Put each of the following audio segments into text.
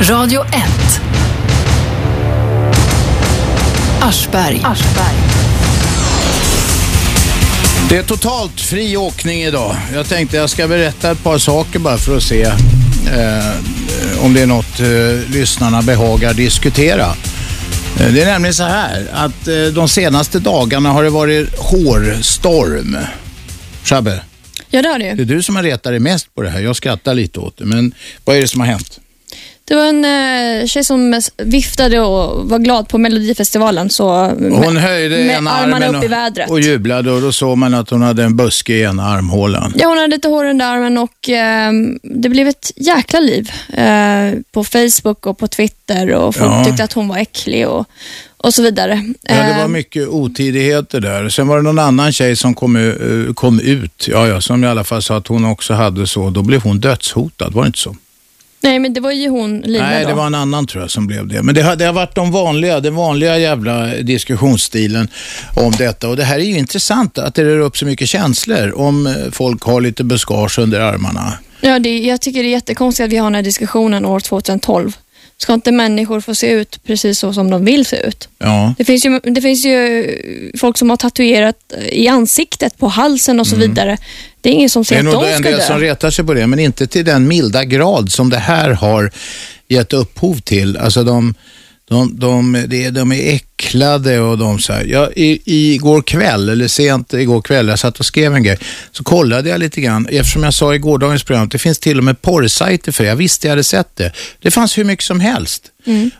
Radio 1. Aschberg. Det är totalt fri åkning idag. Jag tänkte jag ska berätta ett par saker bara för att se eh, om det är något eh, lyssnarna behagar diskutera. Eh, Det är nämligen så här att eh, de senaste dagarna har det varit hårstorm. Shabbe, Ja, det har det det ju. är du som har retat dig mest på det här. Jag skrattar lite åt det, men vad är det som har hänt? Det var en eh, tjej som viftade och var glad på Melodifestivalen. Så, Hon höjde med ena armarna armen upp i vädret. och, och jublade och då såg man att hon hade en buske i ena armhålan. Ja, hon hade lite hår under armen och eh, det blev ett jäkla liv eh, på Facebook och på Twitter och folk Ja. tyckte att hon var äcklig och, och så vidare. Ja, det var Eh, mycket otidigheter där. Sen var det någon annan tjej som kom, u- eh, kom ut, ja, ja, som i alla fall sa att hon också hade så. Då blev hon dödshotad, var det inte så? Nej, men det var ju hon, Lina Nej, då. det var en annan tror jag som blev det. Men det har, det har varit de vanliga, den vanliga jävla diskussionsstilen om detta. Och det här är ju intressant att det rör upp så mycket känslor om eh, folk har lite buskage under armarna. Ja, det, jag tycker det är jättekonstigt att vi har den här diskussionen år 2012. Ska inte människor få se ut precis så som de vill se ut? Ja. Det finns, ju, det finns ju folk som har tatuerat i ansiktet, på halsen och så vidare. Det är ingen som säger Mm. Det är att nog de en ska del dö. som retar sig på det, men inte till den milda grad som det här har gett upphov till. Alltså de, de, de, de, de är äcklade och de så här. Jag, i, igår kväll, eller sent igår kväll, jag satt och skrev en grej, så kollade jag lite grann, eftersom jag sa i gårdagens program att det finns till och med porrsajter för det. Jag visste jag hade sett det. Det fanns hur mycket som helst.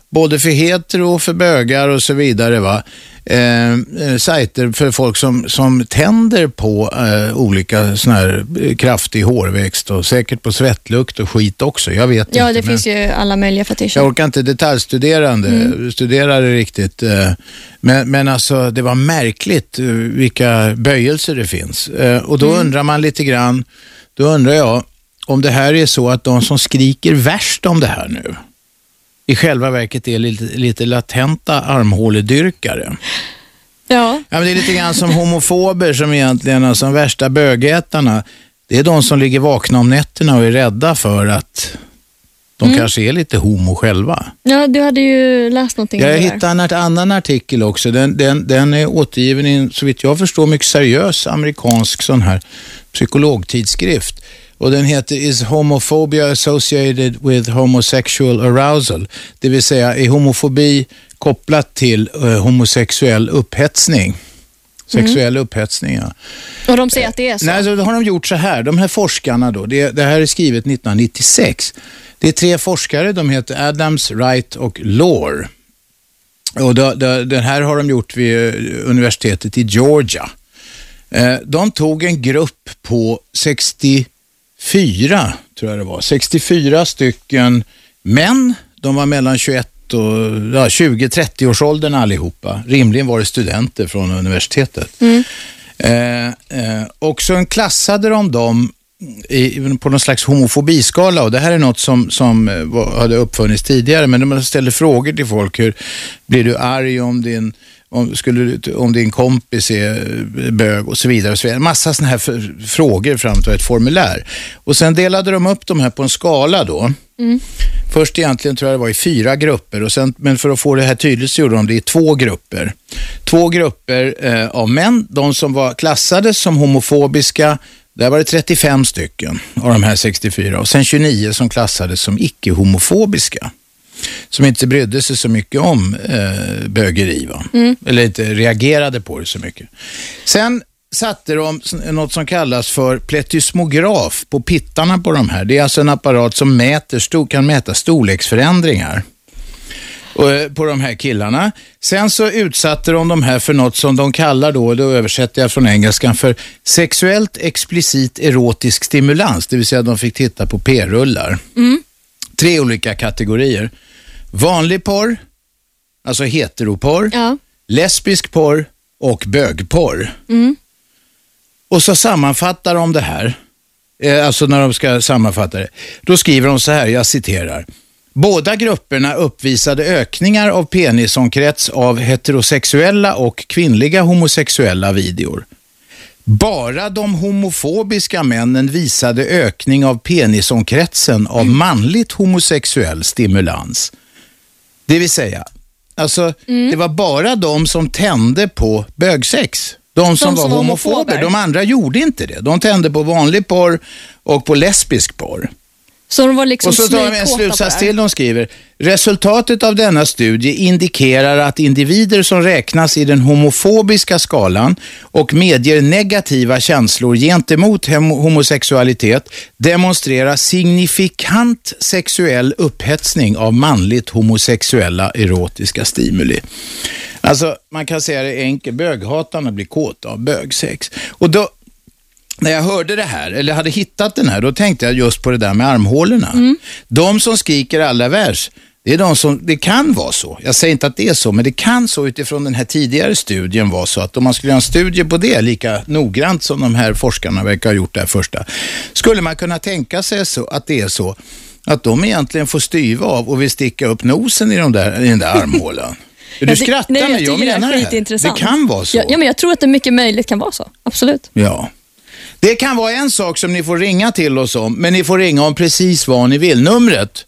Både för hetero och för bögar och så vidare. Va? Eh, eh, sajter för folk som, som tänder på eh, olika sån här eh, kraftig hårväxt och säkert på svettlukt och skit också. Jag vet Ja, inte. det men- finns ju alla möjliga fetischer. jag orkar inte detaljstuderande, studera det riktigt. eh, Men, men alltså det var märkligt eh, vilka böjelser det finns. Eh, Och då undrar man lite grann, då undrar jag om det här är så att de som skriker värst om det här nu i själva verket är lite, lite latenta armhåledyrkare. Ja, Ja, men det är lite grann som homofober som egentligen, alltså de värsta bögätarna. Det är de som ligger vakna om nätterna och är rädda för att de kanske är lite homo själva. ja, du hade ju läst någonting om Jag det där. hittade en art- annan artikel också. Den, den, den är återgiven i en, så vitt jag förstår, mycket seriös amerikansk sån här psykologtidskrift. Och den heter Is homophobia associated with homosexual arousal? Det vill säga, är homofobi kopplat till eh, homosexuell upphetsning? Sexuell upphetsning, ja. Och de säger att det är så. Nej, så då har de gjort så här. De här forskarna då, det, det här är skrivet 1996. Det är tre forskare, de heter Adams, Wright och Lohr. Och då, då, den här har de gjort vid eh, universitetet i Georgia. Eh, de tog en grupp på 64, tror jag det var, 64 stycken män. De var mellan 21 och ja, 20-30 års åldern allihopa. Rimligen var det studenter från universitetet. Eh, eh, och sen klassade de dem i, på någon slags homofobiskala och det här är något som, som eh, var, hade uppfunnits tidigare men när man ställer frågor till folk, hur blir du arg om din, om, skulle, du- om din kompis är eh, bög och så vidare. Och så vidare. Massa sådana här f- frågor fram till ett formulär. Och sen delade de upp de här på en skala då. Först egentligen tror jag det var i fyra grupper, och sen, men för att få det här tydligt så gjorde de det i två grupper. Två grupper eh, av män, de som var klassade som homofobiska, där var det 35 stycken av de här 64 och sen 29 som klassades som icke-homofobiska. Som inte brydde sig så mycket om eh, bögeri, va? eller inte reagerade på det så mycket. Sen satte de s- något som kallas för pletysmograf på pittarna på de här. Det är alltså en apparat som mäter, stor- kan mäta storleksförändringar och, eh, på de här killarna. Sen så utsatte de de här för något som de kallar då, då översätter jag från engelskan, för sexuellt explicit erotisk stimulans, det vill säga de fick titta på p-rullar. Tre olika kategorier. Vanlig porr, alltså heteroporr, Ja. lesbisk porr och bögporr. Och så sammanfattar de det här, eh, alltså när de ska sammanfatta det. Då skriver de så här, jag citerar. Båda grupperna uppvisade ökningar av penisomkrets av heterosexuella och kvinnliga homosexuella videor. Bara de homofobiska männen visade ökning av penisomkretsen av manligt homosexuell stimulans. Det vill säga, alltså det var bara de som tände på bögsex. De som, var homofober. de andra gjorde inte det. De tände på vanlig porr och på lesbisk porr. Så de var liksom Och så tar de en svinkåta på slutsats det. till, de skriver. Resultatet av denna studie indikerar att individer som räknas i den homofobiska skalan och medger negativa känslor gentemot hem- homosexualitet demonstrerar signifikant sexuell upphetsning av manligt homosexuella erotiska stimuli. Alltså, man kan säga det enkelt, böghatarna blir kåta av bögsex. Och då, när jag hörde det här, eller hade hittat den här, då tänkte jag just på det där med armhålorna. Mm. De som skriker allra värst, det är de som, det kan vara så, jag säger inte att det är så, men det kan så utifrån den här tidigare studien vara så att om man skulle göra en studie på det lika noggrant som de här forskarna verkar ha gjort det här första, skulle man kunna tänka sig så, att det är så att de egentligen får styva av och vill sticka upp nosen i, de där, i den där armhålan. Du Ja, det- skrattar, nej, men jag tycker det. menar det är här. skitintressant. Det kan vara så. Ja, ja, men jag tror att det mycket möjligt kan vara så. Absolut. Ja. Det kan vara en sak som ni får ringa till oss om, men ni får ringa om precis vad ni vill. Numret,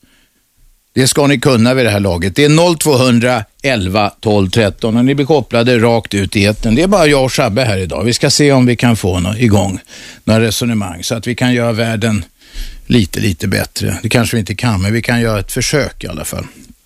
det ska ni kunna vid det här laget. Det är 0200 11 12 13 och ni blir kopplade rakt ut i etern. Det är bara jag och Shabbe här idag. Vi ska se om vi kan få nå- igång några resonemang så att vi kan göra världen lite, lite bättre. Det kanske vi inte kan, men vi kan göra ett försök i alla fall.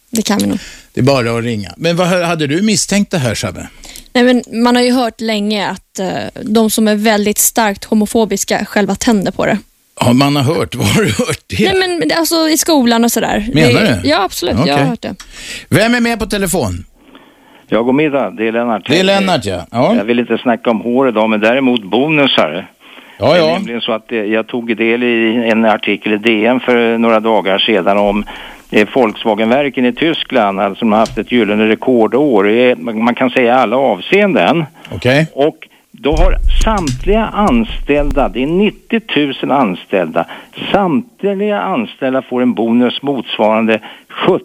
Det kan vi nog. Det är bara att ringa. Men vad hade du misstänkt det här, Shabbe? Nej, men man har ju hört länge att eh, de som är väldigt starkt homofobiska själva tänder på det. Ja, man har hört. Var har du hört det? Nej, men det- alltså i skolan och sådär. Menar Det- du? Ja, absolut. Jag Okej. har hört det. Vem är med på telefon? Ja, god middag. Det är Lennart. Det är Lennart, ja. ja. Jag vill inte snacka om hår idag, men däremot bonusar. Ja, Det är ja. nämligen så att eh, jag tog del i en artikel i DN för några dagar sedan om eh, Volkswagenverken i Tyskland, alltså som har haft ett gyllene rekordår i, man kan säga i alla avseenden. Okej. Och då har samtliga anställda, det är 90 000 anställda, samtliga anställda får en bonus motsvarande 70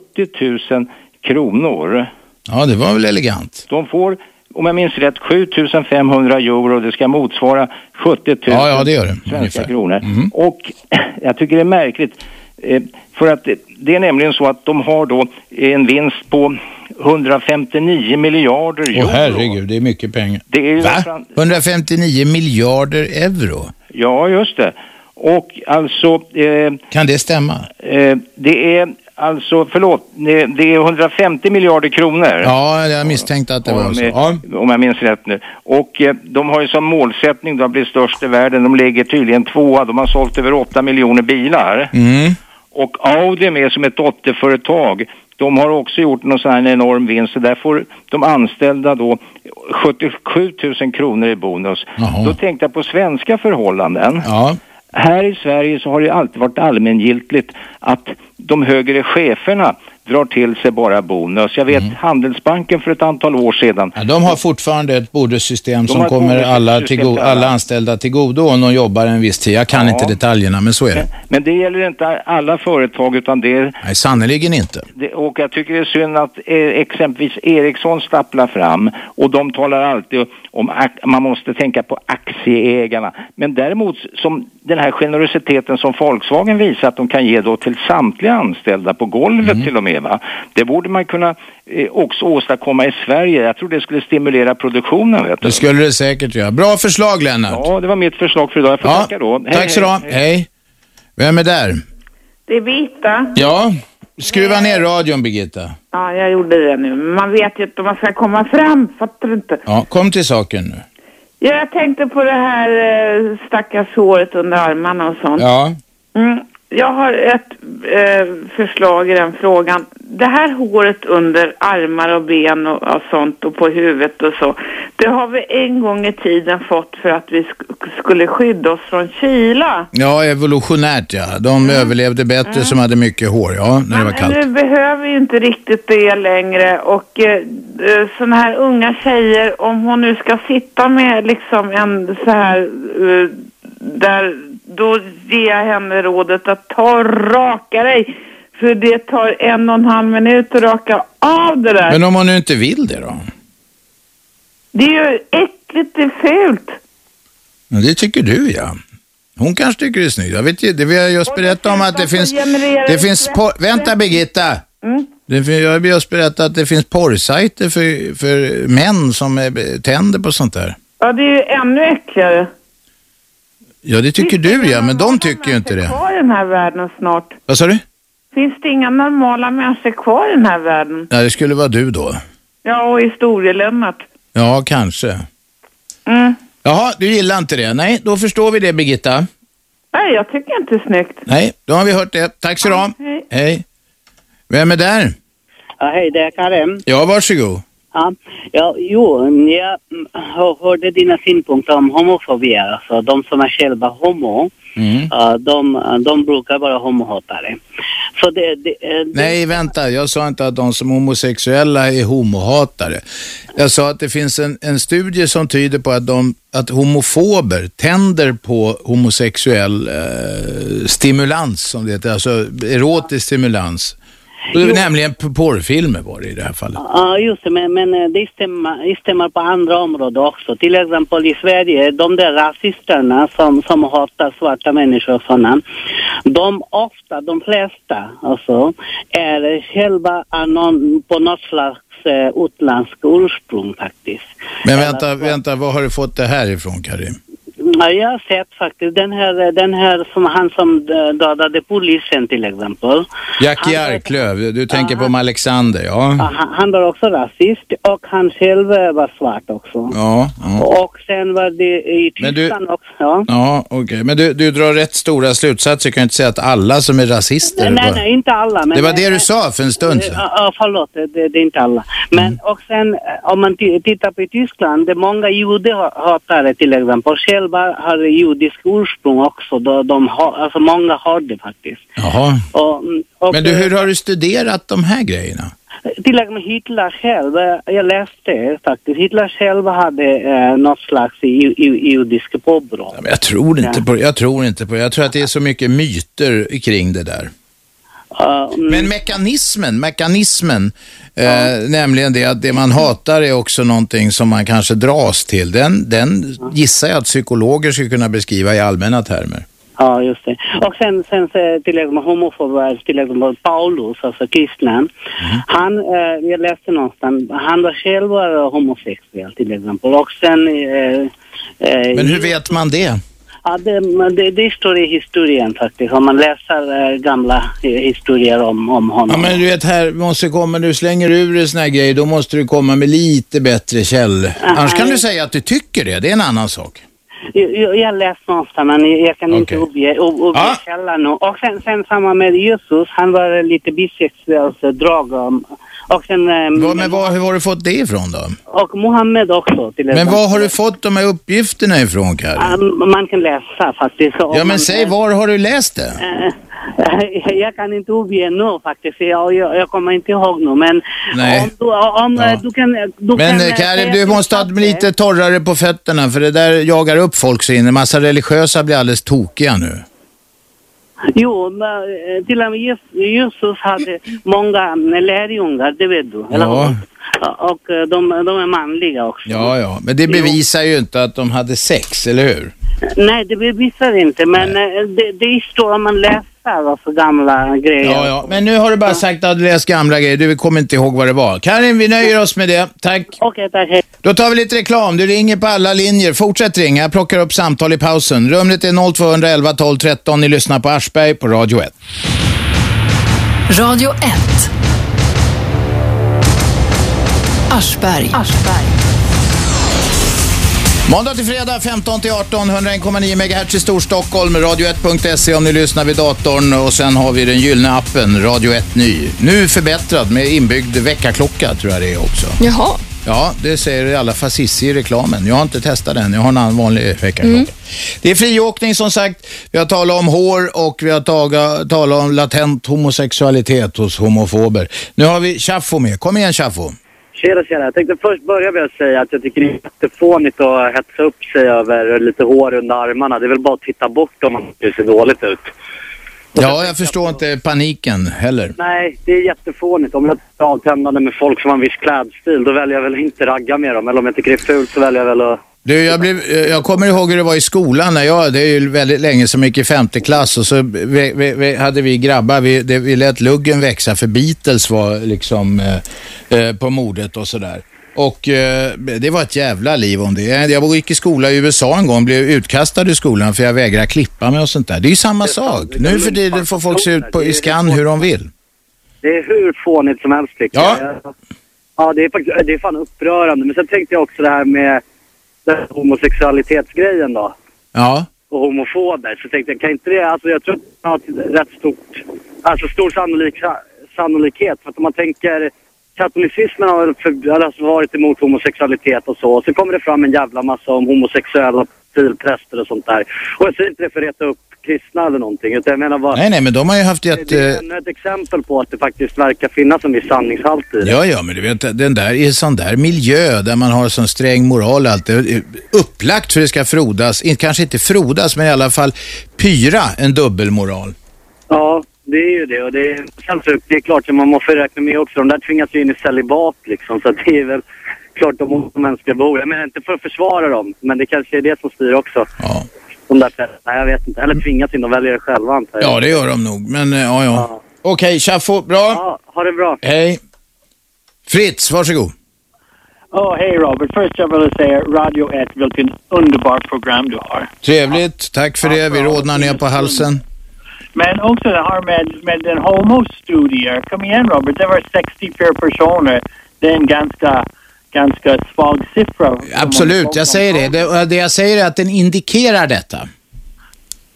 000 kronor. Ja, det var väl elegant. De får, om jag minns rätt, 7500 euro. Det ska motsvara 70 000 Ja, ja, det gör det. svenska Ungefär. Mm. kronor. Och jag tycker det är märkligt. eh, För att eh, det är nämligen så att de har då en vinst på 159 miljarder euro. Åh herregud, det är mycket pengar. Det är ju Va? fram- 159 miljarder euro? Ja, just det. Och alltså, eh, Kan det stämma? eh, det är alltså, förlåt, eh, det är 150 miljarder kronor. Ja, jag misstänkte att det var om, så. eh, Ja. om jag minns rätt nu. Och eh, de har ju som målsättning då att bli störst i världen. De ligger tydligen tvåa. De har sålt över 8 miljoner bilar. Mm. Och Audi är med som ett dotterföretag. De har också gjort någon sån här enorm vinst. Så där får de anställda då 77 000 kronor i bonus. Jaha. Då tänkte jag på svenska förhållanden. Ja. Här i Sverige så har det alltid varit allmängiltigt att de högre cheferna drar till sig bara bonus. Jag Mm. vet Handelsbanken för ett antal år sedan. ja, de har fortfarande ett bonussystem De som har ett kommer bonussystem alla, till go- för alla. alla anställda till godo om de jobbar en viss tid. Jag kan Ja. inte detaljerna, men så är det. Men det gäller inte alla företag utan det är Nej, sannerligen inte. Det- Och jag tycker det är synd att eh, exempelvis Ericsson stapplar fram och de talar alltid om ak- man måste tänka på aktieägarna. Men däremot som den här generositeten som Volkswagen visar att de kan ge då till samtliga anställda på golvet Mm. till och med va. Det borde man kunna eh, också åstadkomma i Sverige. Jag tror det skulle stimulera produktionen vet du. Det skulle det säkert göra. Bra förslag, Lennart. Ja, det var mitt förslag för idag. Jag får Ja, tacka då. Hej, tack så du ha. Hej. Vem är där? Det är Birgitta. Ja, skruva ner radion, Birgitta. Ja, jag gjorde det nu. Men Man vet ju inte om man ska komma fram. Fattar du inte? Ja, kom till saken nu. Ja, jag tänkte på det här eh, stackars håret under armarna och sånt. Ja. Mm, jag har ett eh, förslag i den frågan. Det här håret under armar och ben och, och sånt och på huvudet och så. Det har vi en gång i tiden fått för att vi sk- skulle skydda oss från kyla. Ja, evolutionärt ja. De överlevde bättre som hade mycket hår, Mm. ja, när det var Men kallt. nu behöver ju inte riktigt det längre och eh, eh, sådana här unga tjejer, om hon nu ska sitta med liksom en så här eh, där, då ger jag henne rådet att ta och raka dig. För det tar en och en halv minut att raka av det där. Men om man nu inte vill det då? Det är ju äckligt, det är fult. Men Det tycker du ja. Hon kanske tycker det är snyggt. Jag vet ju, det vill jag just berätta om att det finns, det finns por- Vänta Birgitta! Det, fin- jag vill just berätta att det finns porrsajter för, för män som är, tänder på sånt där. Ja, det är ju ännu äckligare. Ja, det tycker du ja, men de tycker ju inte det. Kvar i den här världen snart. Vad sa du? Finns det inga normala människor kvar i den här världen? Nej, det skulle vara du då. Ja, och historielennart. Ja, kanske. Mm. Jaha, du gillar inte det. Nej, då förstår vi det Birgitta. Nej, jag tycker inte det är snyggt. Nej, då har vi hört det. Tack så du ha. Hej. Vem är där? Ja, hej, det är Karim. Ja, varsågod. Ja, ja, jo, jag mm, hör- hörde dina synpunkter om homofobi, alltså de som är själva homo, ja, de, de brukar vara homohatare. Så det, det, eh, Nej, vänta. Jag sa inte att de som är homosexuella är homohatare. Jag sa att det finns en, en studie som tyder på att, de, att homofober tänder på homosexuell eh, stimulans, som det heter, alltså erotisk stimulans. Och det var Nämligen p- porrfilmer var det i det här fallet. Ja, just det, men, men eh, det stämmer, det stämmer på andra områden också. Till exempel i Sverige, de där rasisterna som, som hatar svarta människor och sådana, de ofta, de flesta alltså, är själva av någon, på något slags eh, utländsk ursprung faktiskt. Men vänta, vänta, var har du fått det här ifrån, Karim? Ja, jag har sett faktiskt den här, den här som han som eh, dödade polisen till exempel. Jackie Arklöv, du tänker på Alexander, ja. Alltså, Ja, Han, han var också rasist och han själv eh, var svart också. Ja, ja. Och sen var det i Men Tyskland du- också. Ja. Ja, okej. Men du, du drar rätt stora slutsatser. Du kan ju inte säga att alla som är rasister... Nej, nej, bara- nej, inte alla. Men det var det du sa för en stund sedan. Mm. Ja, ja, förlåt, det, det är inte alla. Men och sen eh, om man ti- tittar på Tyskland, det är många judehatare till exempel. Själva har judisk ursprung också. De, de har, alltså många har det faktiskt. Jaha. Och, mm, och, Men du, hur eh, har du studerat de här grejerna? Till och med Hitler själv, eh, jag läste faktiskt, Hitler själv hade eh, något slags ju, ju, judisk påbrå. Men Jag tror inte på det. Jag tror inte på det. Jag tror att det är så mycket myter kring det där. mm. Men mekanismen, mekanismen, eh, nämligen det att det man hatar är också någonting som man kanske dras till. Den, den gissar jag att psykologer skulle kunna beskriva i allmänna termer. Ja, just det. Och sen, sen så till exempel homofober, till exempel Paulus, alltså kristna. Mm. Han, eh, jag läste någonstans, han var själv var homosexuell till exempel. Och sen... Eh, eh, Men hur vet man det? Ja, det, men det, det står i historien faktiskt, om man läser eh, gamla eh, historier om, om honom. Ja, men du vet här, måste komma, du slänger ur dig såna här grejer, då måste du komma med lite bättre käll. Annars kan du säga att du tycker det, det är en annan sak. Jag, jag- jag läste någonstans, men jag kan inte uppge, upp, uppge Ah. källan. nu. Och sen, sen samma med Jesus, han var lite bisexuellt drag. om- Och sen... eh, Vad- men vad, hur har du fått det ifrån då? Och Mohammed också. Till Men var har du fått de här uppgifterna ifrån, Karin? Um, man kan läsa faktiskt. Om Ja, man- men säg, var har du läst det? Eh, Jag kan inte uppge nu faktiskt. Jag, jag, jag kommer inte ihåg nu. Men Nej. om, du, om eh, du kan... Du Men kan, eh, eh, Karin, säga du till måste ha lite torrare på fötterna, för det där jagar upp folk så in. En massa religiösa blir alldeles tokiga nu. Jo, men, eh, till och med Jesus- Jesus hade många eh, lärjungar, det vet du. eller Ja. hur? Och eh, de, de är manliga också. Ja, ja, men det bevisar ju inte att de hade sex, eller hur? Nej, det bevisar inte, men eh, det, det står om man läser alltså, gamla grejer. Ja, ja, men nu har du bara sagt att du läst gamla grejer. Du kommer inte ihåg vad det var. Karin, vi nöjer oss med det. Tack. Okej, tack. Hej. Då tar vi lite reklam. Du ringer på alla linjer. Fortsätt ringa. Jag plockar upp samtal i pausen. Rummet är 0211 12 13. Ni lyssnar på Aschberg på Radio 1. Radio 1. Aschberg. Måndag till fredag 15 till 18, 101,9 MHz i Storstockholm, radio1.se om ni lyssnar vid datorn och sen har vi den gyllene appen Radio 1 Ny. Nu förbättrad med inbyggd väckarklocka tror jag det är också. Jaha. Ja, det säger alla fascister i reklamen. Jag har inte testat den, jag har en annan vanlig väckarklocka. Det är friåkning som sagt, vi har talat om hår och vi har taga, talat om latent homosexualitet hos homofober. Nu har vi Chaffo med, kom igen Chaffo. Tjena, tjena. Jag tänkte först börja med att säga att jag tycker det är jättefånigt att hetsa upp sig över lite hår under armarna. Det är väl bara att titta bort om man ser dåligt ut. Ja, jag förstår inte paniken heller. Nej, det är jättefånigt. Om jag är avtändande med folk som har en viss klädstil, då väljer jag väl inte ragga med dem. Eller om jag tycker det är fult så väljer jag väl att... Du, jag, blev, jag kommer ihåg hur det var i skolan när jag, det är ju väldigt länge som gick i femte klass och så vi, vi, vi hade vi grabbar, vi, det, vi lät luggen växa för Beatles var liksom eh, eh, på modet och sådär. Och eh, det var ett jävla liv om det. Jag jag gick i skola i USA en gång, blev utkastad ur skolan för jag vägrade klippa mig och sånt där. Det är ju samma sak. Nu för tiden får folk se ut på, i skan hur de vill. Det är hur fånigt som helst tycker Ja. jag. Ja, det är, faktiskt, det är fan upprörande. Men sen tänkte jag också det här med den här homosexualitetsgrejen då. Ja. Och homofober. Så tänkte jag, kan inte det... Alltså jag tror att det har ett rätt stort... Alltså stor sannolik, sannolikhet. För att om man tänker... Katolicismen har för, har alltså varit emot homosexualitet och så. Och så kommer det fram en jävla massa om homosexuella pilpräster och sånt där. Och jag säger inte det för att reta upp kristna eller någonting. Utan jag menar bara... Nej, eh, nej, men de har ju haft jätte... Det är ännu ett exempel på att det faktiskt verkar finnas en viss sanningshalt i det. Ja, ja, men du vet, den där, i en sån där miljö där man har sån sträng moral och allt, det är upplagt för det ska frodas, In- kanske inte frodas, men i alla fall pyra en dubbelmoral. Ja, det är ju det. Och det, är, sen så, det är klart att man måste räkna med också. De där tvingas ju in i celibat liksom. Så att det är väl klart de har mänskliga behov. Jag menar inte för att försvara dem, men det kanske är det som styr också. Ja. De där prästerna, jag vet inte. Eller tvingas in, de väljer det själva antar jag. Ja, det gör de nog, men eh, ja, ja. Okej, Chaffo, bra. Ja, ha det bra. Hej. Fritz, varsågod. Ja, hej Robert. Först jag vill säga Radio 1, vilken underbar program du har. Trevligt, tack för det. Vi rodnar ner på halsen. Men också det här med, med den homostudier. Kom igen Robert, det var 64 personer. Det är en ganska, ganska svag siffra. Absolut, jag säger det. det. Det jag säger är att den indikerar detta.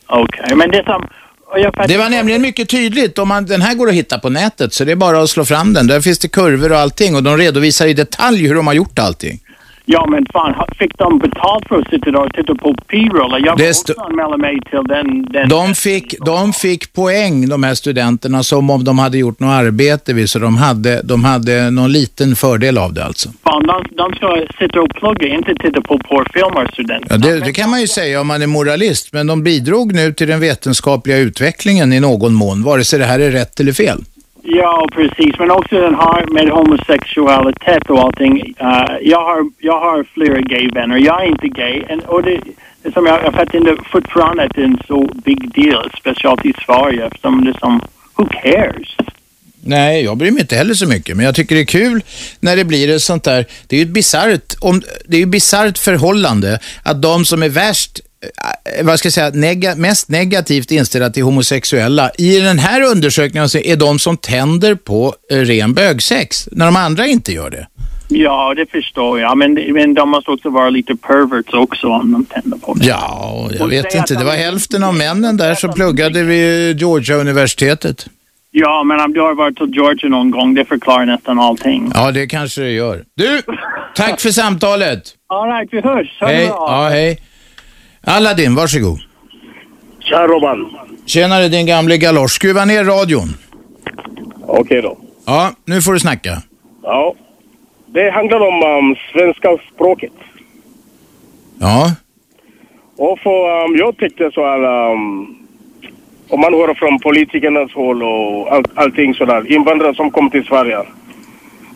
Okej, men det som... och jag fattar- Det var nämligen mycket tydligt. Om man, den här går att hitta på nätet, så det är bara att slå fram den. Där finns det kurvor och allting och de redovisar i detalj hur de har gjort allting. Ja, men fan, ha- fick de betalt för att sitta där och titta på p-roll? Jag Det vill stå- också anmäla mig till den... den De fick, de fick poäng, de här studenterna, som om de hade gjort något arbete. vid, Så de hade, de hade någon liten fördel av det alltså. Fan, de, de ska sitta och plugga, inte titta på porrfilmer, Ja, studenter. det, det kan man ju säga om man är moralist, men de bidrog nu till den vetenskapliga utvecklingen i någon mån, vare sig det här är rätt eller fel. Ja, precis. Men också den här med homosexualitet och allting. Eh, jag, har, jag har flera gayvänner. Jag är inte gay. En- och det, som jag, jag fattar inte fortfarande att det är en så big deal, speciellt i Sverige. Eftersom det är som, who cares? Nej, jag bryr mig inte heller så mycket, men jag tycker det är kul när det blir ett sånt där, det är ju ett bisarrt, om, det är ju ett bisarrt förhållande att de som är värst, eh, vad ska jag säga, nega, mest negativt inställda till homosexuella, i den här undersökningen så är de som tänder på eh, ren bögsex, när de andra inte gör det. Ja, det förstår jag. Men, men de måste också vara lite perverts också om de tänder på det. Ja, jag vet inte, det var hälften av männen där som pluggade vid Georgia-universitetet. Ja, men om du har varit till Georgia någon gång, det förklarar nästan allting. Ja, det kanske det gör. Du, tack för samtalet. All right, vi hörs. Ha det Hej, bra. ja hej. Aladdin, varsågod. Tja Robban. Tjenare din gamle galosch. Skruva ner radion. Okej då. Ja, nu får du snacka. Ja. Det handlar om um, svenska språket. Ja, Och för, um, jag tyckte så här, um, om man hör från politikernas håll och all, allting sådär, invandrare som kom till Sverige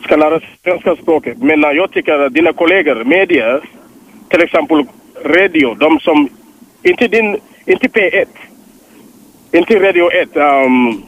ska lära sig svenska språket. Men uh, jag tycker att dina kollegor, media, till exempel radio, de som, inte din, inte P1, inte Radio 1, um,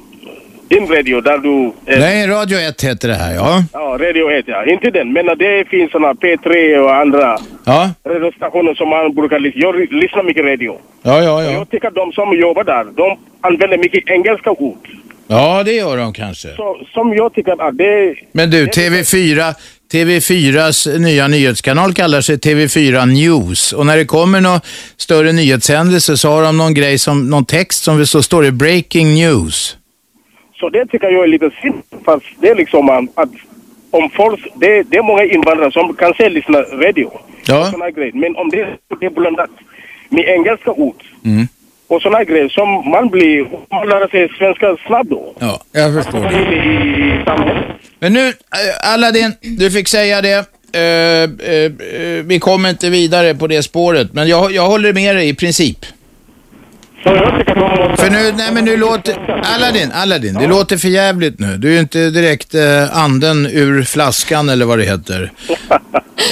din radio där du... eh, är- nej, Radio 1 heter det här, ja. Ja, Radio 1 ja. Inte den, men det finns såna P3 och andra Ja, radiostationer som man brukar lyssna Jag ry- lyssnar mycket radio. ja, ja. Ja, Jag tycker att de som jobbar där, de använder mycket engelska ord. ja det gör de kanske. Så, som jag tycker att det... Men du, TV4, TV4s nya nyhetskanal kallar sig TV4 News. Och när det kommer någon större nyhetshändelse så har de någon grej som, någon text som så står det Breaking News. Så det tycker jag är lite synd. Fast det är liksom um, att... Om folk, det, det är många invandrare som kanske lyssnar radio. Ja. Såna grejer. Men om det, det är blandat med engelska ord Mm. och såna grejer som man blir... Man lär sig svenska snabbt då. Ja, jag förstår Man det. är i samhället. Men nu, eh, Aladdin, du fick säga det. Eh, eh, eh, vi kommer inte vidare på det spåret, men jag, jag håller med dig i princip. Så jag tycker att man måste... För nu, nej men nu låter, Aladdin, Aladdin, det låter för jävligt nu. Du är ju inte direkt eh, anden ur flaskan eller vad det heter.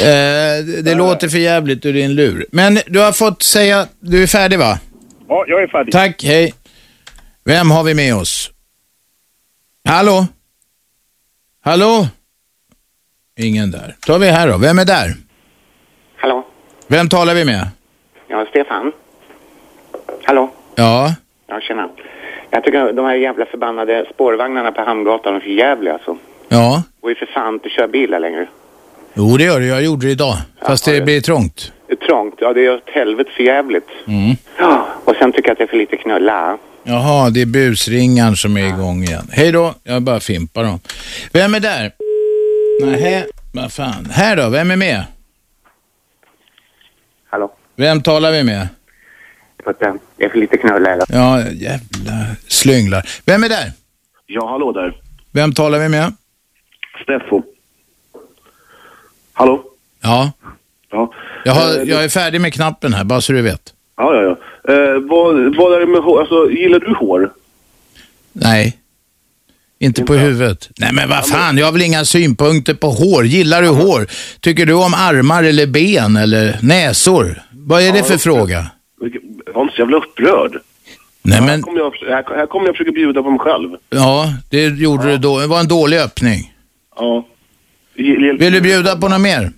Eh, det det låter för jävligt ur din lur. Men du har fått säga, du är färdig va? Ja, jag är färdig. Tack, hej. Vem har vi med oss? Hallå? Hallå? Ingen där. tar vi här då. Vem är där? Hallå? Vem talar vi med? Ja, Stefan? Hallå? Ja. Ja, tjena. Jag tycker de här jävla förbannade spårvagnarna på Hamngatan är för jävliga alltså. Ja. går ju för fan inte att köra bil här längre. Jo, det gör det. Jag gjorde det idag. Fast det blir trångt. Det är trångt. Ja, det är åt helvete för jävligt. Mm. Ja. Och sen tycker jag att det är för lite knulla. Jaha, det är busringan som är igång igen. Hej då, jag bara fimpar dem. Vem är där? Nej, vad fan. Här då, vem är med? Hallå? Vem talar vi med? För att, eh, Det är för lite knulla. här. Ja, jävla slynglar. Vem är där? Ja, hallå där. Vem talar vi med? Steffo. Hallå? Ja, Ja. jag, har, Eh, jag är färdig med knappen här, bara så du vet. Ja, ja, ja. Eh, vad, vad är det med hår? Alltså, gillar du hår? Nej. Inte på huvudet. Nej men vad fan, jag har väl inga synpunkter på hår. Gillar du hår? Tycker du om armar eller ben eller näsor? Vad är det för fråga? Vilken- Jag är inte så jävla upprörd. Nej Här men, kommer jag, här, här kommer jag försöka bjuda på mig själv. ja, det gjorde du då. Det var en dålig öppning. Ja. Vill Vill du bjuda på något mer?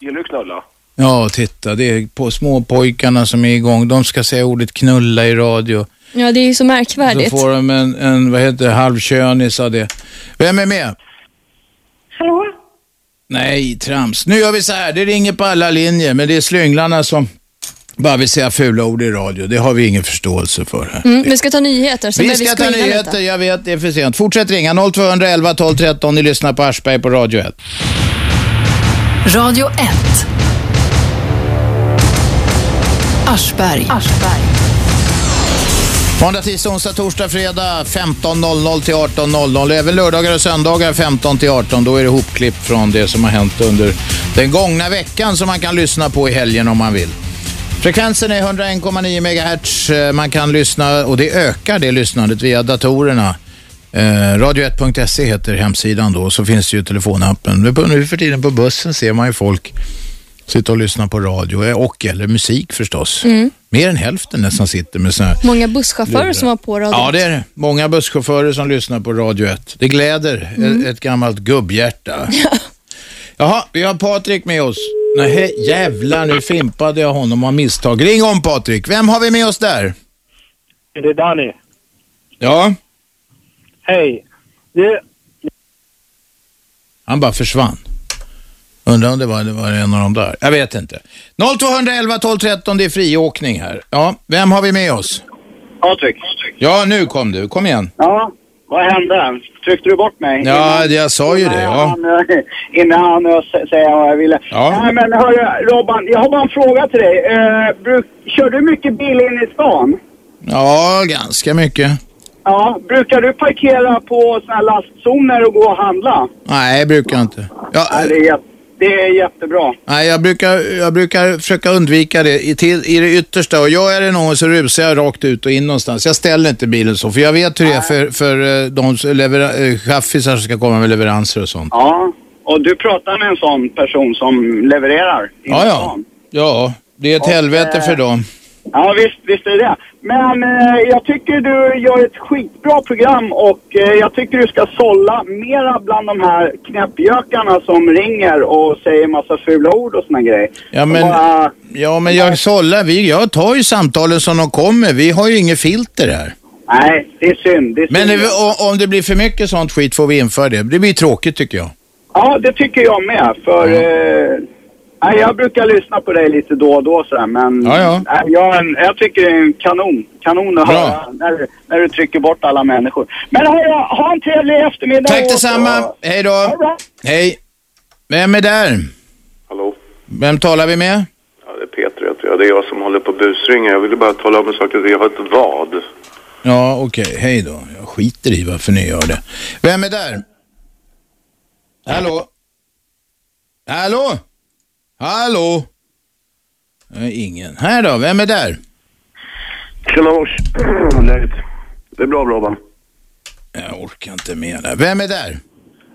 Gillar du knulla? Ja, titta, det är på småpojkarna som är igång. De ska säga ordet knulla i radio. Ja, det är ju så märkvärdigt. Så får de en, en vad heter det, halvkönis av det. Vem är med? Hallå? Nej, trams. Nu gör vi så här, det ringer på alla linjer, men det är slynglarna som bara vill säga fula ord i radio. Det har vi ingen förståelse för här. Mm, vi ska ta nyheter. så Vi lär ska ta screena lite. nyheter, jag vet det är för sent. Fortsätt ringa 0211 12 13, ni lyssnar på Aschberg på Radio 1. Radio 1. Aschberg. Måndag, tisdag, onsdag, torsdag, fredag 15.00 till 18.00. Även lördagar och söndagar 15 till 18. Då är det hopklipp från det som har hänt under den gångna veckan som man kan lyssna på i helgen om man vill. Frekvensen är 101,9 MHz. Eh, Man kan lyssna och det ökar det lyssnandet via datorerna. Eh, Radio1.se heter hemsidan då, så finns det ju telefonappen. Nu, på, nu för tiden på bussen ser man ju folk sitta och lyssna på radio eh, och eller musik förstås. Mm. Mer än hälften nästan sitter med sådana här Många busschaufförer Lurar. som var på radio. Ja, det är det. Många busschaufförer som lyssnar på Radio 1. Det gläder ett, ett gammalt gubbhjärta. Jaha, vi har Patrik med oss. Nej, jävlar, nu fimpade jag honom av misstag. Ring om Patrik. Vem har vi med oss där? Det är Danny. Ja. Hej. Du, Han bara försvann. Undrar om det var, det var en av de där. Jag vet inte. 0211 12 13, det är friåkning här. Ja, vem har vi med oss? Patrik. Ja, nu kom du. Kom igen. Ja, vad hände? Tryckte du bort mig? Ja, jag sa ju det. Ja. Innan han, innan han eh, sä- säger vad jag ville. Ja. Nej men hörru, Robban, jag har bara en fråga till dig. Eh, bruk, kör du mycket bil in i stan? ja, ganska mycket. Ja, brukar du parkera på såna här lastzoner och gå och handla? Nej, brukar jag inte. Ja, eh. det, är, jät- det är jättebra. Nej, jag brukar, jag brukar försöka undvika det i, till, i det yttersta. Och jag är det någon så rusar jag rakt ut och in någonstans. Jag ställer inte bilen så, för jag vet hur det är för, för eh, de som lever- eh, chaffisar som ska komma med leveranser och sånt. Ja, och du pratar med en sån person som levererar? in Ja, i ja. stan. Ja, det är ett Och, helvete eh, för dem. Ja, visst, visst är det det. Men eh, jag tycker du gör ett skitbra program och eh, jag tycker du ska sålla mera bland de här knäppjökarna som ringer och säger massa fula ord och såna grejer. Ja, men, bara- ja, men jag sållar. Vi, jag tar ju samtalen som de kommer. Vi har ju inget filter här. Nej, det är synd. Det är Men eh, synd. det, o- om det blir för mycket sånt skit får vi införa det. Det blir tråkigt tycker jag. Ja, det tycker jag med. För eh, nej, jag brukar lyssna på dig lite då och då sådär, men Ja, ja. Nej, jag, är en- jag tycker det är en kanon, kanon att Bra. höra när, du- när du trycker bort alla människor. Men hörru, ha en trevlig eftermiddag. Tack och- detsamma. Hej då. Hej. Vem är där? Hallå? Vem talar vi med? Ja, det är Peter heter jag. Det är jag som håller på och busringer. Jag ville bara tala om en sak. Jag har ett vad. Ja, okej. Hej då. Jag skiter i varför ni gör det. Vem är där? Hallå? Hallå? Hallå? Nej, ingen. Här då, vem är där? Tjena mors. Läget? Det är bra, Robban. Jag orkar inte med det. Vem är där?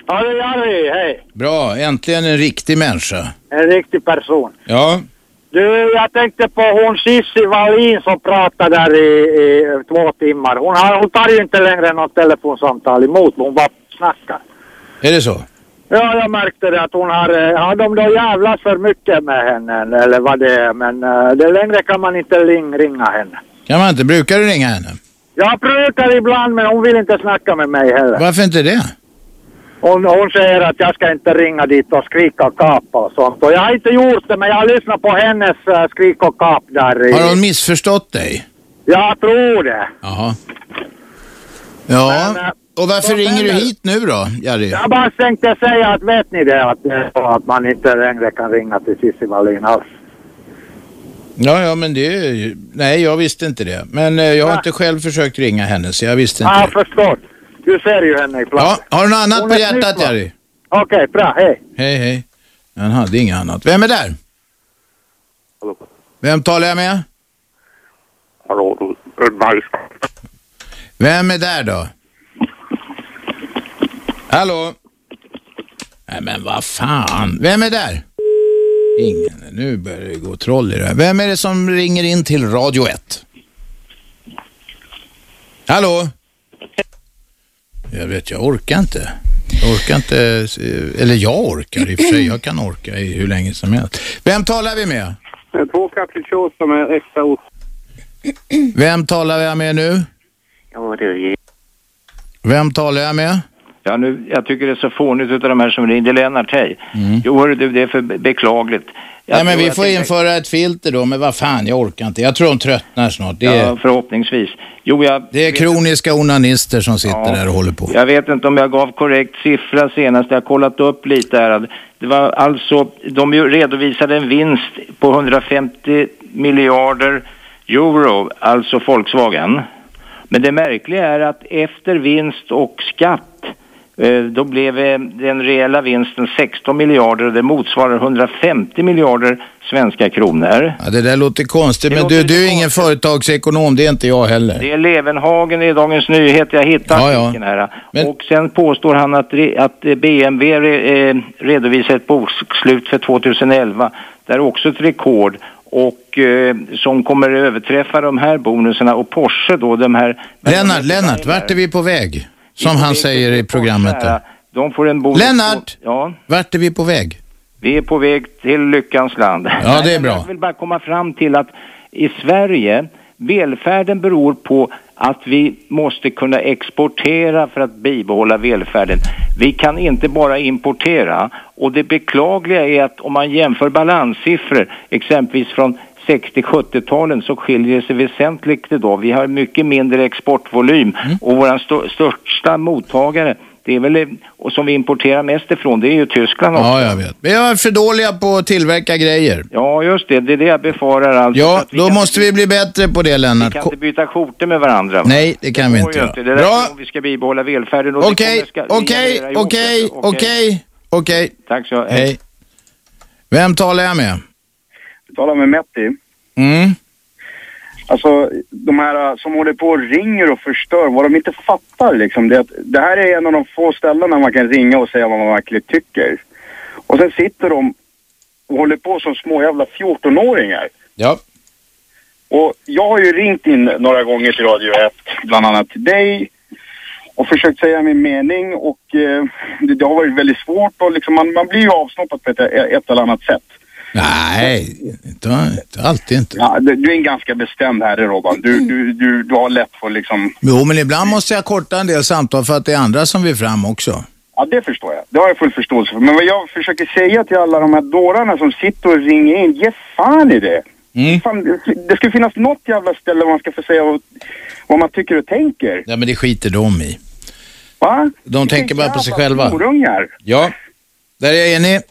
Ja, det är Harry. Hej. Bra, äntligen en riktig människa. En riktig person. Ja, Du, jag tänkte på hon Cissi Wallin som pratade där i, i två timmar. Hon, har, hon tar ju inte längre något telefonsamtal emot. Hon bara snackar. är det så? Ja, jag märkte det att hon har... eh, Har de då jävlas för mycket med henne eller vad det är? Men eh, det längre kan man inte ling- ringa henne. Kan man inte? Brukar du ringa henne? Jag brukar ibland men hon vill inte snacka med mig heller. Varför inte det? Hon, hon säger att jag ska inte ringa dit och skrika och kapa och sånt. Och jag har inte gjort det, men jag har lyssnat på hennes eh, skrik och kap där. I, Har hon missförstått dig? Jag tror det. Jaha. Ja, Men, eh, och varför ringer du hit nu då, Jari? Jag bara tänkte säga att vet ni det att, eh, att man inte längre kan ringa till Cissi Wallin alls? Ja, ja, men det... är ju- Nej, jag visste inte det. Men eh, jag har inte själv försökt ringa henne, så jag visste inte. Ja, jag förstår. Du ser ju henne i Ja, planen. har du något annat Hon på är hjärtat, snygg, va? Jari? Okej, bra. Hej. Hej, hej. Han hade inget annat. Vem är där? Hallå. Vem talar jag med? Hallå, Bergs. Vem är där då? Hallå? Nej men vad fan. Vem är där? Ingen. Nu börjar det gå troll i det här. Vem är det som ringer in till Radio 1? Hallå? Jag vet, jag orkar inte. Jag orkar inte, eh, eller jag orkar i och för sig. Jag kan orka i hur länge som helst. Vem talar vi med? Två capricciosa med extra ost. Vem talar jag med nu? Ja, du. Vem talar jag med? Ja, nu, jag tycker det är så fånigt utav de här som ringde. Lennart, hej. Jo, hörru du, det är för be- beklagligt. Jag Mm. Nej, men tror vi att får det- införa ett filter då, men vad fan, jag orkar inte. Jag tror de tröttnar snart. Det är, Ja, förhoppningsvis. Jo, jag... det är kroniska onanister som sitter där och håller på. Jag vet inte om jag gav korrekt siffra senast. Jag har kollat upp lite här. Det var alltså, de ju redovisade en vinst på 150 miljarder euro, alltså Volkswagen. Men det märkliga är att efter vinst och skatt, eh, då blev eh, den reella vinsten 16 miljarder och det motsvarar 150 miljarder svenska kronor. Ja, det där låter konstigt, men du, du är ingen företagsekonom, det är inte jag heller. Det är Levenhagen i Dagens Nyhet, jag hittar Ja, ja. artikeln här. Och sen påstår han att, re, att eh, BMW re, eh, redovisar ett bokslut för 2011. Där är också ett rekord och eh, som kommer överträffa de här bonuserna och Porsche då, de här... Lennart, Lennart, vart är vi på väg? Som han säger i programmet där. De får en bonus Lennart! På, ja, Vart är vi på väg? vi är på väg till lyckans land. Ja, det är bra. Jag vill bara komma fram till att i Sverige, välfärden beror på att vi måste kunna exportera för att bibehålla välfärden. Vi kan inte bara importera. Och det beklagliga är att om man jämför balanssiffror, exempelvis från 60-70-talen, så skiljer det sig väsentligt idag. Vi har mycket mindre exportvolym Mm. och vår st- största mottagare, det är väl, och som vi importerar mest ifrån, det är ju Tyskland också. Ja, jag vet. Vi är för dåliga på att tillverka grejer. Ja, just det. Det är det jag befarar. Alltså, Ja, att vi då kan måste vi bli bättre på det, Lennart. inte byta skjortor med varandra. va? Nej, det kan vi går inte ju göra. inte. Det är Bra. därför vi ska bibehålla välfärden. och det Okej, kommer ska- okej, generera jobb. okej, okej, okej. Tack så Hej. Vem talar jag med? Du talar med Metti. Mm. Alltså, de här eh, som håller på och ringer och förstör, vad de inte fattar liksom, det är att det här är en av de få ställena man kan ringa och säga vad man verkligen tycker. Och sen sitter de och håller på som små jävla 14-åringar. Ja. Och jag har ju ringt in några gånger till Radio 1, bland annat till dig, och försökt säga min mening och eh, det, det har varit väldigt svårt och liksom man, man blir ju avsnoppad på ett, ett eller annat sätt. Nej, inte, inte alltid inte. Ja, du, du är en ganska bestämd herre Robban. Du, du, du, du har lätt för liksom... Jo, men ibland måste jag korta en del samtal för att det är andra som vill fram också. Ja, det förstår jag. Det har jag full förståelse för. Men vad jag försöker säga till alla de här dårarna som sitter och ringer in, ge fan i det! Mm. Fan, det- det ska finnas något jävla ställe där man ska få säga vad, vad man tycker och tänker. Ja, men det skiter de i. Va? De tänker bara på sig själva. Horungar. Ja, där är jag enig.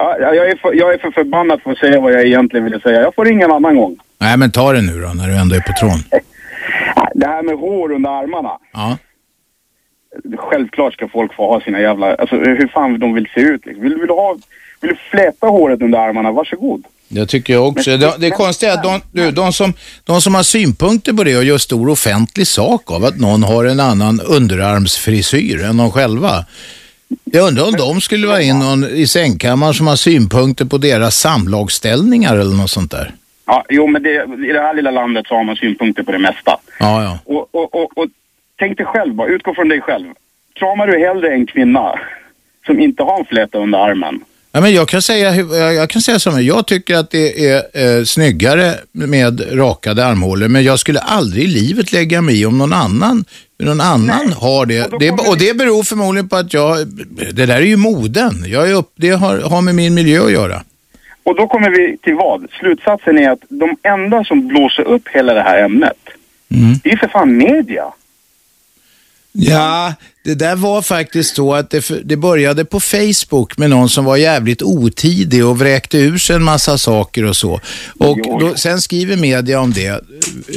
Ja, jag, jag, är för, jag är för förbannad för att säga vad jag egentligen ville säga. Jag får ringa en annan gång. Nej, men ta det nu då, när du ändå är på tråden. Det här med hår under armarna. Ja. Självklart ska folk få ha sina jävla... Alltså hur fan de vill se ut liksom. Vill, vill, du ha, vill du fläta håret under armarna, varsågod. Jag tycker jag också. Men- Det, det konstiga är att de, du, de, som, de som har synpunkter på det och gör stor offentlig sak av att någon har en annan underarmsfrisyr än de själva. Jag undrar om de skulle vara in någon i sängkammaren som har synpunkter på deras samlagsställningar eller något sånt där. Ja, jo, men det, i det här lilla landet så har man synpunkter på det mesta. Ja, ja. Och, och, och, och tänk dig själv bara, utgå från dig själv. Kramar du hellre en kvinna som inte har en fläta under armen? Ja, men jag kan säga, hur- jag jag kan säga som är. jag tycker att det är eh, snyggare med rakade armhålor, men jag skulle aldrig i livet lägga mig i om någon annan, någon annan har det. Och det, och det beror förmodligen på att jag, det där är ju moden. Jag är upp, det har, har med min miljö att göra. Och då kommer vi till vad? Slutsatsen är att de enda som blåser upp hela det här ämnet, det är för fan media. Ja, det där var faktiskt så att det, det började på Facebook med någon som var jävligt otidig och vräkte ur sig en massa saker och så. Och då, sen skriver media om det.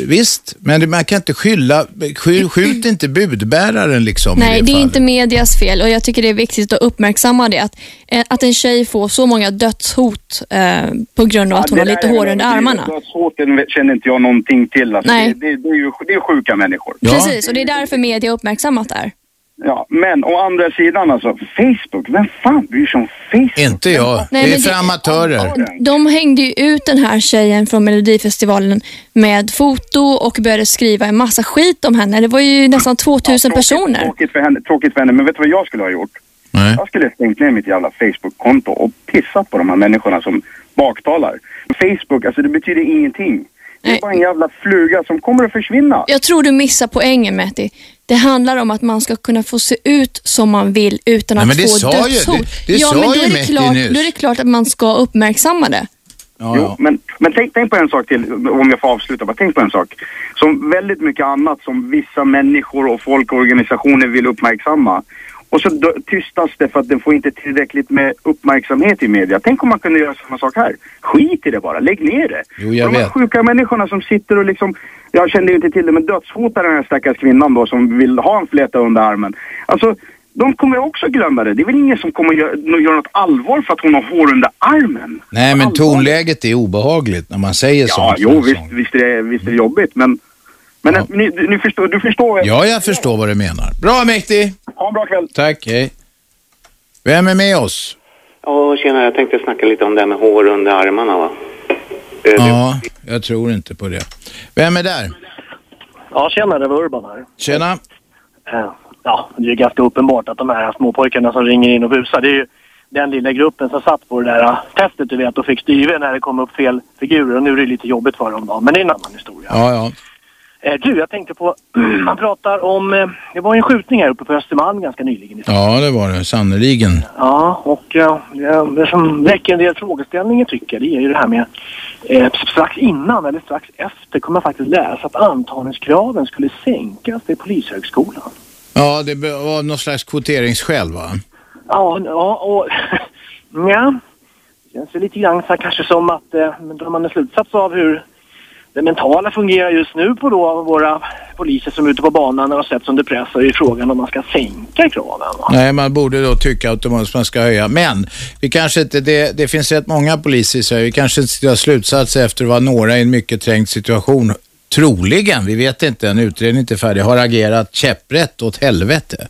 Visst, men det- man kan inte skylla, sky- skjut inte budbäraren liksom. i Nej, det är fallet. inte medias fel och jag tycker det är viktigt att uppmärksamma det. Att, eh, att en tjej får så många dödshot eh, på grund av att hon har lite hår under armarna. Dödshåten känner inte jag någonting till. Alltså, Nej. Det, det, det, är ju, det är sjuka människor. Precis, och det är därför media har uppmärksammat det här. Ja, men å andra sidan alltså, Facebook, vem fan bryr sig om Facebook? Inte jag, Nej, det är men för det- amatörer. De hängde ju ut den här tjejen från Melodifestivalen med foto och började skriva en massa skit om henne. Det var ju nästan 2000 personer. Tråkigt för, henne, tråkigt för henne, men vet du vad jag skulle ha gjort? Jag skulle ha stängt ner mitt jävla Facebook-konto och pissat på de här människorna som baktalar. Facebook, alltså det betyder ingenting. Det är bara en jävla fluga som kommer att försvinna. Jag tror du missar poängen, Matti. Det handlar om att man ska kunna få se ut som man vill utan Nej, att men det få sa ju- dödshot. det- det ja, sa men då ju är det, Matti klart, nyss. då är det klart att man ska uppmärksamma det. jo, Men, men tänk, tänk på en sak till, om jag får avsluta, bara tänk på en sak. Som väldigt mycket annat som vissa människor och folk och organisationer vill uppmärksamma. Och så dö- tystas det för att den får inte tillräckligt med uppmärksamhet i media. Tänk om man kunde göra samma sak här. Skit i det bara, lägg ner det. Jo, jag Och de här vet. sjuka människorna som sitter och liksom, jag kände ju inte till det, men dödshotar den här stackars kvinnan då som vill ha en fläta under armen. Alltså, de kommer också glömma det. Det är väl ingen som kommer göra, göra något allvar för att hon har hår under armen? Nej, men tonläget är obehagligt när man säger Ja, sånt. jo, visst, visst, är det, visst är det jobbigt, men... Men att ni, ni förstår, du förstår? Ja, jag förstår vad du menar. Bra Mäktig! Ha en bra kväll! Tack, hej. Vem är med oss? Ja, tjena, jag tänkte snacka lite om det här med hår under armarna va. Ja, jag tror inte på det. Vem är där? Ja, tjena, det var Urban här. Tjena. Eh, Ja, det är ju ganska uppenbart att de här småpojkarna som ringer in och busar, det är ju den lilla gruppen som satt på det där eh, testet du vet och fick styve när det kom upp fel figurer och nu är det lite jobbigt för dem då, men det är en annan historia. Ja, ja. Eh, Du, jag tänkte på, man pratar om, eh, det var ju en skjutning här uppe på Östermalm ganska nyligen. Ja, det var det. Sannerligen. Ja, och eh, det som väcker en del frågeställningar tycker jag, det är ju det här med eh, strax innan eller strax efter kommer man faktiskt läsa att antagningskraven skulle sänkas till Polishögskolan. Ja, det be- var någon slags kvoteringsskäl, va? Ja, ja och ja. Det känns ju lite grann så här, kanske som att eh, men drar man en slutsats av hur det mentala fungerar just nu på då våra poliser som är ute på banan och sett under press så är ju frågan om man ska sänka kraven. Nej, man borde då tycka automatiskt att man ska höja. Men vi kanske inte, det, det finns rätt många poliser i Sverige. Vi kanske inte ska dra slutsatser efter att vara några i en mycket trängd situation. Troligen, vi vet inte, en utredning är inte färdig, har agerat käpprätt åt helvete.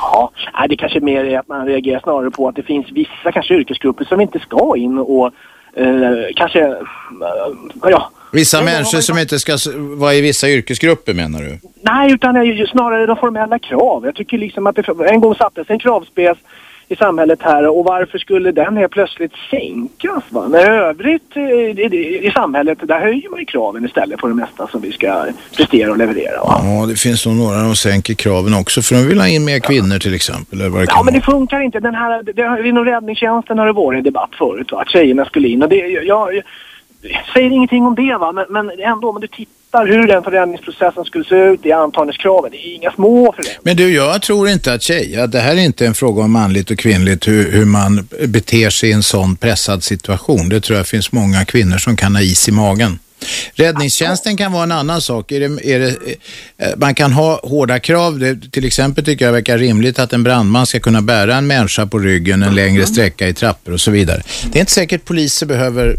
Ja, nej, det kanske mer är att man reagerar snarare på att det finns vissa kanske yrkesgrupper som inte ska in och eh, kanske, eh, ja, Vissa människor som inte ska s- vara i vissa yrkesgrupper menar du? Nej, utan det är ju snarare de formella krav. Jag tycker liksom att det, en gång sattes en kravspes i samhället här och varför skulle den helt plötsligt sänkas? Va? När övrigt eh, i, i, i samhället, där höjer man ju kraven istället på det mesta som vi ska prestera och leverera. Va? Ja, det finns nog några som sänker kraven också, för de vill ha in mer kvinnor till exempel. Eller vad det Ja, kan men vara. det funkar inte. Den här, det, har- inom räddningstjänsten har det varit en debatt förut, va? att tjejerna skulle in. Och det, jag, jag, säger ingenting om det, va? Men, men ändå om du tittar hur den förändringsprocessen skulle se ut, det är antagningskraven, det är inga små förändringar. Men du, jag tror inte att tjejer, att det här är inte en fråga om manligt och kvinnligt, hur, hur man beter sig i en sån pressad situation. Det tror jag finns många kvinnor som kan ha is i magen. Räddningstjänsten kan vara en annan sak. Är det, är det, eh, man kan ha hårda krav. Det, till exempel tycker jag verkar rimligt att en brandman ska kunna bära en människa på ryggen en längre sträcka i trappor och så vidare. Det är inte säkert poliser behöver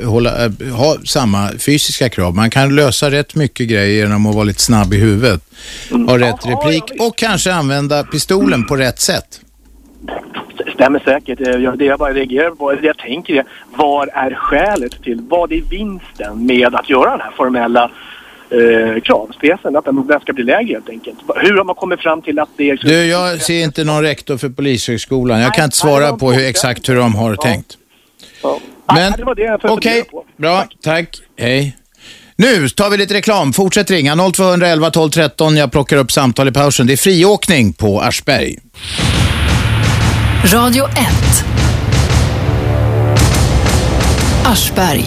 eh, hålla, eh, ha samma fysiska krav. Man kan lösa rätt mycket grejer genom att vara lite snabb i huvudet, ha rätt replik och kanske använda pistolen på rätt sätt. Stämmer säkert. Eh, jag- Det jag bara reagerar på, eller det jag tänker är, vad är skälet till, vad är vinsten med att göra den här formella eh, kravspecen? Att den, den ska bli lägre helt enkelt. Hur har man kommit fram till att det... Du, jag ser inte någon rektor för Polishögskolan. Jag kan inte svara på hur, exakt hur de har tänkt. Men Det var det jag okej, bra, tack, hej. Nu tar vi lite reklam. Fortsätt ringa 0211 12 13. Jag plockar upp samtal i pausen. Det är friåkning på Aschberg. Radio 1. Aschberg.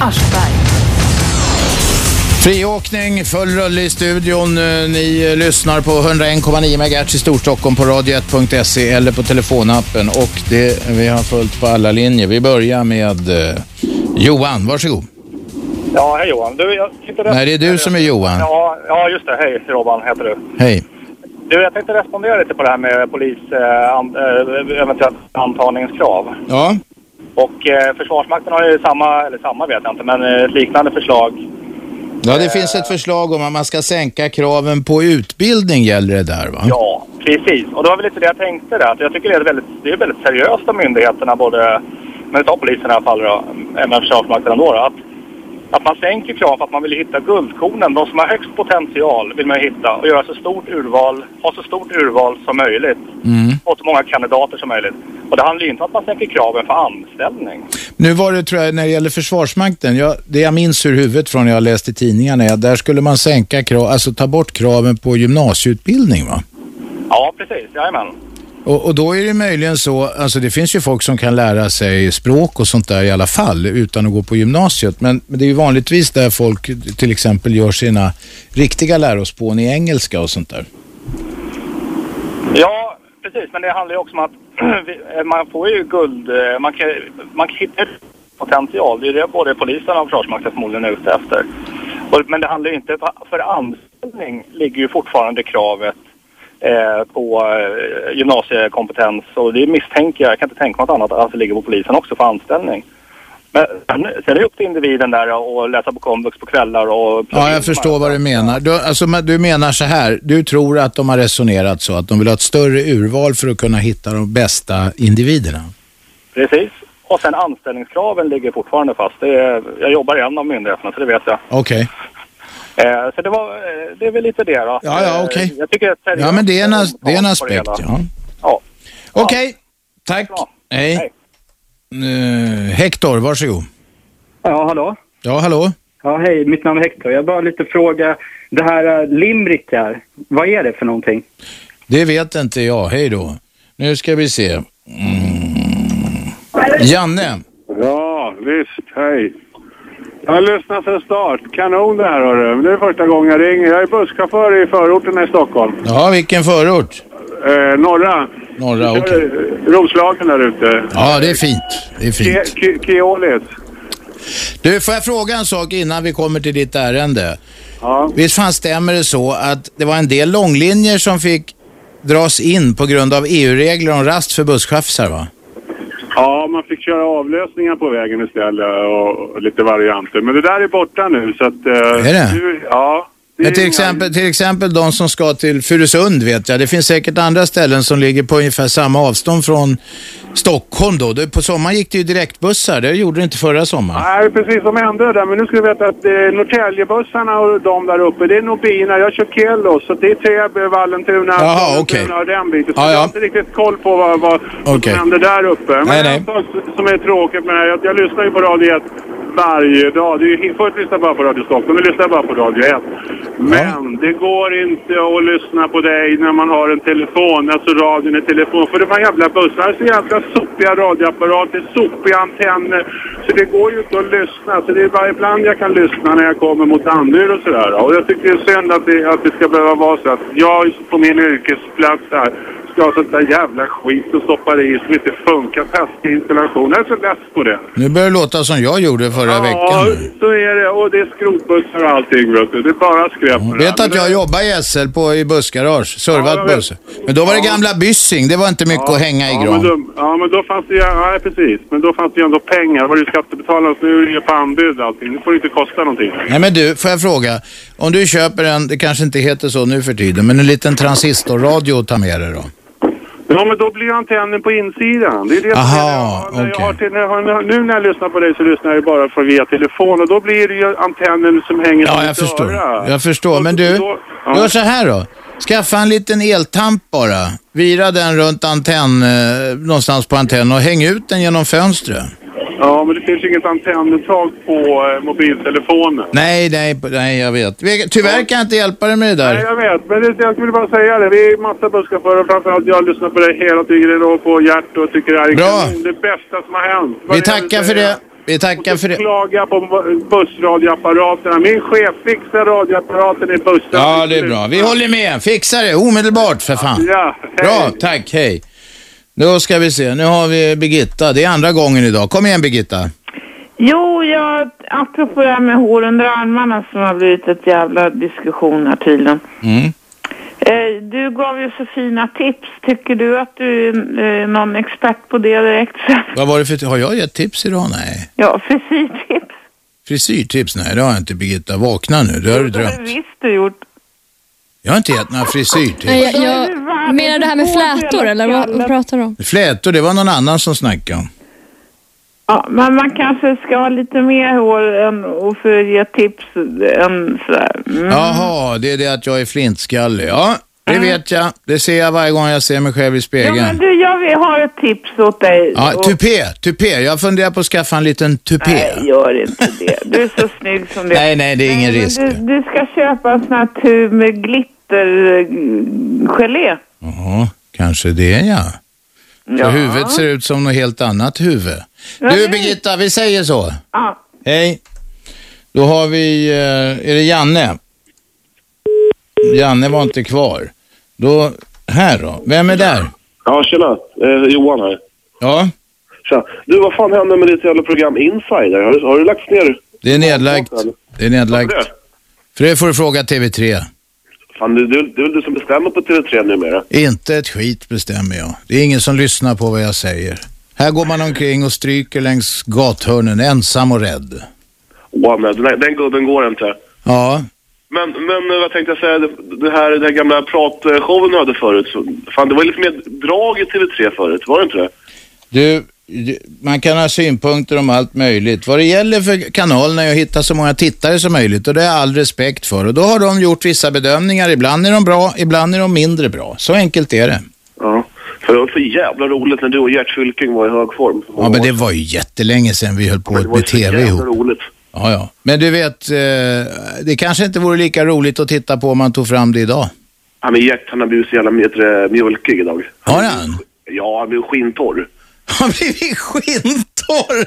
Friåkning, full rulle i studion. Eh, Ni eh, lyssnar på 101,9 MHz i Storstockholm på radio1.se eller på telefonappen. Och det, vi har fullt på alla linjer. Vi börjar med eh, Johan, varsågod. Ja, hej Johan. Du, jag tänkte Nej, det är du som är Johan. Ja, ja, just det. Hej Robban heter du. Hej. Du, jag tänkte respondera lite på det här med polis eh, an, eh, eventuellt antagningskrav. Ja. Och eh, Försvarsmakten har ju samma, eller samma vet jag inte, men eh, ett liknande förslag. Ja, det finns ett förslag om att man ska sänka kraven på utbildning gäller det där va? Ja. Precis, och det var väl lite det jag tänkte där. Att jag tycker det är väldigt, det är väldigt seriöst av myndigheterna, både, men vi tar polisen i alla fall då, även Försvarsmakten ändå då, att, att man sänker krav för att man vill hitta guldkornen. De som har högst potential vill man hitta och göra så stort urval, ha så stort urval som möjligt och så många kandidater som möjligt. Och det handlar ju inte om att man sänker kraven för anställning. Nu var det tror jag när det gäller Försvarsmakten, jag, det jag minns ur huvudet från när jag läste i tidningarna är att där skulle man sänka krav, alltså ta bort kraven på gymnasieutbildning va? Ja, precis. Jajamän. Och, och då är det möjligen så, alltså det finns ju folk som kan lära sig språk och sånt där i alla fall utan att gå på gymnasiet. Men, men det är ju vanligtvis där folk till exempel gör sina riktiga lärospån i engelska och sånt där. Ja, precis. Men det handlar ju också om att vi- eh, man får ju guld... eh, Man kan, man kan hitta ett potential. Det är det både polisen och Försvarsmakten förmodligen är ute efter. Och, men det handlar ju inte... För anställning ligger ju fortfarande kravet eh, på eh, gymnasiekompetens. Och det misstänker jag. Jag kan inte tänka mig något annat. Alltså ligger på polisen också för anställning. Men sen sen är det upp till individen där och läsa på komvux på kvällar och... Ja, jag förstår vad du menar. Du, alltså, men du menar så här, du tror att de har resonerat så att de vill ha ett större urval för att kunna hitta de bästa individerna. Precis. Och sen anställningskraven ligger fortfarande fast. Det är, jag jobbar i en av myndigheterna, så det vet jag. Okej. Eh, så det, var, eh, det är väl lite det då. Ja, ja, okej. Eh, Jag tycker att Ja, men det är en, as- det är en aspekt. Ja. Ja. Okej, tack. Hej. Eh, Hector, varsågod. Ja, hallå? Ja, hallå? Ja, hej. Mitt namn är Hector. Jag bara lite fråga. Det här eh, limerickar, vad är det för någonting? Det vet inte jag. Hej då. Nu ska vi se. Mm. Janne. Ja, visst. Hej. Jag har lyssnat sedan start. Kanon det här hörru. Det är första gången jag ringer. Jag är busschaufför i förorten här i Stockholm. Ja, vilken förort? Eh, norra. Norra, okej. Eh, Roslagen där ute. Ja, det är fint. Det är fint. Ke- Ke- Keolis. Du, får jag fråga en sak innan vi kommer till ditt ärende? Ja. Visst fan stämmer det så att det var en del långlinjer som fick dras in på grund av EU-regler om rast för busschaffisar va? Ja, man fick köra avlösningar på vägen istället och och lite varianter. Men det där är borta nu så att... Eh, Är det? Nu, ja. Men till exempel, till exempel de som ska till Furusund vet jag. Det finns säkert andra ställen som ligger på ungefär samma avstånd från Stockholm då. Det- På sommaren gick det ju direktbussar. Det gjorde det inte förra sommaren. Nej, precis som hände det där. Men nu ska du veta att eh, Norrtäljebussarna och de där uppe, det är nog bina. Jag kör Kello, så det är Täby, Vallentuna, Jaha, Sollentuna okej. och den biten. Så Ja, jag ja. har inte riktigt koll på vad, vad Okej. som händer där uppe. Men Nej, nej. en sak som är tråkigt med det här, jag, jag lyssnar ju på Radio 1 varje dag. Det är ju, förut lyssnade jag bara på Radio Stockholm, nu lyssnar jag bara på Radio 1. Men det går inte att lyssna på dig när man har en telefon, alltså radion i telefon. För de här jävla bussarna är så jävla sopiga radioapparater, sopiga antenner. Så det går ju inte att lyssna. Så det är bara ibland jag kan lyssna när jag kommer mot Danderyd och sådär. Och jag tycker det är synd att det, att det ska behöva vara så att jag på min yrkesplats här ska ha sånt där jävla skit och stoppa i som inte funkar fast i installation. Jag är så less på det. Nu börjar det låta som jag gjorde förra Ja, veckan. så är det. Och det är skrotbussar och allting. vet du. Det är bara skräp. med det här. Vet att jag jobbar i SL på, i bussgarage, servat Ja, jag vet. bussar. Men då var det Ja. gamla Byssing, det var inte mycket att hänga i ja, gran. Men då, ja, men då fanns det ju... Ja, precis. Men då fanns det ju ändå pengar. Det var ju skattebetalarna. Så nu är det ju på anbud allting. Nu får det inte kosta någonting. Nej men du, får jag fråga? Om du köper en, det kanske inte heter så nu för tiden, men en liten transistorradio att ta med dig då? Ja, men då blir ju antennen på insidan. Det är det som är det. Aha, När jag har till, när jag har, nu när jag lyssnar på dig så lyssnar jag ju bara för via telefon och då blir det ju antennen som hänger Ja, som jag ett förstår. öra. Jag förstår. Men du, gör så här då. Skaffa en liten eltamp bara. Vira den runt antenn, eh, någonstans på antennen och häng ut den genom fönstret. Ja, men det finns ju inget antennuttag på eh, mobiltelefonen. Nej, nej, nej, jag vet. Vi- Tyvärr kan jag inte hjälpa dig med det Nej, där. jag vet, men det, jag skulle bara säga det. Vi är massa busschaufförer och framförallt jag lyssnar på dig hela tiden och på hjärt och tycker det här är Bra. kanon. Det bästa som har hänt. Vi tackar för det. Eh, Vi tackar för det. Klaga på bu- bussradioapparaterna. Min chef fixar radioapparaten i bussen. Ja, det är bra. Vi håller med. Fixa det omedelbart för fan. Ja, Bra, tack, hej. Då ska vi se. Nu har vi Birgitta. Det är andra gången idag. Kom igen Birgitta. Jo, jag, apropå det här med hår under armarna som har blivit ett jävla diskussion här tydligen. Mm. Eh, du gav ju så fina tips. Tycker du att du är eh, någon expert på det direkt? Vad var det för... Har jag gett tips idag? Nej. ja, frisyrtips. Frisyrtips? Nej, det har jag inte Birgitta. Vakna nu. Det har du Det har drömt. du visst du gjort. Jag har inte gett några frisyrtips. Nej, jag, jag, menar du det här med flätor eller vad, vad pratar du om? Flätor, det var någon annan som snackade om. Ja, men man kanske ska ha lite mer hår än, och för att ge tips än sådär. Mm. Jaha, det är det att jag är flintskallig. Ja, det vet jag. Det ser jag varje gång jag ser mig själv i Ja, men spegeln. du, jag vill- har ett tips åt dig. Ja, Och- tupé, tupé. Jag funderar på att skaffa en liten tupé. Nej, gör inte det. Du är så snygg som du är. Nej, nej, det är ingen Men risk. Du, du ska köpa en sån här tub med glittergelé. Ja, kanske det ja. Så Ja. huvudet ser ut som något helt annat huvud. Ja, Du det- Birgitta, vi säger så. Ja. Hej. Då har vi, eh, är det Janne? Janne var inte kvar. Då, här då. Vem är där? Ja, tjena. Eh, Johan här. Ja. Tja. Du, vad fan hände med ditt jävla program Insider? Har, du- har du lagts ner? Det är nedlagt. Det är nedlagt. För det får du fråga TV3. Fan, det, det, det är väl du som bestämmer på TV3 numera? Inte ett skit bestämmer jag. Det är ingen som lyssnar på vad jag säger. Här går man omkring och stryker längs gathörnen ensam och rädd. Wow, men den, här- den gubben går inte. Ja, Men, men eh, vad tänkte jag säga? Det, det här, det här gamla pratshowen du hade förut. Så, fan, det var ju lite mer drag i TV3 förut, var det inte det? Du, du, man kan ha synpunkter om allt möjligt. Vad det gäller för kanalerna är att hitta så många tittare som möjligt och det har jag all respekt för. Och då har de gjort vissa bedömningar. Ibland är de bra, ibland är de mindre bra. Så enkelt är det. Ja. För det var så jävla roligt när du och Gert Fylking var i hög form. Ja, men det var ju jättelänge sedan vi höll på med TV jävla ihop. roligt. Ja, ja. Men du vet, eh, det kanske inte vore lika roligt att titta på om man tog fram det idag. Ja, men Gert han har blivit så jävla mjötre- mjölkig idag. Har han? Ja, han blev skintorr. Han blev skintorr!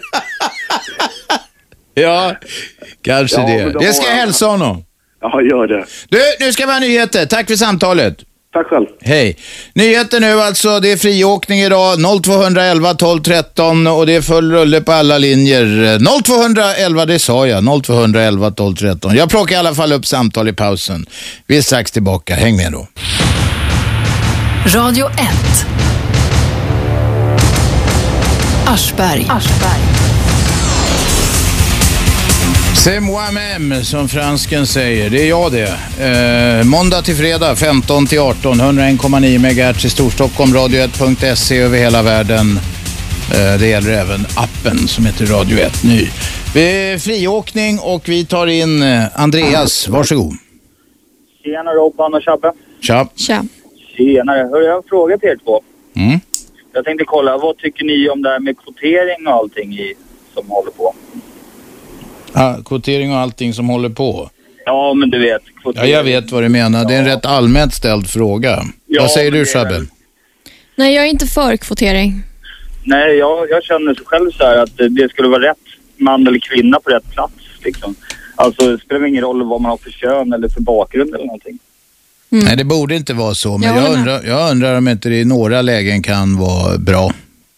Ja, kanske Ja, men det. då Det har ska jag han- hälsa honom. Ja, gör det. Du, nu ska vi ha nyheter. Tack för samtalet. Tack själv. Hej. Nyheter nu alltså. Det är friåkning idag. 0211 12 13 och det är full rulle på alla linjer. 0211, det sa jag. 0211 12 13. Jag plockar i alla fall upp samtal i pausen. Vi är strax tillbaka. Häng med då. Radio 1. Aschberg. C'est moi-même, som fransken säger. Det är jag det. Eh, måndag till fredag 15 till 18, 101,9 MHz i Storstockholm, radio1.se över hela världen. Eh, det gäller även appen som heter Radio 1 Ny. Vi är friåkning och vi tar in eh, Andreas. Varsågod. Tjena Robban och Chabbe. Tja. Tja. Tjenare. Hör jag har en fråga till er två. Mm. Jag tänkte kolla, vad tycker ni om det här med kvotering och allting i, som håller på? Ah, kvotering och allting som håller på. Ja, men du vet. Ja, jag vet vad du menar. Det är en rätt allmänt ställd fråga. Ja, vad säger men du, det är väl- Shabbe? Nej, jag är inte för kvotering. Nej, jag, jag känner så själv så här att eh, det skulle vara rätt man eller kvinna på rätt plats. Liksom. Alltså, det spelar ingen roll vad man har för kön eller för bakgrund eller någonting. Nej, det borde inte vara så, men Mm. Jag jag, håller med. undrar, jag undrar om inte det i några lägen kan vara bra.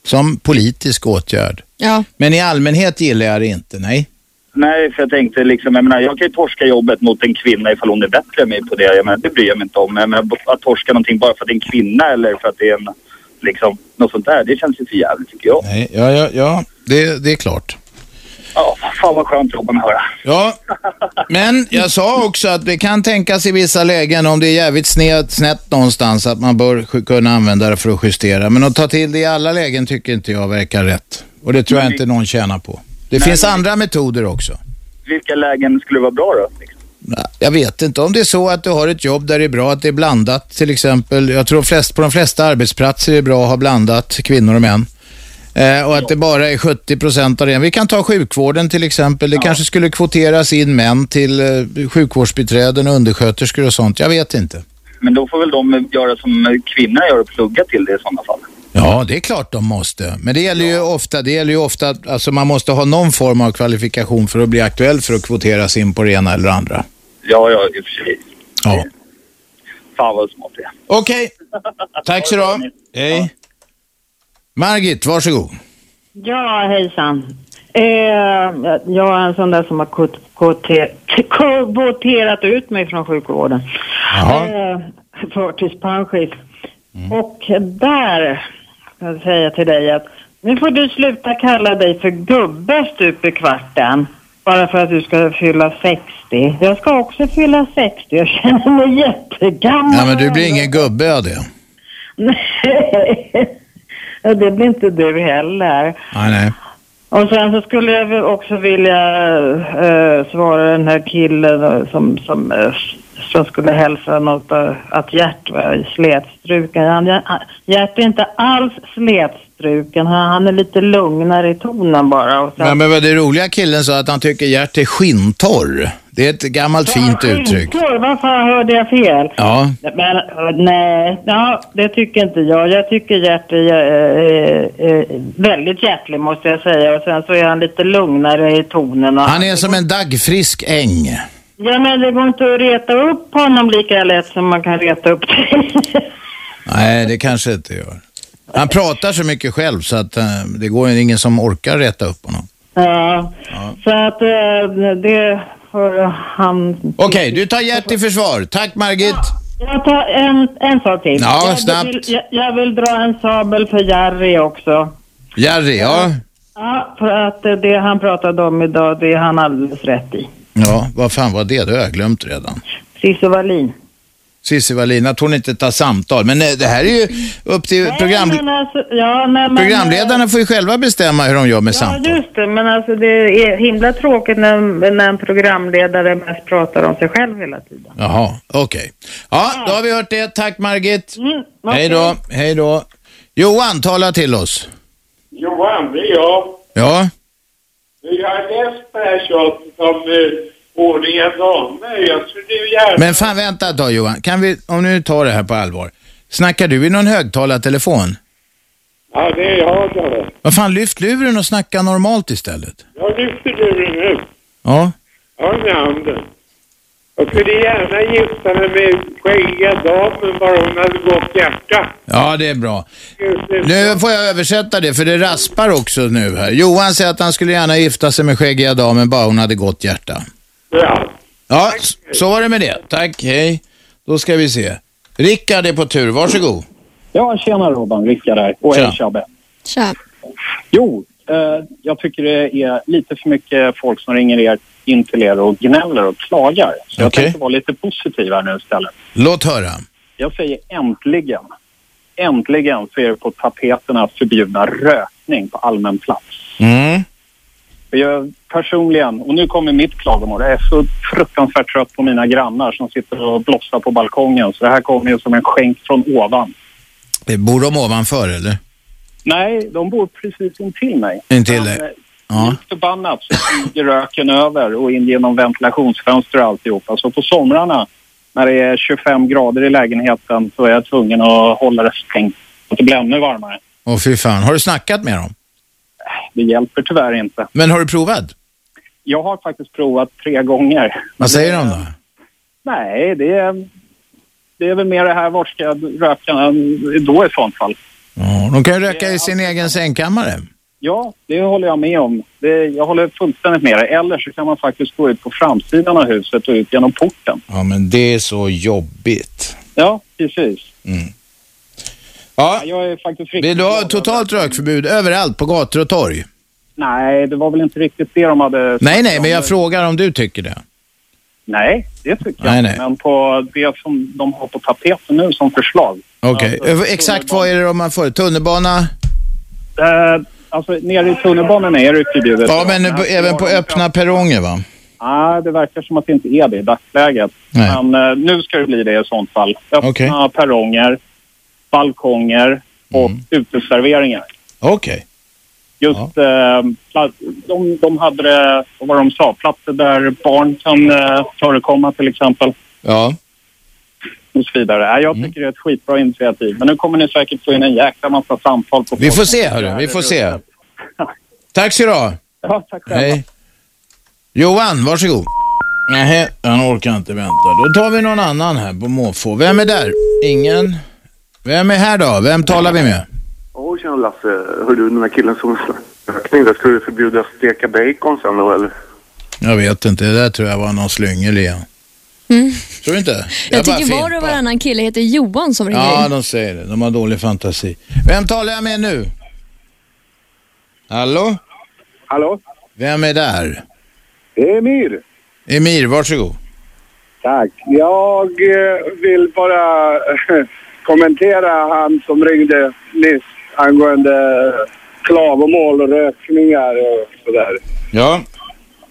Som politisk åtgärd. Ja. Men i allmänhet gillar jag det inte, nej. Nej, för jag tänkte liksom, jag menar, jag kan ju torska jobbet mot en kvinna ifall hon är bättre än mig på det. Jag menar, det bryr jag mig inte om. Jag menar, att torska någonting bara för att det är en kvinna eller för att det är en, liksom, något sånt där. Det känns ju för jävligt tycker jag. nej ja, ja, ja det, det är klart. Ja, fan vad skönt Robin att höra. Ja, men jag sa också att det kan tänkas i vissa lägen om det är jävligt snett, snett någonstans att man bör sj- kunna använda det för att justera. Men att ta till det i alla lägen tycker inte jag verkar rätt. Och det tror jag inte någon tjänar på. Det Nej, finns men- andra metoder också. Vilka lägen skulle vara bra då? Jag vet inte om det är så att du har ett jobb där det är bra att det är blandat till exempel. Jag tror flest, på de flesta arbetsplatser är det bra att ha blandat kvinnor och män. Eh, och att det bara är 70 procent av det. Vi kan ta sjukvården till exempel. Det kanske skulle kvoteras in män till eh, sjukvårdsbiträden och undersköterskor och sånt. Jag vet inte. Men då får väl de göra som kvinnor gör och plugga till det i sådana fall. Ja, det är klart de måste. Men det gäller ju ofta, det gäller ju ofta att alltså man måste ha någon form av kvalifikation för att bli aktuell för att kvoteras in på det ena eller andra. Ja, ja, i och för sig. Ja. Fan vad smart det är. Okej, tack så du ha. Hej. Margit, varsågod. Ja, hejsan. Eh, jag är en sån där som har kvot- kvote- k- kvoterat ut mig från sjukvården. Eh, förtidspensionist. Och där kan jag säga till dig att nu får du sluta kalla dig för gubbe stup i kvarten. Bara för att du ska fylla 60. Jag ska också fylla 60. Jag känner mig jättegammal. Ja, men du blir ingen gubbe av det. Nej, Ja, det blir inte du heller. Nej, nej. Och sen så skulle jag väl också vilja eh, svara den här killen eh, som, som, eh, som skulle hälsa något eh, att Gert var slätstruken. Han, han, Gert är inte alls slätstruken. Han, han är lite lugnare i tonen bara. Och sen, Ja, men vad det roliga killen sa att han tycker Gert är skinntorr. Det är ett gammalt fint uttryck. Skinntorr, Vad fan hörde jag fel? Ja, Men, eh, nej, ja, det tycker inte jag. Jag tycker Gert är eh, eh, väldigt hjärtlig måste jag säga. Och sen så är han lite lugnare i tonen. Och han är som en daggfrisk äng. Ja, men det går inte att reta upp honom lika lätt som man kan reta upp dig. Nej, det kanske inte gör. Han pratar så mycket själv så att eh, det går ju ingen som orkar rätta upp honom. ja. Så att eh, det får han... Okej, du tar Gert i försvar. Tack Margit. Jag tar en, en sak till. Ja, jag, snabbt. vill, jag, jag vill dra en sabel för Jerry också. Jerry, ja. Ja, för att eh, det han pratade om idag, det är han alldeles rätt i. Ja, vad fan var det? Det har jag glömt redan. Cissi Wallin. Cissi Wallin, att hon inte tar samtal. Men eh, det här är ju upp till program... Men alltså, ja, nej, men, Programledarna får ju själva bestämma hur de gör med Ja, samtal. just det. Men alltså det är himla tråkigt när, när en programledare mest pratar om sig själv hela tiden. Jaha, okej. Ja, då har vi hört det. Tack Margit. Mm, Hej då, hej då. Johan, tala till oss. Johan, det är jag. Ja, Jag har läst det här tjatet om eh, ordning och damer. Jag skulle ju gärna... men fan vänta ett tag Johan. Kan vi, om nu tar det här på allvar. Snackar du i någon högtalartelefon? Ja, det är jag då. Vad fan, lyft luren och snacka normalt istället. Jag lyfter luren nu. Ja, Jag har den i handen. Jag skulle gärna gifta mig med skäggiga damen bara hon hade gott hjärta. ja det är bra. Nu får jag översätta det, för det raspar också nu här. Johan säger att han skulle gärna gifta sig med skäggiga damen, bara hon hade gott hjärta. Ja. Ja, s- så var det med det. Tack, hej. Då ska vi se. Rickard är på tur, varsågod. Ja, tjena Robban. Rickard här. Och Tja. hej Tjabbe. Tja. Jo, eh, jag tycker det är lite för mycket folk som ringer er, in till er och gnäller och klagar. Så jag Okej. tänkte vara lite positiv här nu istället. Låt höra. Jag säger äntligen. Äntligen så är det på tapeterna förbjudna rökning på allmän plats. Mm. För Jag personligen, och nu kommer mitt klagomål, jag är så fruktansvärt trött på mina grannar som sitter och blossar på balkongen. Så det här kommer ju som en skänk från ovan. Eh, Bor de ovanför eller? Nej, de bor precis intill mig. eh, Intill dig? Ja. förbannat så flyger röken över och in genom ventilationsfönster och alltihopa. Så på somrarna när det är 25 grader i lägenheten så är jag tvungen att hålla det stängt. Så att det blir ännu varmare. Åh fy fan. Har du snackat med dem? Det hjälper tyvärr inte. Men har du provat? Jag har faktiskt provat tre gånger. Vad säger de då? Nej, det är... Det är väl mer det här, vart ska jag röka än då i sånt fall? Ja, de kan ju röka i sin alltså- egen sängkammare. Ja, det håller jag med om. Det, jag håller fullständigt med dig. Eller så kan man faktiskt gå ut på framsidan av huset och ut genom porten. Ja, men det är så jobbigt. Ja, precis. Ja, jag är faktiskt riktigt Vill du ha glad totalt rökförbud överallt på gator och torg? Nej, det var väl inte riktigt det de hade... Nej, nej, men jag frågar om du tycker det. Nej, det tycker Nej, jag nej. inte. Men på det som de har på tapeten nu som förslag. Okej, alltså, Ö- exakt vad är det de har för? Tunnelbana? Eh, alltså, nere i tunnelbanan är det förbjudet. Ja, men här även på morgonen- öppna perronger va? Nej, det verkar som att det inte är det i dagsläget. Nej. Men eh, nu ska det bli det i sånt fall. Öppna Okej. perronger, balkonger och Mm. uteserveringar. Okej. Just eh, pla- de, de hade det, vad de sa, platser där barn kan eh, förekomma till exempel. Ja. Och så vidare. Nej, jag tycker Mm. det är ett skitbra initiativ. Men nu kommer ni säkert få in en jäkla massa samtal. På Vi får se hörru, vi får se. Tack så du ha. Ja, tack själv. Hej. Johan, varsågod. Nej, han orkar inte vänta. Då tar vi någon annan här på måfå. Vem är där? Ingen. Vem är här då? Vem talar vi med? Åh, tjena Lasse. Hör du, den där killen som rökning, där skulle du förbjuda steka bacon sen då, eller? Jag vet inte, det där tror jag var någon slyngel igen. Mm. Tror du inte? Jag, bara tycker var och fimpar. varannan kille heter Johan som ringer Ja, in. de säger det. De har dålig fantasi. Vem talar jag med nu? Hallå? Hallå? Vem är där? Emir. Emir, varsågod. Tack. Jag eh, vill bara eh, kommentera han som ringde nyss angående klagomål och rökningar och sådär. Ja.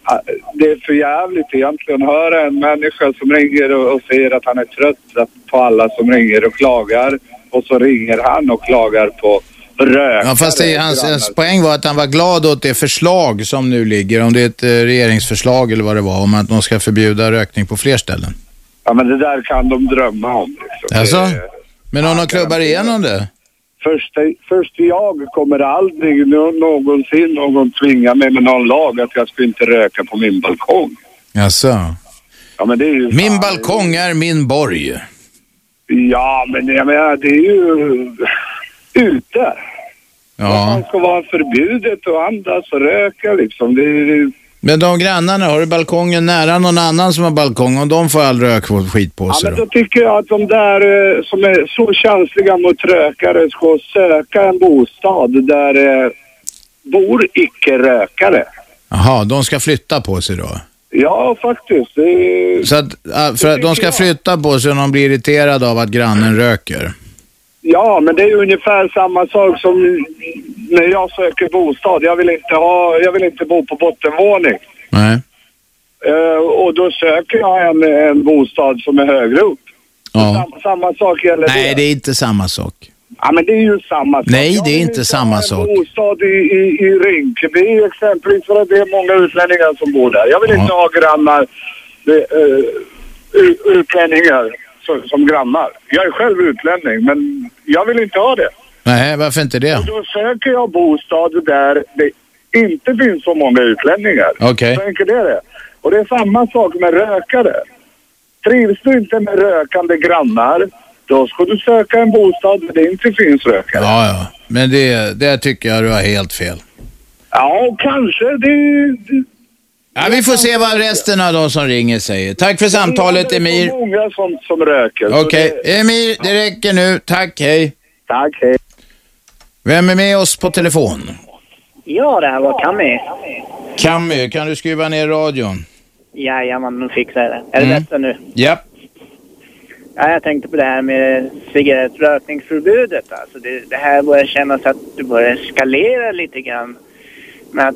Ah, Det är för jävligt egentligen att höra en människa som ringer och och säger att han är trött på alla som ringer och klagar. Och så ringer han och klagar på rök. Ja, fast det, hans, hans poäng var att han var glad åt det förslag som nu ligger, om det är ett eh, regeringsförslag eller vad det var, om att man ska förbjuda rökning på fler ställen. Ja, men det där kan de drömma om. Liksom. Alltså? Det- Men om de klubbar igenom det? Först, först jag kommer aldrig nå- någonsin någon tvinga mig med någon lag att jag ska inte röka på min balkong. Alltså. Ja, men det är ju Min balkong är min borg. Ja, men jag menar, det är ju ute. Ja. Det ska vara förbjudet att andas och röka liksom. Det är, Men de grannarna, har du balkongen nära någon annan som har balkong, om de får all rök och skit på ja, sig men då? då tycker jag att de där eh, som är så känsliga mot rökare ska söka en bostad där eh, bor icke-rökare. Jaha, de ska flytta på sig då? Ja, faktiskt. Det är... Så att, ah, för att de ska flytta på sig om de blir irriterade av att grannen röker? Ja, men det är ju ungefär samma sak som när jag söker bostad. Jag vill inte, ha, jag vill inte bo på bottenvåning. Nej. Eh, och då söker jag en, en bostad som är högre upp. Ja. Sam, samma sak gäller Nej, det. det är inte samma sak. Ja, men det är ju samma sak. Nej, jag det är vill inte samma ha en sak. bostad i, i, i Rinkeby exempelvis för att det är många utlänningar som bor där. Jag vill inte ha grannar, uh, utlänningar som, som grannar. Jag är själv utlänning, men jag vill inte ha det. Nej, varför inte det? Och då söker jag bostad där det inte finns så många utlänningar. Okej. Så enkelt är det. Och det är samma sak med rökare. Trivs du inte med rökande grannar, då ska du söka en bostad där det inte finns rökare. Ja, ja. Men det, det tycker jag du har helt fel. Ja, kanske. Det... det- Ja, vi får se vad resten av de som ringer säger. Tack för samtalet, det är så Emir. många som, som röker. så Okej, det- Emir, det räcker nu. Tack, hej. Tack, hej. Vem är med oss på telefon? Ja, det här var Cammy. Cammy, kan du skruva ner radion? Jajamän, nu fixar jag det. Är det Mm. bättre nu? Ja. Ja, jag tänkte på det här med cigarettrökningsförbudet. Alltså det, det här börjar kännas att det börjar eskalera lite grann. Med att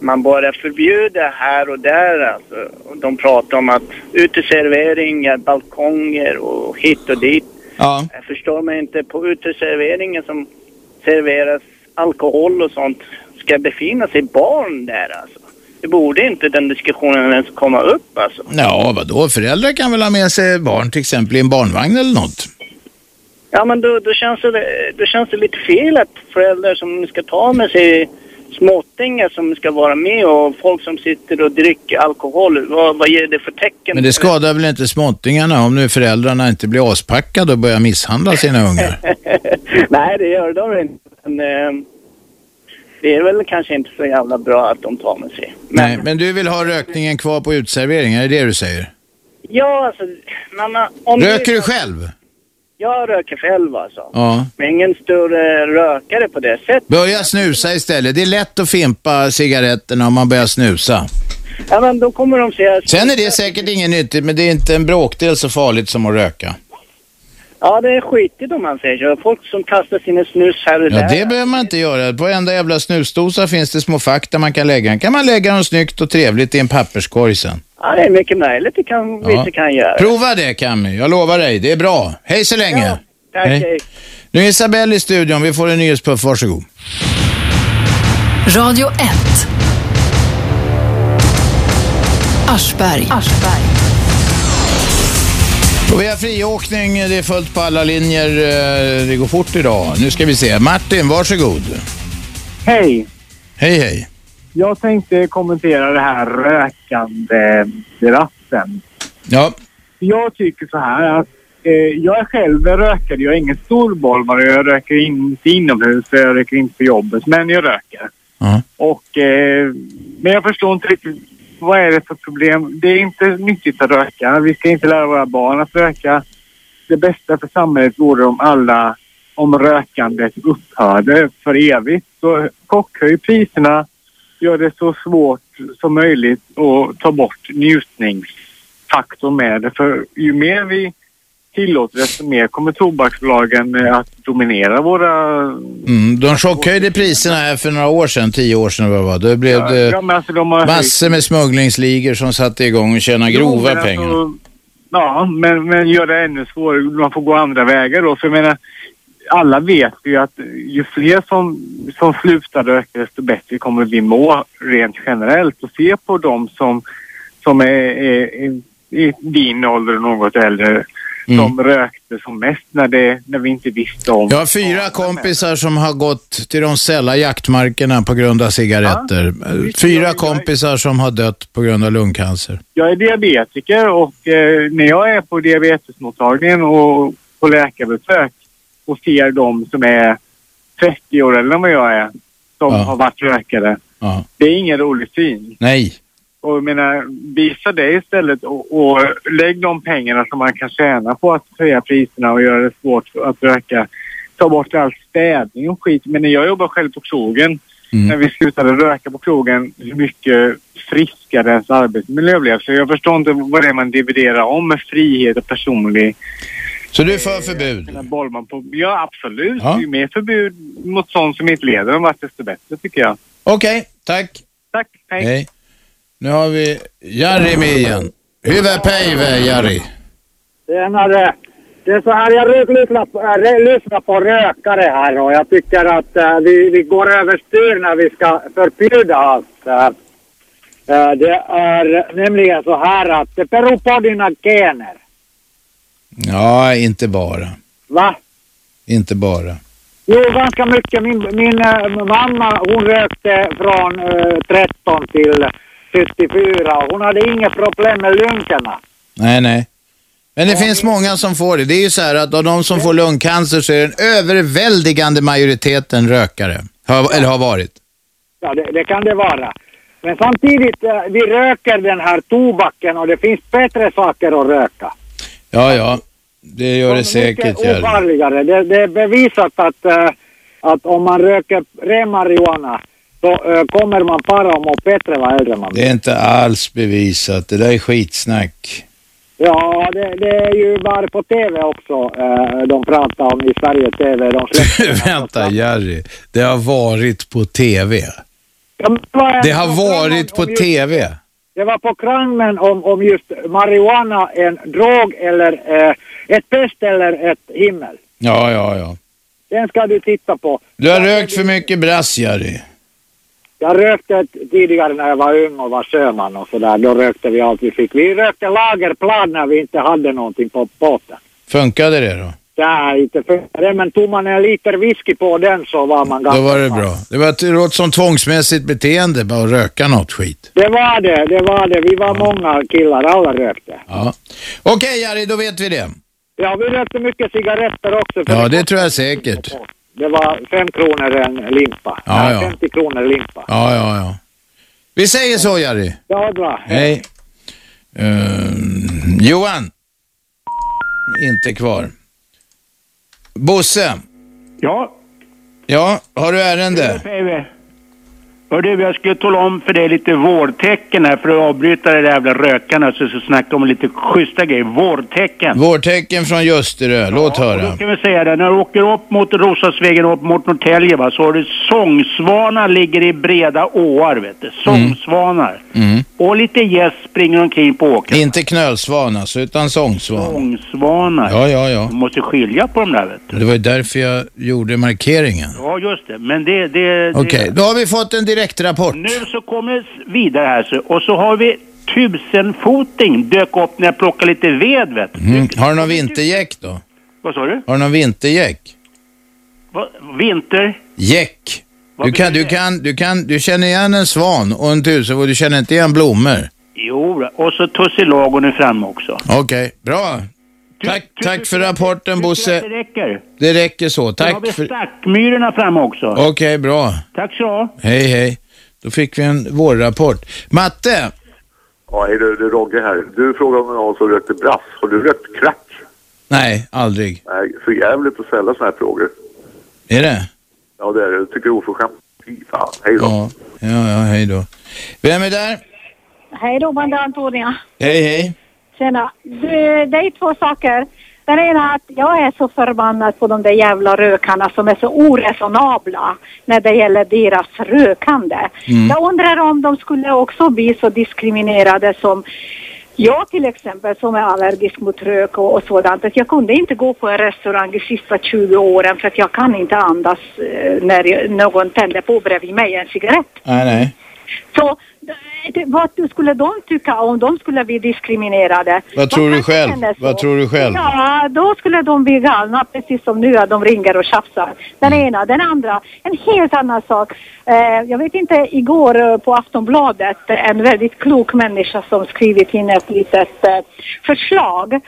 man börjar förbjuda här och där. Alltså. Och de pratar om att uteserveringar, balkonger och hit och dit. Ja. Jag förstår mig inte på uteserveringen som serveras alkohol och sånt. Ska befinna sig barn där alltså? Det borde inte den diskussionen ens komma upp alltså. Ja, vadå? Föräldrar kan väl ha med sig barn till exempel i en barnvagn eller något? Ja, men då, då, känns det, då känns det lite fel att föräldrar som ska ta med sig småttingar som ska vara med och folk som sitter och dricker alkohol. Vad, vad ger det för tecken? Men det skadar väl inte småttingarna om nu föräldrarna inte blir aspackade och börjar misshandla sina ungar? Nej, det gör de inte. Men, eh, det är väl kanske inte så jävla bra att de tar med sig. Nej, men du vill ha rökningen kvar på uteserveringar, är det det du säger? Ja, alltså... Man, om det är Röker du så- själv? Jag röker själv alltså. Ja. Men ingen större rökare på det sättet. Börja snusa istället. Det är lätt att fimpa cigaretterna om man börjar snusa. Ja, men då kommer de säga... Sen är det säkert ingen nyttigt, men det är inte en bråkdel så farligt som att röka. Ja, det är skitigt om man säger så. Folk som kastar sina snus här och Ja, där. det behöver man inte göra. På varenda jävla snusdosa finns det små fack där man kan lägga den. kan man lägga den snyggt och trevligt i en papperskorg sen. Ja, det är mycket möjligt. Det kan vi Ja. inte kan göra. Prova det, Cammy. Jag lovar dig, det är bra. Hej så länge. Tack, hej. Nu är Isabelle i studion. Vi får en nyhetspuff. Varsågod. Radio 1. Aschberg. Och vi har friåkning. Det är fullt på alla linjer. Eh, Det går fort idag. Nu ska vi se. Martin, varsågod. Hej! Hej, hej. Jag tänkte kommentera det här rökande ratten. Ja. Jag tycker så här att eh, jag är själv en rökare. Jag är ingen storbolmare. Jag röker inte inomhus. Jag röker inte på jobbet. Men jag röker. Ja. Och, eh, men jag förstår inte riktigt vad är det för problem. Det är inte nyttigt att röka. Vi ska inte lära våra barn att röka. Det bästa för samhället vore om alla, om rökandet upphörde för evigt. Så chockhöj priserna, gör det så svårt som möjligt och ta bort njutningsfaktorn med det. För ju mer vi tillåter desto mer kommer tobaksbolagen eh, att dominera våra Mm, de chockhöjde priserna här för några år sedan, tio år sedan vad det var. Då blev det Ja, men alltså, de har höjt- eh, massor med smugglingsligor som satte igång och tjänade Jo, grova men pengar. Mm. Alltså, ja, men, men gör det ännu svårare. Man får gå andra vägar då. För jag menar, alla vet ju att ju fler som, som slutar röka desto bättre kommer vi må rent generellt. Och se på de som, som är, är, är i din ålder och något äldre. Mm. Som rökte som mest när, det, när vi inte visste om. Jag har fyra kompisar som har gått till de sälla jaktmarkerna på grund av cigaretter. Eh, Fyra kompisar som har dött på grund av lungcancer. Jag är diabetiker och eh, när jag är på diabetesmottagningen och på läkarbesök och ser de som är 30 år eller vad jag är, som Ja. har varit rökare. Ja. Det är ingen rolig syn. Nej. Och jag menar, visa det istället och, och lägg de pengarna som man kan tjäna på att höja priserna och göra det svårt för att röka. Ta bort all städning och skit. Men när jag jobbar själv på krogen, Mm. när vi slutade röka på krogen, hur mycket friskare ens arbetsmiljö blev. Så jag förstår inte vad det är man dividerar om med frihet och personlig... Så du är för förbud? Bollman på. Ja, absolut. Ja. Ju mer förbud mot sånt som inte leder någon vart, desto bättre tycker jag. Okej, tack. Tack, hej. Hej. Nu har vi Jari med igen. Hyvä päivä, Jari. Senare. Det är så här, jag rök- lyssnar på, äh, re- lyssnar på rökare här och jag tycker att äh, vi, vi går överstyr när vi ska förbjuda allt. Äh, äh, det är nämligen så här att det beror på dina gener. Ja, inte bara. Va? Inte bara. Jo, ganska mycket. Min, min äh, mamma hon rökte från äh, 13 till 74 och hon hade inga problem med lungorna. Nej, nej. Men det finns många som får det. Det är ju så här att av de som får lungcancer så är den överväldigande majoriteten rökare. Har, eller har varit. Ja, det, det kan det vara. Men samtidigt, eh, vi röker den här tobaken och det finns bättre saker att röka. Ja, ja. Det gör det säkert, Det är Jari. ofarligare. Det, det är bevisat att, eh, att om man röker ren marijuana så eh, kommer man bara att må bättre vad äldre man blir. Det är inte alls bevisat. Det där är skitsnack. Ja, det, det är ju bara på TV också eh, de pratar om i Sverige TV. De släpper- Vänta, Jari. Det har varit på TV. Ja, men vad är- Det har varit på TV. Det var programmen om, om just marijuana, en drog eller eh, ett pest eller ett himmel. Ja, ja, ja. Den ska du titta på. Du har rökt för mycket brass, Jari. Jag rökte tidigare när jag var ung och var sjöman och sådär. Då rökte vi allt vi fick. Vi rökte lagerplan när vi inte hade någonting på båten. Funkade det då? Ja, inte före, men tog man en liter whisky på den så var man Då ganska var det fast. bra. Det var ett det låter som tvångsmässigt beteende, bara att röka något skit. Det var det, det var det. Vi var många killar, alla rökte. Ja. Okej Jari, då vet vi det. Ja, vi rökte mycket cigaretter också. För Ja, det tror jag säkert. Det var fem kronor en limpa. Ja, Nej, ja. 50 kronor limpa. Ja, ja, ja. Vi säger så Jari. Det var bra. Hej. Ehm, Johan. Inte kvar. Bosse. Ja. Ja, har du ärende? Hej, Hör du, jag skulle tala om för dig lite vårtecken här för att avbryta det där jävla rökarna så så snacka om lite schyssta grejer. Vårtecken. Vårtecken från Ljusterö. Låt Då höra. kan vi säga det, när du åker upp mot Roslagsvägen och upp mot Norrtälje va, så har du sångsvanar ligger i breda åar vet du. Sångsvanar. Mm. Och lite gäss springer omkring på åkern. Inte knölsvan alltså, utan sångsvan. Sångsvanar. Ja, ja, ja. Du måste skilja på de där vet du. Det var ju därför jag gjorde markeringen. Ja, just det. Men det... det, det... Okej, då har vi fått en direktrapport. Nu så kommer det s- vidare här så, och så har vi tusenfoting dök upp när jag plockade lite ved vet du. Mm. Har du någon vintergäck då? Vad sa du? Har du någon vintergäck? Va, vinter? Gäck. Du kan, du kan, du kan, du känner igen en svan och en tusenfot, du känner inte igen blommor. Jo, då. och så tussilagon är framme också. Okej, bra. Tack, tack för rapporten Bosse. Det räcker. Det räcker så, Då har tack vi för... stackmyrorna framme också. Okej, bra. Tack så ha. Hej, hej. Då fick vi en vårrapport. Matte! Ja, hej du, det är Rogge här. Du frågade om någon som rökte brass. Har du rökt crack? Nej, aldrig. Nej, för jävligt att ställa såna här frågor. Är det? Ja, det är det. Jag tycker det är oförskämt. Fy fan. Hej då. Ja, ja, ja hej då. Vem är där? Hej Robin, det är Antonia. Hej, hej. Tjena. Du, det är två saker. Den ena är att jag är så förbannad på de där jävla rökarna som är så oresonabla när det gäller deras rökande. Mm. Jag undrar om de skulle också bli så diskriminerade som jag till exempel som är allergisk mot rök och, och sådant. Att jag kunde inte gå på en restaurang de sista 20 åren för att jag kan inte andas eh, när jag, någon tänder på bredvid mig en cigarett. Nej, nej. Så det- vad skulle de tycka om de skulle bli diskriminerade? Vad tror du kanske själv? känner så. Vad tror du själv? Ja, då skulle de bli galna precis som nu att de ringer och tjafsar. Den Mm. ena. Den andra, en helt annan sak. Eh, jag vet inte, igår eh, på Aftonbladet, en väldigt klok människa som skrivit in ett litet eh, förslag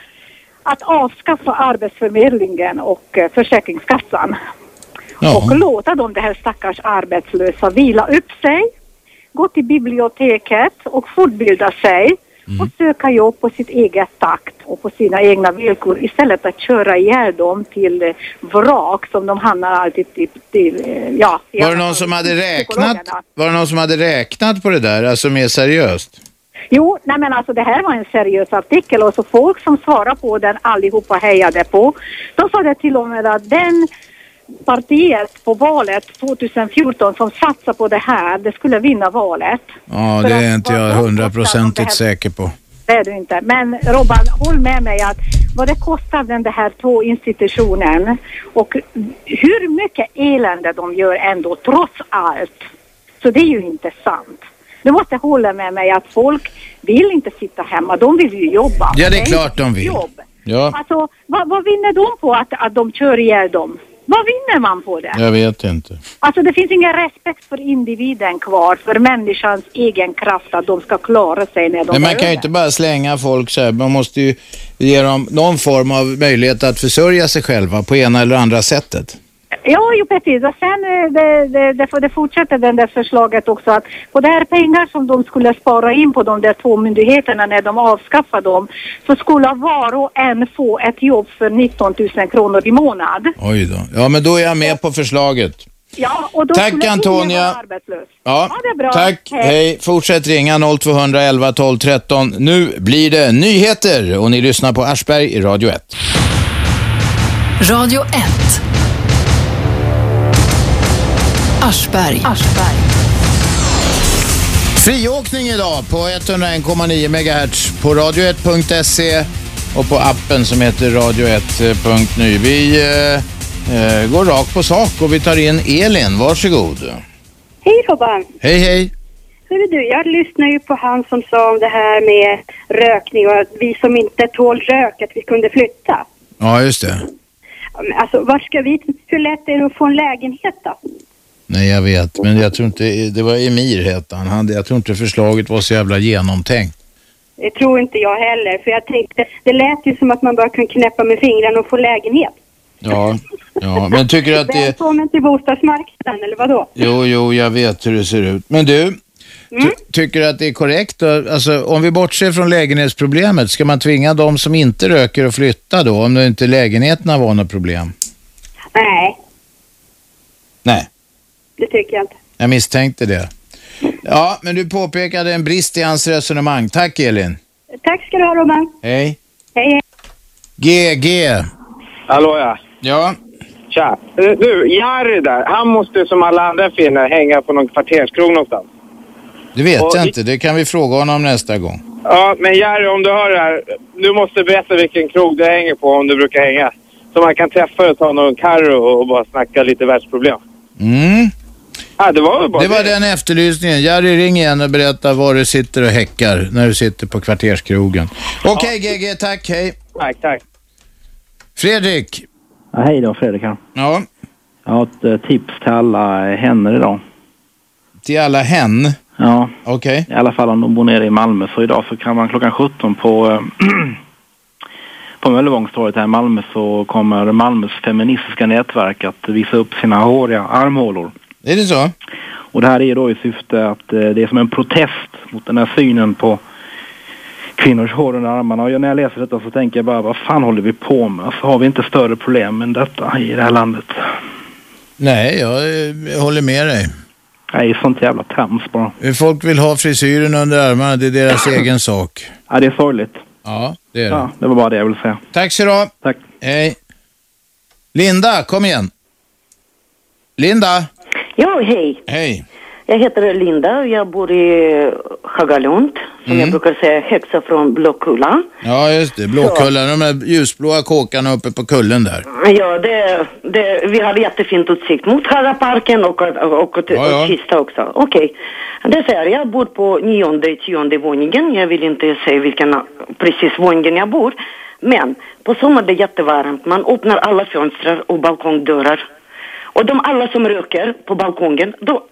att avskaffa Arbetsförmedlingen och eh, Försäkringskassan och låta de här stackars arbetslösa vila upp sig, gå till biblioteket och fortbilda sig och söka jobb på sitt eget takt och på sina egna villkor istället att köra ihjäl dem till eh, vrak som de hamnar alltid till, till eh, ja. i Var det alla någon fall som hade till räknat? psykologerna. Var det någon som hade räknat på det där, alltså mer seriöst? Jo, nej men alltså det här var en seriös artikel och så folk som svarade på den allihopa hejade på. De sa det till och med att den partiet på valet 2014 som satsar på det här, det skulle vinna valet. Ja, det är inte jag hundraprocentigt säker på. Det är du inte. Men Robban, håll med mig att vad det kostar den här två institutionen och hur mycket elände de gör ändå trots allt. Så det är ju inte sant. Du måste hålla med mig att folk vill inte sitta hemma, de vill ju jobba. Ja, det är inte klart de ett vill. Jobb. Ja, Alltså, vad, vad vinner de på att, att de kör ihjäl dem? Vad vinner man på det? jag vet inte. Alltså det finns ingen respekt för individen kvar, för människans egen kraft att de ska klara sig när de Nej, man är kan ju över. inte bara slänga folk så här. Man måste ju ge dem någon form av möjlighet att försörja sig själva på ena eller andra sättet. Ja, jo precis. Och sen eh, det, det, det, det fortsätter det där förslaget också att på de här pengar som de skulle spara in på de där två myndigheterna när de avskaffar dem så skulle var och en få ett jobb för 19 000 kronor i månad. Oj då. Ja, men då är jag med på förslaget. Ja, och då Tack, skulle ingen Antonia. vara arbetslös. Ja, det är bra. tack. Hej. Hej. Fortsätt ringa 0211 12 13. Nu blir det nyheter och ni lyssnar på Aschberg i Radio 1. Radio 1. Aschberg. Friåkning idag på 101,9 MHz på radio1.se och på appen som heter radio1.nu. Vi eh, eh, går rakt på sak och vi tar in Elin. Varsågod. Hej Robban! Hej, hej. Hörru du, jag lyssnar ju på han som sa om det här med rökning och att vi som inte tål rök, att vi kunde flytta. Ja, just det. Alltså, var ska vi... Hur lätt är det att få en lägenhet då? Nej, jag vet. Men jag tror inte, det var Emir hette han. han. Jag tror inte förslaget var så jävla genomtänkt. Det tror inte jag heller. För jag tänkte, det lät ju som att man bara kan knäppa med fingrarna och få lägenhet. Ja, ja. men tycker du att det... Välkommen till bostadsmarknaden, eller vadå? Jo, jo, jag vet hur det ser ut. Men du, ty- tycker du att det är korrekt? då? Alltså, om vi bortser från lägenhetsproblemet, ska man tvinga de som inte röker att flytta då? Om det inte lägenheterna var något problem? Nej, Nej, det tycker jag inte. jag misstänkte det. Ja, men du påpekade en brist i hans resonemang. Tack Elin. Tack ska du ha, Robban. Hej. Hej, hej. GG. Hallå ja. Ja. Tja. Eh, Du, Jari där, han måste som alla andra finnar hänga på någon kvarterskrog någonstans. Det vet jag inte. Det kan vi fråga honom nästa gång. Ja, men Jari om du hör det här, du måste berätta vilken krog du hänger på om du brukar hänga. Så man kan träffa och ta någon karro och bara snacka lite världsproblem. Mm. Ja, det var väl bara Det var den efterlysningen. Jerry, ring igen och berätta var du sitter och häckar när du sitter på kvarterskrogen. Okej GG, tack, hej. Tack, tack. Fredrik. Ja, hej då Fredrik här. Ja. Jag har ett eh, tips till alla eh, henne idag. Till alla hen? Ja. Okej. I alla fall om de bor nere i Malmö. För idag så kan man klockan 17 på, eh, på Möllevångstorget här i Malmö så kommer Malmös feministiska nätverk att visa upp sina håriga armhålor. Är det så? Och det här är då i syfte att eh, det är som en protest mot den här synen på kvinnors hår under armarna. Och när jag läser detta så tänker jag bara, vad fan håller vi på med? Alltså, har vi inte större problem än detta i det här landet? Nej, jag eh, håller med dig. Eh, Nej, sånt jävla trams bara. Folk vill ha frisyren under armarna, det är deras egen sak. Ja, det är sorgligt. Ja, det är det. Ja, det var bara det jag ville säga. Tack så du ha. Tack. Hej. Linda, kom igen. Linda. Ja, hej. Hej. Jag heter Linda och jag bor i Hagalund, som Mm. jag brukar säga, häxa från Blåkulla. Ja, just det. Blåkullan, de där ljusblåa kåkarna uppe på kullen där. Ja, det, det, vi har jättefint utsikt mot Haraparken och, och, och, till- Ja, ja. och Kista också. Okej. Det är så här, jag bor på nionde, tionde våningen. Jag vill inte säga vilken precis våningen jag bor. Men på sommaren är det jättevarmt. Man öppnar alla fönster och balkongdörrar. Och de alla som röker på balkongen, då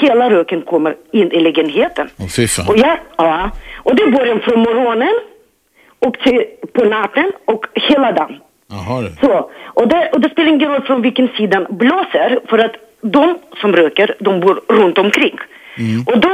hela röken kommer in i lägenheten. Åh, fy fan. Och jag, ja, och det börjar från morgonen och till, på natten och hela dagen. Jaha du. Så, och det, och det spelar ingen roll från vilken sida blåser för att de som röker, de bor runt omkring. Och då,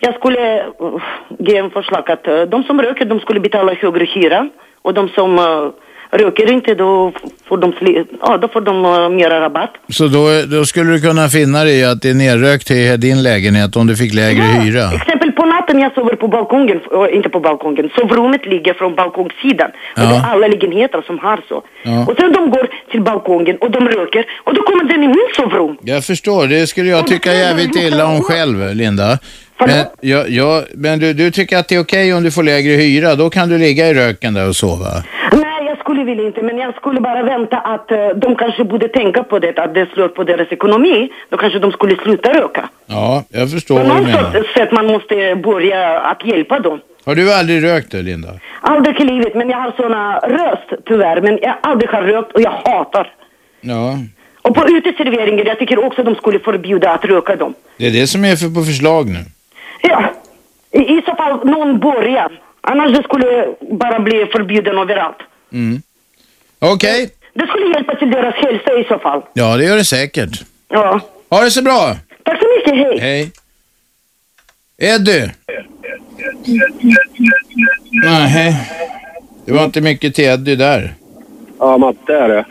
jag skulle uh, ge en förslag att eh, de som röker, de skulle betala högre hyra och de som eh, röker inte, då f- får de, fli- ja, då får de eh, mera rabatt. Så då, då skulle du kunna finna dig i att det är nerrökt i din lägenhet om du fick lägre hyra? Till exempel på natten jag sover på balkongen, eh, inte på balkongen, sovrummet ligger från balkongsidan. Ja. Och det är alla lägenheter som har så. Ja. Och sen de går till balkongen och de röker och då kommer den i mitt sovrum. Jag förstår, det skulle jag tycka jävligt illa om själv, Linda. Men, jag, jag, men du, du tycker att det är okej om du får lägre hyra, då kan du ligga i röken där och sova? Nej, jag skulle vilja inte, men jag skulle bara vänta att eh, de kanske borde tänka på det, att det slår på deras ekonomi. Då kanske de skulle sluta röka. Ja, jag förstår På vad du något menar. sorts sätt man måste börja att hjälpa dem. Har du aldrig rökt det, Linda? Aldrig i livet, men jag har såna röst tyvärr, men jag aldrig har rökt och jag hatar. Ja, Och på uteserveringar, jag tycker också de skulle förbjuda att röka dem. det är det som är för på förslag nu. Ja, i, i så fall någon börjar. Annars det skulle bara bli förbjuden överallt. Mm. Okej, Det skulle hjälpa till deras hälsa i så fall. ja det gör det säkert. Ja. Ha det så bra! Tack så mycket, hej! Hej. Eddie. Nej. det var inte mycket till Eddie där. Ja, matte är det.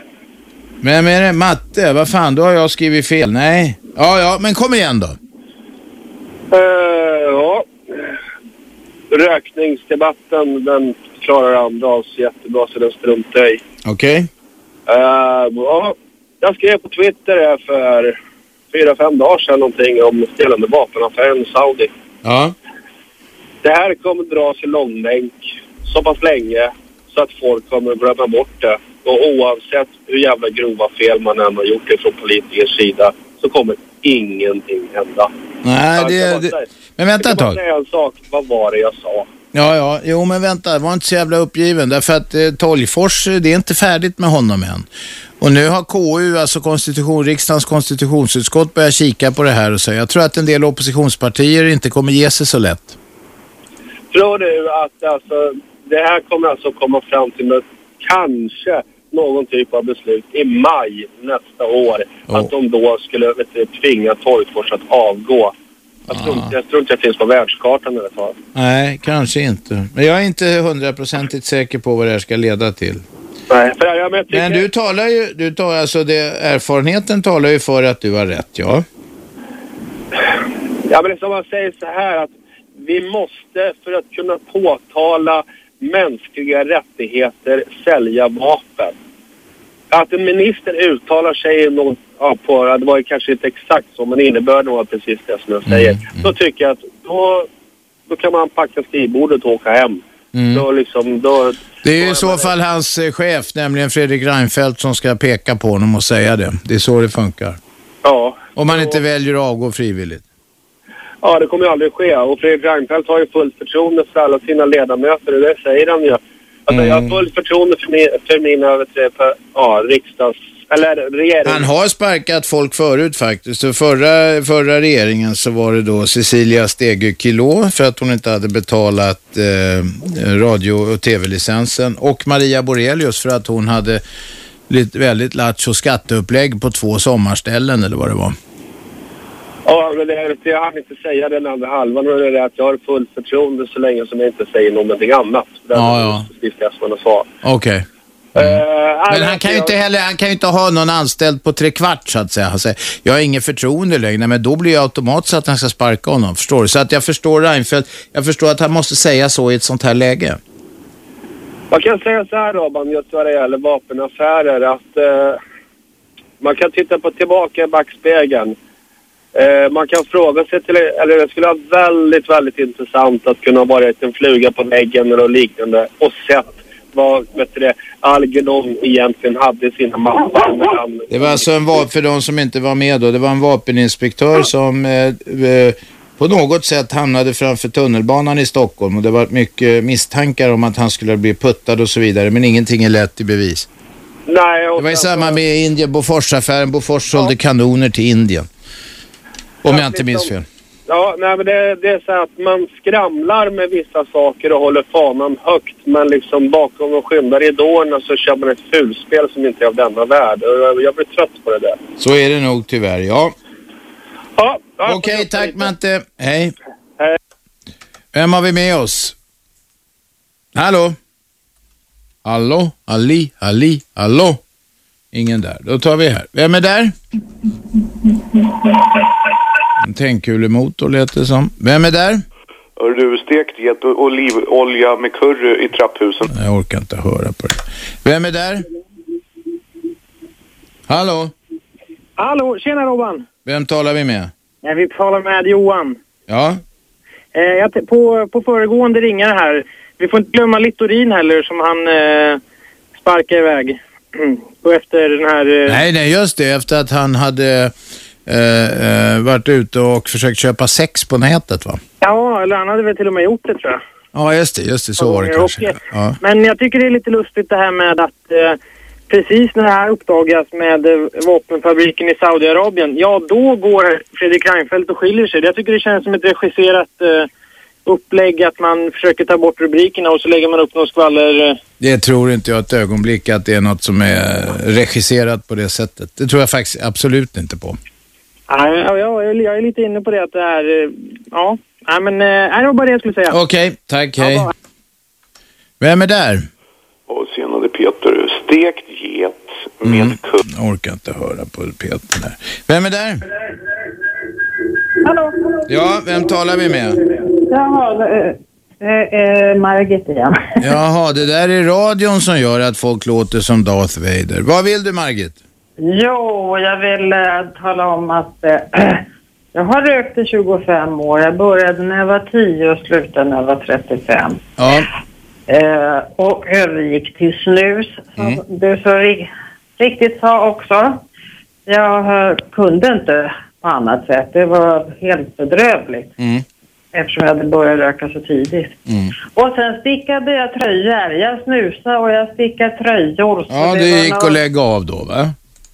Men är det matte? Vad fan, då har jag skrivit fel. Nej. Ja, ja, men kom igen då. Eh, ja. Rökningsdebatten, den klarar Amdals jättebra så den struntar jag i. Okej? Eh, ja, jag skrev på Twitter här för fyra, fem dagar sedan någonting om gällande vapenaffären i Saudi. Ja. Det här kommer dras i långbänk så pass länge så att folk kommer glömma bort det. Och oavsett hur jävla grova fel man än har gjort det från politikers sida så kommer ingenting hända. Alltså, Nej, det... det... Men vänta Jag ett tag. kan bara säga en sak. Vad var det jag sa? Ja, ja, jo men vänta, var inte så jävla uppgiven. Därför att eh, Tolgfors, eh, det är inte färdigt med honom än. Och nu har KU, alltså konstitution, riksdagens konstitutionsutskott, börjat kika på det här och säga, jag tror att en del oppositionspartier inte kommer ge sig så lätt. Tror du att alltså, det här kommer alltså komma fram till något, kanske någon typ av beslut i maj nästa år? Att de då skulle vet du, tvinga Torgfors att avgå? Jag tror, inte, jag tror inte det finns på världskartan i alla fall. Nej, kanske inte. Men jag är inte hundraprocentigt säker på vad det här ska leda till. Nej, för jag, men jag tycker, Men du talar ju, du tar, alltså det, erfarenheten talar ju för att du har rätt, ja. ja, men det är som man säger så här att vi måste för att kunna påtala mänskliga rättigheter sälja vapen. Att en minister uttalar sig i något, ja, på, det var ju kanske inte exakt så men innebörden var precis det som jag säger. Då tycker jag att då, då kan man packa skrivbordet och åka hem. Då liksom, då, Det är ju i så fall hans eh, chef, nämligen Fredrik Reinfeldt, som ska peka på honom och säga det. Det är så det funkar. ja. Om man inte väljer att avgå frivilligt. Ja, det kommer ju aldrig ske. Och Fredrik Reinfeldt har ju fullt förtroende för alla sina ledamöter och det säger han ju. Alltså, Jag Mm. har fullt förtroende för, min, för mina vet du, för, ja, riksdags... Eller regering. Han har sparkat folk förut faktiskt. Så förra, förra regeringen så var det då Cecilia Stegö Kilo för att hon inte hade betalat eh, radio och tv-licensen och Maria Borelius för att hon hade lite, väldigt lattjo skatteupplägg på två sommarställen eller vad det var. Ja, men det, är- jag hann inte säga den andra halvan och det är det att jag har fullt förtroende så länge som jag inte säger någonting annat. Det är Ja, ja. precis det som han sa. Okej. Mm. Eh, Men han kan ju inte heller, han kan ju inte ha någon anställd på tre kvart så att säga. Han säger, jag har inget förtroende längre, Nej, men då blir jag automatiskt att han ska sparka honom, förstår du? Så att jag förstår Reinfeldt, jag förstår att han måste säga så i ett sånt här läge. Man kan säga så här Robban, just vad det gäller vapenaffärer att eh, man kan titta på tillbaka i backspegeln. Eh, man kan fråga sig till, eller det skulle vara väldigt, väldigt intressant att kunna ha varit en fluga på väggen eller liknande och sett vad, vet du det, Algernon egentligen hade i sina mappar när han Det var alltså en vapen, för de som inte var med då, det var en vapeninspektör som eh, eh, på något sätt hamnade framför tunnelbanan i Stockholm och det var mycket misstankar om att han skulle bli puttad och så vidare, men ingenting är lätt i bevis. Nej, och det var i samband med Indien, Boforsaffären, Bofors sålde kanoner till Indien. Om jag inte minns fel. Ja, nej, men det, det är så här att man skramlar med vissa saker och håller fanan högt. Men liksom bakom de skymda ridåerna så kör man ett fulspel som inte är av denna värld. Och Jag, jag blir trött på det där. Så är det nog tyvärr, ja. Ja, Okej, tack Mante. Hej. Vem har vi med oss? Hallå? Hallå? Ali, Ali, hallå? Ingen där. Då tar vi här. Vem är där? En tändkulemotor lät det som. Vem är där? Hör du, stekt get och olivolja med curry i trapphusen. Jag orkar inte höra på det. Vem är där? Hallå? Hallå, tjena Robban! Vem talar vi med? Eh, Vi talar med Johan. Ja? Eh, jag t- på, på föregående ringare här, vi får inte glömma Littorin heller som han eh, sparkar iväg. Och efter den här... Eh, Nej, nej, just det. Efter att han hade eh, eh, varit ute och försökt köpa sex på nätet, va? Ja, eller han hade väl till och med gjort det tror jag. Ja, just det. Just det. Så var det Och, kanske. eh, Ja. Men jag tycker det är lite lustigt det här med att eh, precis när det här uppdagas med eh, vapenfabriken i Saudiarabien, ja då går Fredrik Reinfeldt och skiljer sig. Jag tycker det känns som ett regisserat eh, upplägg att man försöker ta bort rubrikerna och så lägger man upp någon skvaller... Eh, Det tror inte jag ett ögonblick att det är något som är regisserat på det sättet. Det tror jag faktiskt absolut inte på. Nej, ja, jag, är- jag är lite inne på det att det är... eh, Ja, nej men eh, nej, det var bara det jag skulle säga. Okej, tack. Hej. Vem är där? Och senare Peter, stekt get med curry. Jag Mm. orkar inte höra på Peter där. Vem är där? Hallå! Ja, vem talar vi med? Jaha, eh, eh, eh, Margit igen. Jaha, det där är radion som gör att folk låter som Darth Vader. Vad vill du, Margit? Jo, jag vill eh, tala om att eh, jag har rökt i 25 år. Jag började när jag var 10 och slutade när jag var 35. Ja. Eh, och övergick till snus, som du så ri- riktigt sa också. Jag eh, kunde inte på annat sätt. Det var helt bedrövligt. Mm. eftersom jag hade börjat röka så tidigt. Och sen stickade jag tröjor. Jag snusade och jag stickade tröjor. Så Ja, var du gick några- och lägga av då va?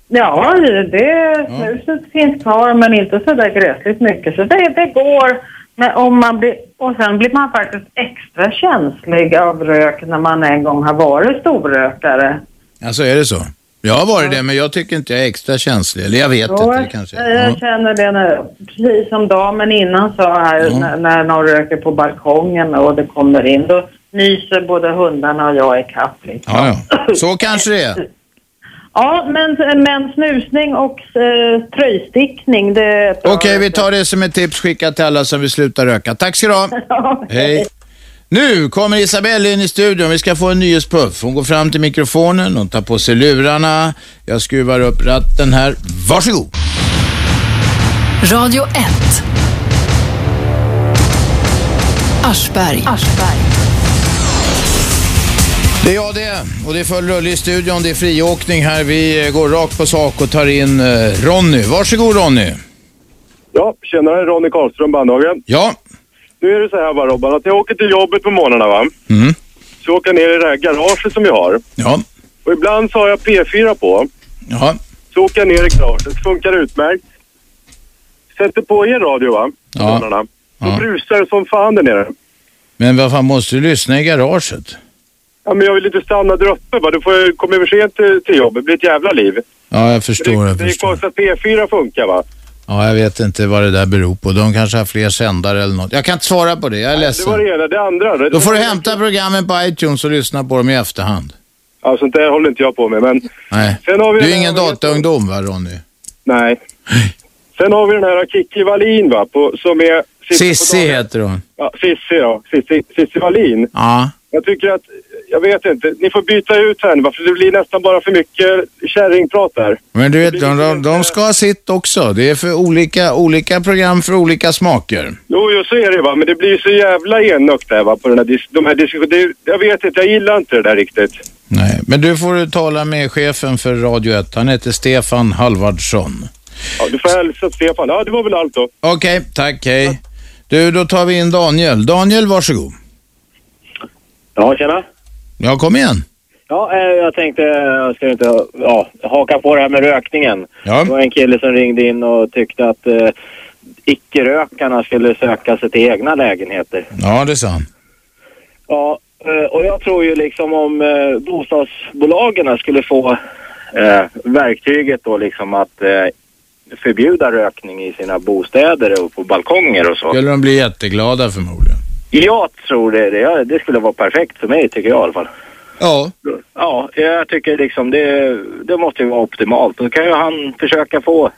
Ja, det, snuset finns kvar men inte så där gräsligt mycket. Så det, det går. Men om man blir, och sen blir man faktiskt extra känslig av rök när man en gång har varit storrökare. Alltså är det så? Jag har varit det, men jag tycker inte jag är extra känslig. Eller jag vet Jo, inte, det kanske. jag, eh, jag känner det nu. Precis som damen innan sa här, när, när någon röker på balkongen och det kommer in, då nyser både hundarna och jag i kapp. liksom. Ja, ja. Så kanske det är. Ja, men, men snusning och eh, tröjstickning, det... Okej, vi tar det som ett tips skickat till alla som vill sluta röka. Tack ska du ha. Hej. Nu kommer Isabelle in i studion. Vi ska få en nyhetspuff. Hon går fram till mikrofonen, hon tar på sig lurarna. Jag skruvar upp ratten här. Varsågod. Radio 1. Aschberg. Det är jag det. Och det är full rulle i studion. Det är friåkning här. Vi eh, går rakt på sak och tar in eh, Ronny. Varsågod Ronny. Ja, tjenare Ronny Karlström, Bandhagen. Ja. Nu är det så här va Robban, att jag åker till jobbet på morgnarna va. Mm. Så jag åker ner i det här garaget som vi har. Ja. Och ibland så har jag P4 på. Ja. Så åker jag ner i garaget, funkar utmärkt. Sätter på er radio va, på Ja. morgnarna. Då brusar det som fan där nere. Men vad fan, måste du lyssna i garaget? Ja men jag vill inte stanna där uppe va, då får jag komma över sent till, till jobbet. Det blir ett jävla liv. Ja, jag förstår. Jag Det är förstår. konstigt att P4 funkar va. Ja, jag vet inte vad det där beror på. De kanske har fler sändare eller något. Jag kan inte svara på det. Jag är Det var ledsen. det ena, det andra. Då får du hämta programmen på iTunes och lyssna på dem i efterhand. Ja, sånt där håller inte jag på med men. Nej. Sen har vi Du den är ingen här- dataungdom va, Ronny? Nej. Sen har vi den här Kikki Wallin va, på, som är... sitter på Sissi heter hon. Ja, Cissi ja. Cissi, Cissi Wallin. Ja. Jag tycker att, jag vet inte, ni får byta ut henne va, för det blir nästan bara för mycket kärringprat där. Men du vet, de, de, de ska ha sitt också. Det är för olika, olika program för olika smaker. Jo, jo, så är det va, men det blir ju så jävla enögt där va, på den här dis- de här diskussionerna. Jag vet inte, jag gillar inte det där riktigt. Nej, men du får tala med chefen för Radio 1. Han heter Stefan Halvardsson. Ja, du får hälsa till Stefan. Ja, det var väl allt då. Okej, tack, hej. Du, då tar vi in Daniel. Daniel, varsågod. Ja, tjena. Ja, kom igen. Ja, eh, jag tänkte, jag ska inte ja, haka på det här med rökningen. Ja. Det var en kille som ringde in och tyckte att eh, icke-rökarna skulle söka sig till egna lägenheter. Ja, det är sant. Ja, eh, och jag tror ju liksom om eh, bostadsbolagen skulle få eh, verktyget då liksom att eh, förbjuda rökning i sina bostäder och på balkonger och så. Skulle de bli jätteglada förmodligen. Jag tror det, det, ja, det skulle vara perfekt för mig tycker jag i alla fall. Ja. Ja, jag tycker liksom det, det måste ju vara optimalt. Då kan ju han försöka få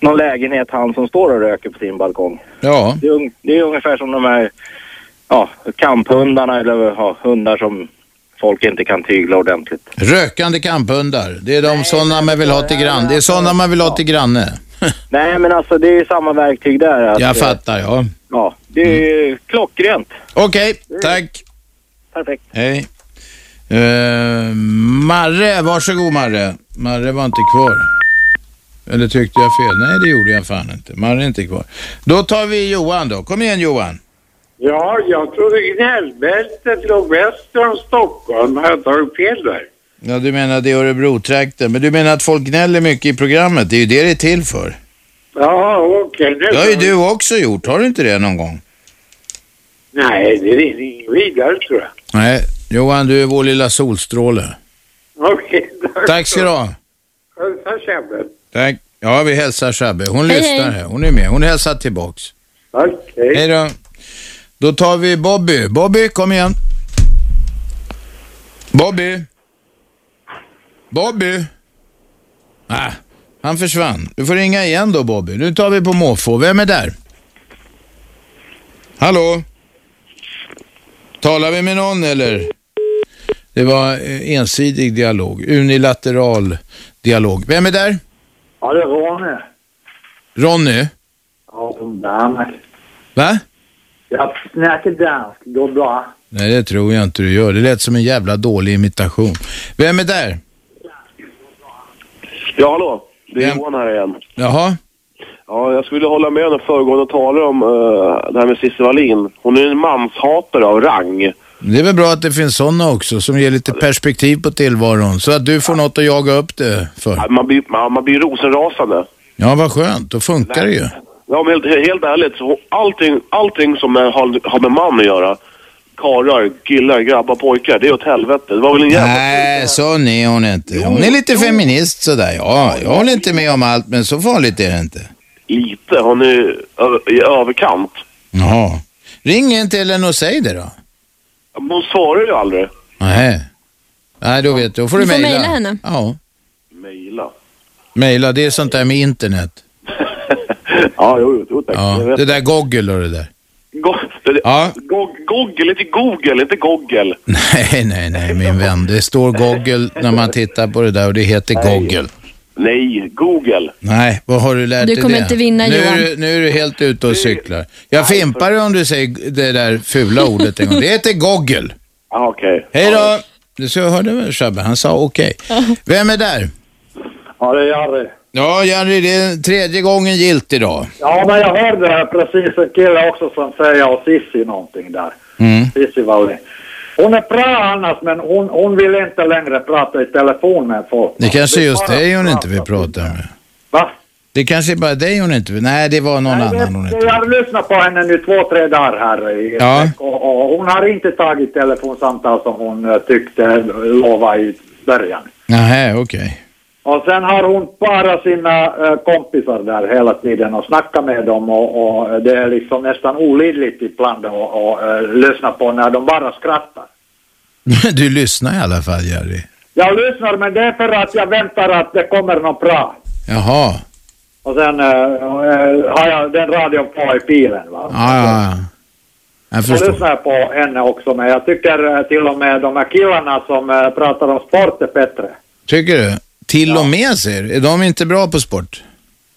någon lägenhet han som står och röker på sin balkong. Ja. Det är, un- det är ungefär som de här ja, kamphundarna eller ja, hundar som folk inte kan tygla ordentligt. Rökande kamphundar. Det är de sådana man vill ha till grann. Det är sådana man vill ha till granne. Nej men alltså det är ju samma verktyg där. Att, Jag eh, fattar, ja. Ja, det är ju klockrent. Okej, tack. Perfekt. Hej. Uh, Marre, varsågod Marre. Marre var inte kvar. Eller tyckte jag fel? Nej, det gjorde jag fan inte. Marre är inte kvar. Då tar vi Johan då. Kom igen Johan. Ja, jag trodde gnällbältet låg väster om Stockholm. Har jag tagit fel där? Ja, du menar det är Örebro-trakten. Men du menar att folk gnäller mycket i programmet. Det är ju det det är till för. Ja, okej. Det har ju var- du också gjort. Har du inte det någon gång? Nej, det är inget vidare tror jag. Nej. Johan, du är vår lilla solstråle. Okej, Tack ska du ha. hälsa Sebbe. Tack. Ja, vi hälsar Shabbe. Hon Hej, lyssnar hej. här. Hon är med. Hon hälsar tillbaks. Hej. då. Då tar vi Bobby. Bobby, kom igen. Bobby. Bobby. Ah, han försvann. Du får ringa igen då, Bobby. Nu tar vi på måfå. Vem är där? Hallå? Talar vi med någon, eller? Det var eh, ensidig dialog. Unilateral dialog. Vem är där? Ja, det är Ronny. Ronny? Ja, från Danmark. Va? Jag snackar dansk, det går bra. Nej, det tror jag inte du gör. Det lät som en jävla dålig imitation. Vem är där? Ja, hallå. Det är Johan här igen. Jaha? Ja, jag skulle hålla med den föregående talaren om eh, det här med Cissi Wallin. Hon är en manshatare av rang. Det är väl bra att det finns sådana också som ger lite perspektiv på tillvaron så att du får något att jaga upp det för. Man blir, man, man blir rosenrasande. Ja, vad skönt. Då funkar det ju. Ja, men helt, helt ärligt, så allting, allting som är, har, har med man att göra, karlar, killar, grabbar, pojkar, det är åt helvete. Det var väl en jävla... Nej, sån är hon inte. Hon är lite feminist sådär. Ja, jag håller inte med om allt, men så farligt är det inte. Lite, hon är ö- i överkant. Jaha. Ring in till henne och säg det då. Men Hon svarar ju aldrig. Nej. Nej, då vet du. Då får du, Du får mejla. mejla henne. Ja, Mejla. mejla. Det är sånt där med internet. ja, jo, jo tack. Ja, Jag vet. det där Google och det där. Go- det- Ja. Go- Google, inte Google, inte Google. Nej, nej, nej, min vän. Det står Google när man tittar på det där och det heter Google. Nej, Google. Nej, vad har du lärt Du dig kommer det? inte vinna, nu Johan. Är du, nu är du helt ute och cyklar. Jag fimpar dig om du säger det där fula ordet en gång. Det heter Google. Ah, okej. Hej då! Du så jag hörde väl Shabbe, han sa okej. Vem är där? Ja, det är Jerry. Ja, Jerry, det är tredje gången gilt idag. Ja, men jag hörde här precis en kille också som säger och Sissi någonting där. Mm. Sissi Wallin. Hon är bra annars, men hon, hon vill inte längre prata i telefon med folk. Det kanske är just dig hon inte vill prata med. Va? Det kanske är bara dig hon inte vill. Nej, det var någon annan hon inte... Jag har lyssnat på henne nu två, tre dagar här i Ja. veck och, och hon har inte tagit telefonsamtal som hon eh, tyckte lovade i början. Nej, okej. Och sen har hon bara sina eh, kompisar där hela tiden och snackar med dem och, och det är liksom nästan olidligt ibland att och, eh, lyssna på när de bara skrattar. Men du lyssnar i alla fall, Jerry. Jag lyssnar men det är för att jag väntar att det kommer något bra. Jaha. Och sen eh, eh, har jag den radion på i bilen va. Ja, ja, ja. Jag Jag förstår. lyssnar på henne också men jag tycker eh, till och med de här killarna som eh, pratar om sport är bättre. Tycker du? Till och med säger du. Är de inte bra på sport?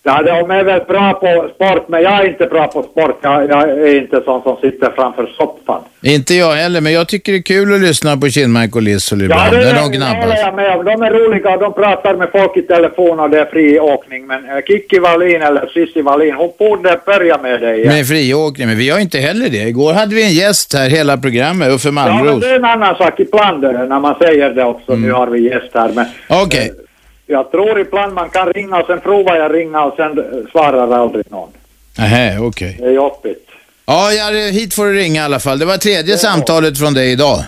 Ja, de är väl bra på sport, men jag är inte bra på sport. Jag, jag är inte sån som sitter framför soffan. Inte jag heller, men jag tycker det är kul att lyssna på Kinnmark och Lissol Ja, ibland. det när är- de håller gnabbas. jag med om. De är roliga och de pratar med folk i telefon och det är fri åkning. Men eh, Kikki Wallin eller Cissi Wallin, hon borde börja med det igen. Med friåkning, men vi har inte heller det. Igår hade vi en gäst här hela programmet, Uffe ja, men Malmros. det är en annan sak ibland eh, när man säger det också. Mm. Nu har vi gäst här, men Okej, jag tror ibland man kan ringa och sen provar jag ringa och sen eh, svarar aldrig någon. nähä, okej. Det är jobbigt. Ja, Jerry, hit får du ringa i alla fall. Det var tredje samtalet från dig idag.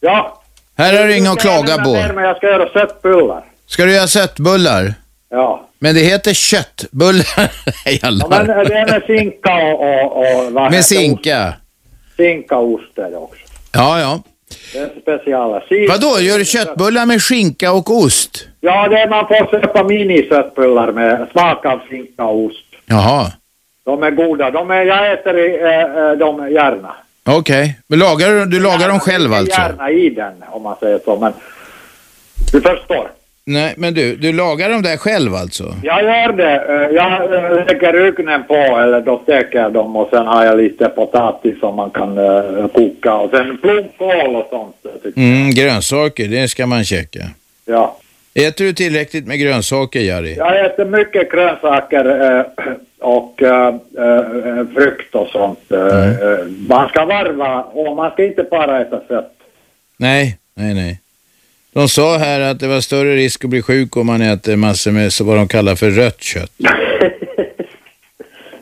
Ja. Här har du inget att klaga på. Men jag ska göra köttbullar. Ska du göra köttbullar? Ja. Men det heter köttbullar. Ja, men det är med sinka och, och, och vad heter Med sinka. ost? Sinka och ost är det också. Ja, ja. Det är speciella. Sin- Vadå, gör du köttbullar med skinka och ost? Ja, det är man får köpa miniköttbullar med smak av sinka och ost. Jaha, De är goda. De är, jag äter i, eh, eh, dem gärna. okej. Men lagar du, du lagar dem själv alltså? Gärna i den, om man säger så. Men du förstår. Nej, men du, du lagar dem där själv alltså? Jag gör det. Eh, Jag eh, lägger ugnen på, eller då steker jag dem och sen har jag lite potatis som man kan eh, koka och sen blomkål och sånt. jag tycker. Mm, grönsaker, det ska man checka. Ja. Äter du tillräckligt med grönsaker, Jari? Jag äter mycket grönsaker eh, och eh, eh, frukt och sånt. Eh, eh, Man ska varva och man ska inte bara äta kött. Nej, nej, nej. De sa här att det var större risk att bli sjuk om man äter massor med så vad de kallar för rött kött.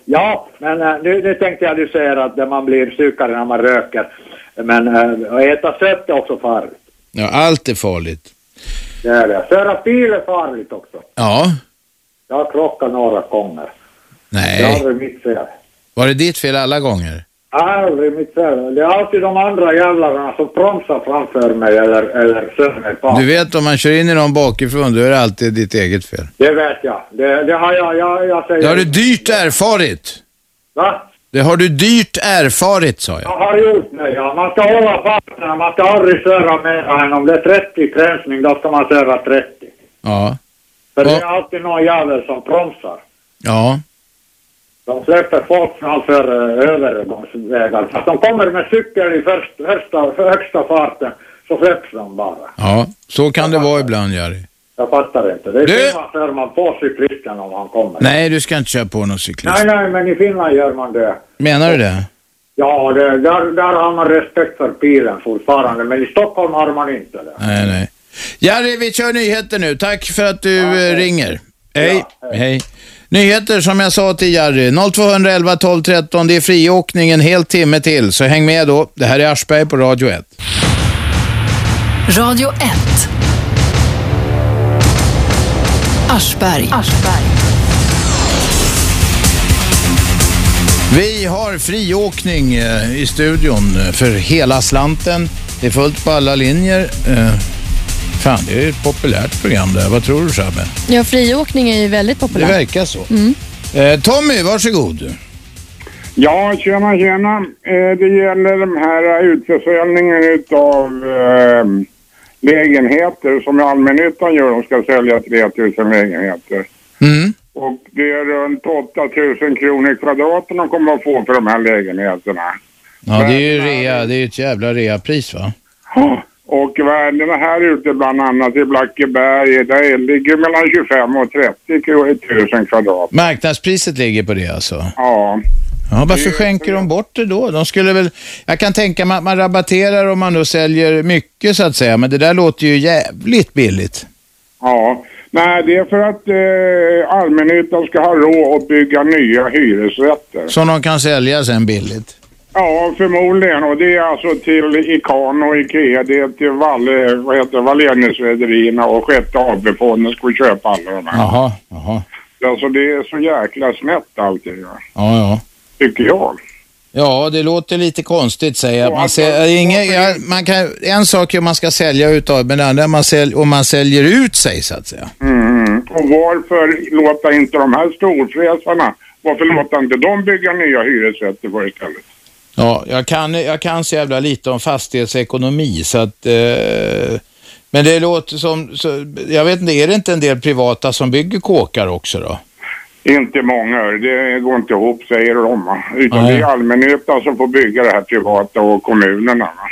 Ja, men eh, nu, nu tänkte jag du säger att det- man blir sjukare när man röker. Men eh, att äta kött är också farligt. Ja, allt är farligt. Det är det. Köra bil är farligt också. Ja, Jag har krockat några gånger. Det är nej. aldrig mitt fel. Var det ditt fel alla gånger? Aldrig mitt fel. Det är alltid de andra jävlarna som bromsar framför mig eller, eller kör mig bak. Du vet om man kör in i någon bakifrån, då är det alltid ditt eget fel. Det vet jag. Det, det har jag, jag, jag säger... Det har du dyrt erfarit. Va? Det har du dyrt erfarit, sa jag. Jag har gjort det, ja. Man ska hålla fast när man ska aldrig köra mer än om det är 30 gränsning, då ska man köra 30. Ja. För det är alltid någon jävel som bromsar. Ja. De släpper folk framför eh, övergångsvägar. Fast de kommer med cykel i först, första, för högsta farten, så släpps de bara. Ja, så kan det vara ibland, Jari. Jag fattar inte. Det är Du- I Finland kör man på cyklisten om han kommer. Nej, du ska inte köra på någon cyklist. Nej, nej, men i Finland gör man det. Menar du det? Ja, det, där, där har man respekt för bilen fortfarande, men i Stockholm har man inte det. Nej, nej. Jerry, vi kör nyheter nu. Tack för att du eh, ringer. Hej. hej. Nyheter som jag sa till Jerry. 0211 12 13. Det är friåkning en hel timme till, så häng med då. Det här är Aschberg på Radio 1. Radio 1. Aschberg. Vi har friåkning eh, i studion eh, för hela slanten. Det är fullt på alla linjer. Eh, Fan, det är ett populärt program det här. Vad tror du, Shabbe? Ja, friåkning är ju väldigt Det populärt. verkar så. Mm. Eh, Tommy, varsågod. Ja, tjena, tjena. Eh, Det gäller de här eh, utförsäljningen utav eh, lägenheter som allmännyttan gör. De ska sälja 3000 lägenheter. Mm. Och det är runt 8000 kronor kvadraten de kommer att få för de här lägenheterna. Ja, det är ju rea. Det är ju ett jävla reapris, va? Och värdena här ute bland annat i Blackeberg, där ligger mellan 25 och 30 kro- tusen kvadrat. Marknadspriset ligger på det alltså? Ja. Ja, varför skänker de bort det då? De skulle väl... Jag kan tänka mig att man rabatterar om man då säljer mycket så att säga, men det där låter ju jävligt billigt. Ja, nej det är för att eh, allmännyttan ska ha råd att bygga nya hyresrätter. Som de kan sälja sen billigt. Ja, förmodligen. Och det är alltså till Ican och Ikea, det är till Valle, vad heter det, Walleniusrederierna och Sjätte AP-fonden ska köpa alla de här. Jaha, jaha. Alltså det är så jäkla snett allting, va? Ja, ja. tycker jag. Ja, det låter lite konstigt säger jag. Man, säljer, inga, ja, man kan, en sak är om man ska sälja utav, men det andra är man sälj, om man säljer ut sig så att säga. Mm. Och varför låta inte de här storfräsarna, varför låta inte de bygga nya hyresrätter för istället? Ja, jag kan, jag kan så jävla lite om fastighetsekonomi så att... Eh, men det låter som... Så, jag vet inte, är det inte en del privata som bygger kåkar också då? Inte många, det går inte ihop säger de. va. Utan Nej. det är allmännyttan som får bygga det här privata och kommunerna. va.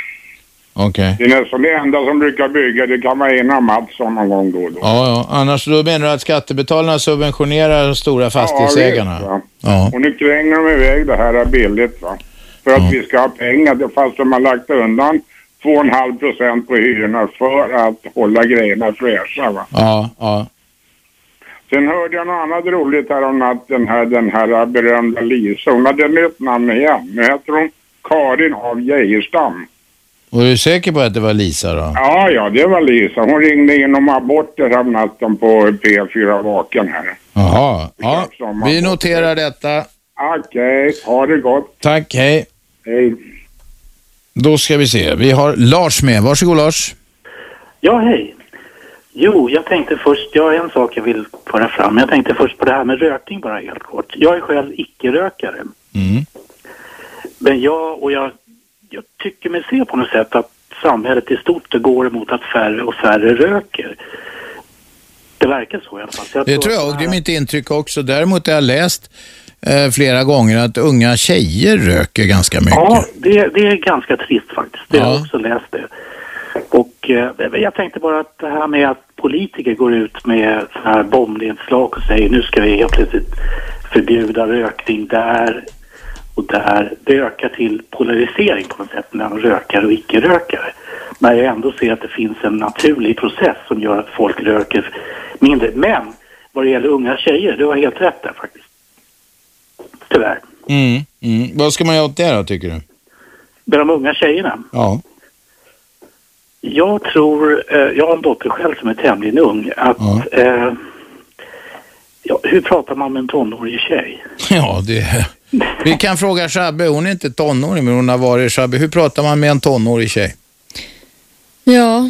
Okej. Det är nästan det enda som brukar bygga, det kan vara ena Mattsson någon gång då och då. Ja, ja. Annars då menar du att skattebetalarna subventionerar de stora fastighetsägarna? Ja, visst, Ja. Och nu kränger de iväg det här billigt va. För att vi ska ha pengar, det- fast de har lagt undan 2,5 procent på hyrorna för att hålla grejerna fräscha va. Ja, ja. Sen hörde jag något annat roligt här om natten här, den här berömda Lisa. Hon hade nytt namn igen. Nu heter hon Karin av Geijerstam. Och är du säker på att det var Lisa då? Ja, ja, det var Lisa. Hon ringde in om aborter här om natten på P4 Vaken här. Jaha. Ja, vi noterar detta. Okej, ha det gott. Tack, hej. Hej. Då ska vi se. Vi har Lars med. Varsågod Lars. Ja, hej. Jo, jag tänkte först, jag har en sak jag vill föra fram. Jag tänkte först på det här med rökning bara helt kort. Jag är själv icke-rökare. Men jag, och jag, jag tycker mig se på något sätt att samhället i stort går emot att färre och färre röker. Det verkar så i alla fall. Så Det tror jag och det är mitt intryck också. Däremot har jag läst eh, flera gånger att unga tjejer röker ganska mycket. Ja, det, det är ganska trist faktiskt. Det har jag också läst det. Och eh, jag tänkte bara att det här med att politiker går ut med sådana här bombnedslag och säger nu ska vi helt plötsligt förbjuda rökning där och där. Det ökar till polarisering på något sätt mellan rökare och icke-rökare. När jag ändå ser att det finns en naturlig process som gör att folk röker mindre. Men vad det gäller unga tjejer, du har helt rätt där faktiskt. Tyvärr. Mm, mm. Vad ska man göra åt det då tycker du? Med de unga tjejerna. Ja. Jag tror, eh, jag har en dotter själv som är tämligen ung, att eh, ja, hur pratar man med en tonårig tjej? Ja, det... Vi kan fråga Shabbe. Hon är inte tonåring, men hon har varit Shabbe. Hur pratar man med en tonårig tjej? Ja.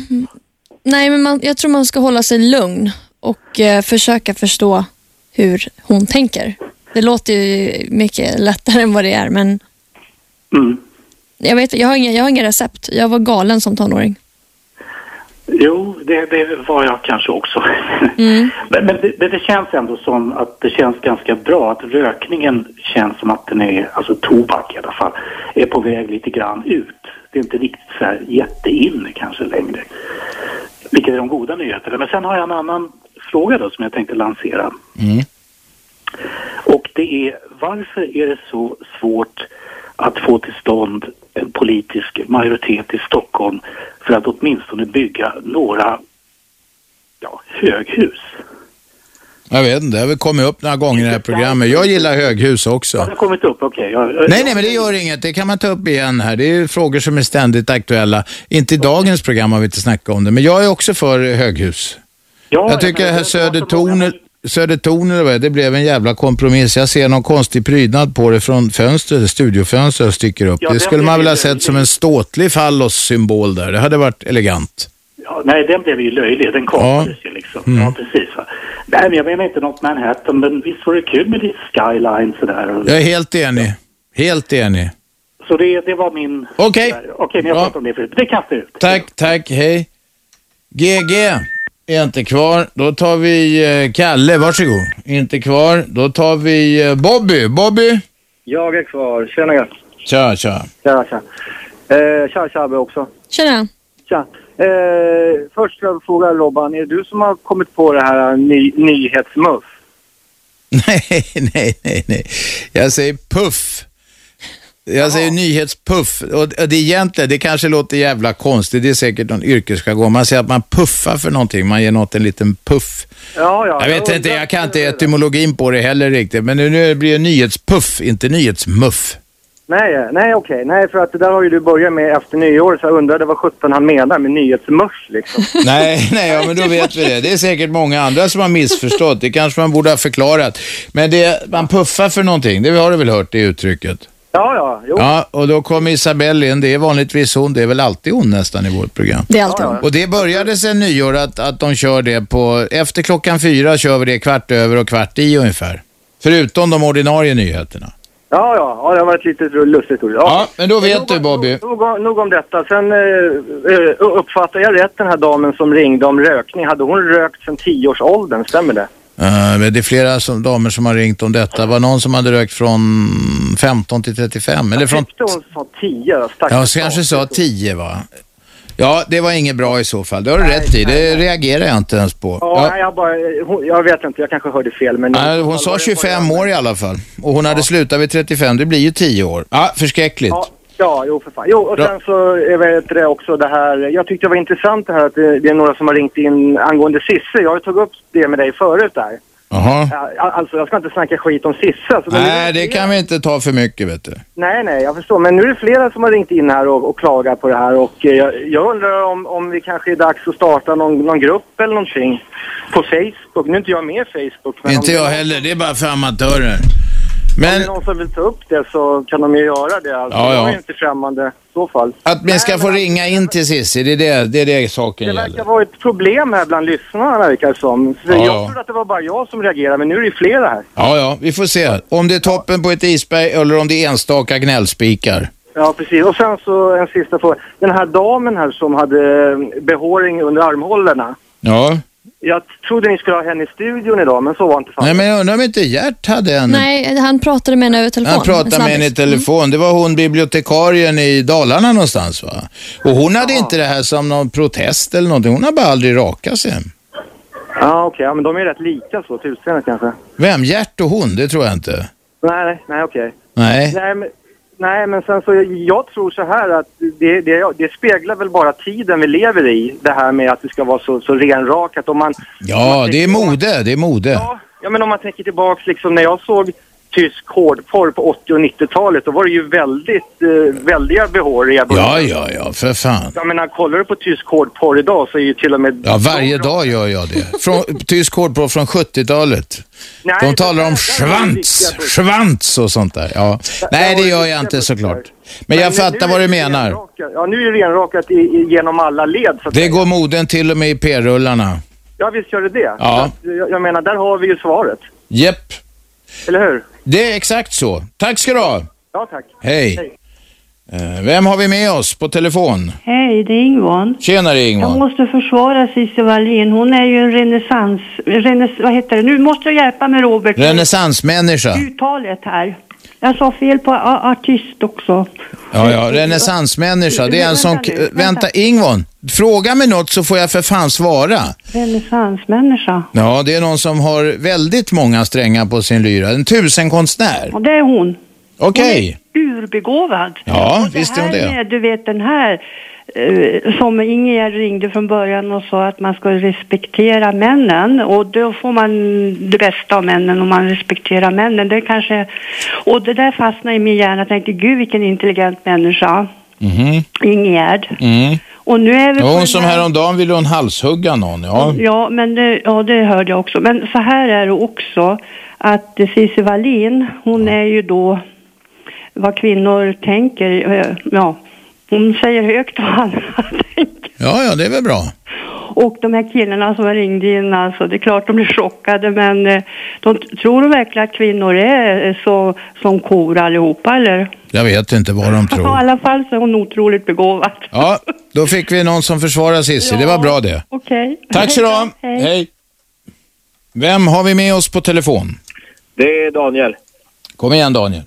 Nej, men man, jag tror man ska hålla sig lugn och eh, försöka förstå hur hon tänker. Det låter ju mycket lättare än vad det är, men jag, vet, jag, har inga, jag har inga recept. Jag var galen som tonåring. Jo, det, det var jag kanske också. Mm. men men det, men det känns ändå som att det känns ganska bra att rökningen känns som att den är, alltså tobak i alla fall, är på väg lite grann ut. Det är inte riktigt så här jätteinne kanske längre. Vilket är de goda nyheterna. Men sen har jag en annan fråga då som jag tänkte lansera. Mm. Och det är varför är det så svårt att få till stånd en politisk majoritet i Stockholm för att åtminstone bygga några ja, höghus? Jag vet inte, det har väl kommit upp några gånger i det här programmet. Jag gillar höghus också. Det har kommit upp, okej. jag- Nej, nej, men det gör inget. Det kan man ta upp igen här. Det är ju frågor som är ständigt aktuella. Inte i dagens program har vi inte snackat om det, men jag är också för höghus. jag tycker det här Södertornet, Södertorn eller vad det är, det blev en jävla kompromiss. Jag ser någon konstig prydnad på det från fönstret, studiofönstret som sticker upp. Ja, det den skulle man blev väl ha ju- sett som en ståtlig fallossymbol där. Det hade varit elegant. Ja, nej, den blev ju löjlig. Den kapades ju liksom. Mm. Ja, precis. Va? Nej, men jag menar inte något Manhattan, men visst var det kul med lite skyline sådär. Jag är helt enig. Helt enig. Så det, det var min... Okej. Okej, men jag pratade om det förut. Det kastar jag ut. Tack, tack, hej. GG är inte kvar. Då tar vi eh, Kalle, varsågod. Inte kvar. Då tar vi eh, Bobby. Bobby? Jag är kvar. Tjena gött. Tja, tja. Tja, tja. Eh, tja, tja Abbe också. Tjena. Tja. Eh, först ska jag fråga Robban, är det du som har kommit på det här eh, ny- nyhetsmuff? Nej, nej, nej, nej. Jag säger puff. Jag säger nyhetspuff. Och och det är egentligen, det kanske låter jävla konstigt, det är säkert någon yrkesjargong. Man säger att man puffar för någonting, man ger något en liten puff. Ja, ja. Jag vet inte, jag kan inte etymologin på det heller riktigt, men nu- nu blir det nyhetspuff, inte nyhetsmuff. Nej, eh, nej okej. Nej, för att det där har ju du börjat med efter nyår så jag undrade vad sjutton han menar med nyhetsmuff liksom. Nej, nej ja, men då vet vi det. Det är säkert många andra som har missförstått. Det kanske man borde ha förklarat. Men det, man puffar för någonting, det har du väl hört, det uttrycket? Ja, ja. Jo. Ja, och då kom Isabelle in. Det är vanligtvis hon. Det är väl alltid hon nästan i vårt program. Det är alltid hon. Och det började sen nyår att, att de kör det på... Efter klockan fyra kör vi det kvart över och kvart i ungefär. Förutom de ordinarie nyheterna. Ja, ja, ja, det har varit lite lustigt ord. Ja, men då vet du Bobby. Nog, om- nog om detta. Sen eh, eh, uppfattar jag rätt den här damen som ringde om rökning. Hade hon rökt sedan tioårsåldern? Stämmer det? Eh, men det är flera som, damer som har ringt om detta. Det var någon som hade rökt från 15 till 35. Eller från... Tyckte hon sa tio? Stackars Jag kanske sa 10 va? Ja, det var inget bra i så fall. Det har du rätt i. Det reagerar jag inte ens på. Ja, Ja. Nej, jag, bara, eh, hon, jag vet inte, jag kanske hörde fel. Men Nej, hon sa 25 år i alla fall. Och hon hade slutat vid 35, det blir ju 10 år. Ja, förskräckligt. Ja, ja, jo för fan. Jo, och Bra. sen så eh, vet du det också det här. Jag tyckte det var intressant det här att eh, det, det är några som har ringt in angående Sisse. Jag har ju tagit upp det med dig förut där. Jaha. Ja, Alltså, jag ska inte snacka skit om Sisse. Alltså, men- Nej, det kan vi inte ta för mycket vet du. Nej, nej, jag förstår. Men nu är det flera som har ringt in här och, och klagat på det här. Och eh, jag, jag undrar om, om vi kanske är dags att starta någon, någon grupp eller någonting på Facebook. Nu är inte jag med i Facebook. Men Inte om, jag heller, det är bara för amatörer. Om det Men är någon som vill ta upp det så kan de ju göra det. Alltså, Ja, ja. Jag är inte främmande i så fall. att man ska få ringa in till Cissi, det är det, det, är det saken Det gäller. verkar vara ett problem här bland lyssnarna verkar det som. För Ja, jag ja. trodde att det var bara jag som reagerade men nu är det ju flera här. Ja, ja, vi får se. Om det är toppen på ett isberg eller om det är enstaka gnällspikar. Ja, precis. Och sen så en sista fråga. Den här damen här som hade eh, behåring under armhålorna. Ja. Jag trodde ni skulle ha henne i studion idag, men så var inte fallet. Nej, men jag undrar om inte Gert hade en... Nej, han pratade med henne över telefon. Han pratade med henne i telefon. Det var hon bibliotekarien i Dalarna någonstans va? Och hon hade inte det här som någon protest eller någonting. Hon har bara aldrig rakat sig. Ja, okej. Ja, men de är ju rätt lika så, till utseendet kanske. Vem? Gert och hon? Det tror jag inte. Nej, nej, nej, okej. Nej. Nej, men, nej, men sen så, jag tror så här att det, det, det speglar väl bara tiden vi lever i, det här med att det ska vara så, så renrakat. Om man, Ja, det är mode. Det är mode. ja, men om man tänker tillbaks liksom när jag såg tysk hårdporr på 80 och 90-talet, då var det ju väldigt, eh, väldiga behåriga Ja, ja, ja, för fan. Jag menar, kollar du på tysk hårdporr idag så är ju till och med... Ja, varje dag gör jag det. Från, tysk hårdporr från 70-talet. Nej, De talar om svans, svans och sånt där. Ja. Nej, det gör jag inte såklart. Men jag fattar vad du menar. Ja, nu är det renrakat i, i, genom alla led. Så att, Det går moden till och med i p-rullarna. ja, visst gör det det. Ja. Så Att, eh, jag, jag menar, där har vi ju svaret. Jepp. Eller hur? Det är exakt så. Tack ska du ha. Ja, tack. Hej. Eh, Vem har vi med oss på telefon? Hej, det är Yvonne. Tjenare Jag Ingvar. måste försvara Cissi Wallin. Hon är ju en renässans... Renäss, vad heter det? Nu måste jag hjälpa mig Robert. Renässansmänniska. Uttalet här. Jag sa fel på a- artist också. Ja, ja, renässansmänniska. Det är en som... Vänta nu, vänta. Vänta, Ingvon. Fråga mig något så får jag för fan svara. Renässansmänniska. Ja, det är någon som har väldigt många strängar på sin lyra. En tusenkonstnär. Och det är hon. Okej. Urbegåvad. Ja, Och visst är hon här det. Med, du vet den här eh, som Ingegerd ringde från början och sa att man ska respektera männen och då får man det bästa av männen om man respekterar männen. Det kanske, och det där fastnade i min hjärna. Jag tänkte gud vilken intelligent människa, Mhm. Ingegerd. Mm. Och nu är vi Det på var den hon som här- häromdagen ville hon halshugga någon. Ja. Ja, men det, ja, det hörde jag också. Men så här är det också att eh, Cissi Wallin, hon är ju då vad kvinnor tänker. eh, Ja, hon säger högt vad andra ja, ja, det är väl bra. och de här killarna som jag ringde in, alltså, det är klart de blir chockade, men eh, de, tror de verkligen att kvinnor är eh, så, som kor allihopa, eller? Jag vet inte vad de Ja, tror. I alla fall så är hon otroligt begåvad. Ja, då fick vi någon som försvarar Cissi. Det var bra det. Okej. Tack så du ha. Hej. Vem har vi med oss på telefon? Det är Daniel. Kom igen Daniel.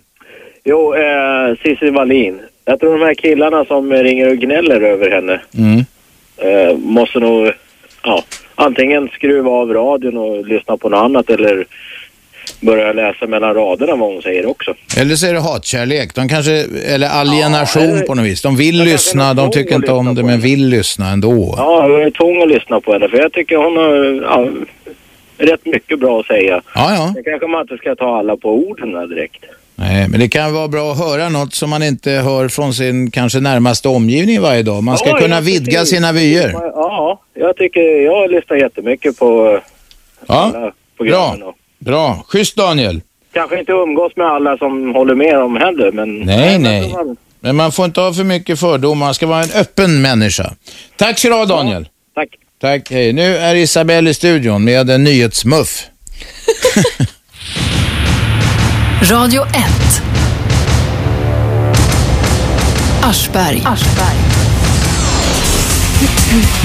Jo, eh, Cissi Wallin. Jag tror de här killarna som ringer och gnäller över henne Mm. eh, måste nog ja, antingen skruva av radion och lyssna på något annat eller börja läsa mellan raderna vad hon säger också. Eller så är det hatkärlek. De kanske, eller alienation på något vis. De vill lyssna, de tycker inte om det, men vill lyssna ändå. Ja, jag är tvungen att lyssna på henne för jag tycker hon har ja, rätt mycket bra att säga. Ja, ja. Sen kanske man inte ska ta alla på orden där direkt. Nej, men det kan vara bra att höra något som man inte hör från sin kanske närmaste omgivning varje dag. Man ska Ja, kunna ja, vidga precis. sina vyer. Ja, jag tycker jag lyssnar jättemycket på eh, Ja, programmen. bra. Bra. Schysst Daniel. Kanske inte umgås med alla som håller med om heller, men... Nej, nej. Men man får inte ha för mycket fördomar. Man ska vara en öppen människa. Tack så du ha Daniel. tack. Tack. Hej. Nu är Isabelle i studion med en nyhetsmuff. Radio 1. Aschberg.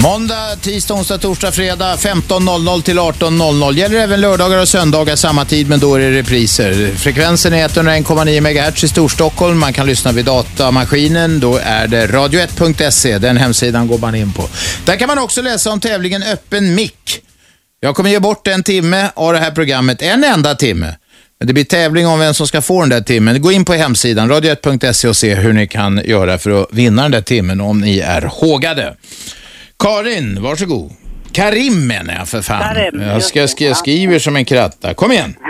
Måndag, tisdag, onsdag, torsdag, fredag 15.00 till 18.00. Gäller även lördagar och söndagar samma tid men då är det repriser. Frekvensen är 101,9 MHz i Storstockholm. Man kan lyssna vid datamaskinen. Då är det radio1.se. Den hemsidan går man in på. Där kan man också läsa om tävlingen Öppen mick. Jag kommer ge bort en timme av det här programmet. En enda timme. Men det blir tävling om vem som ska få den där timmen. Gå in på hemsidan radio1.se och se hur ni kan göra för att vinna den där timmen om ni är hågade. Karin, varsågod. Karim menar jag för fan. Karim, jag, ska, ska, jag skriver som en kratta. Kom igen.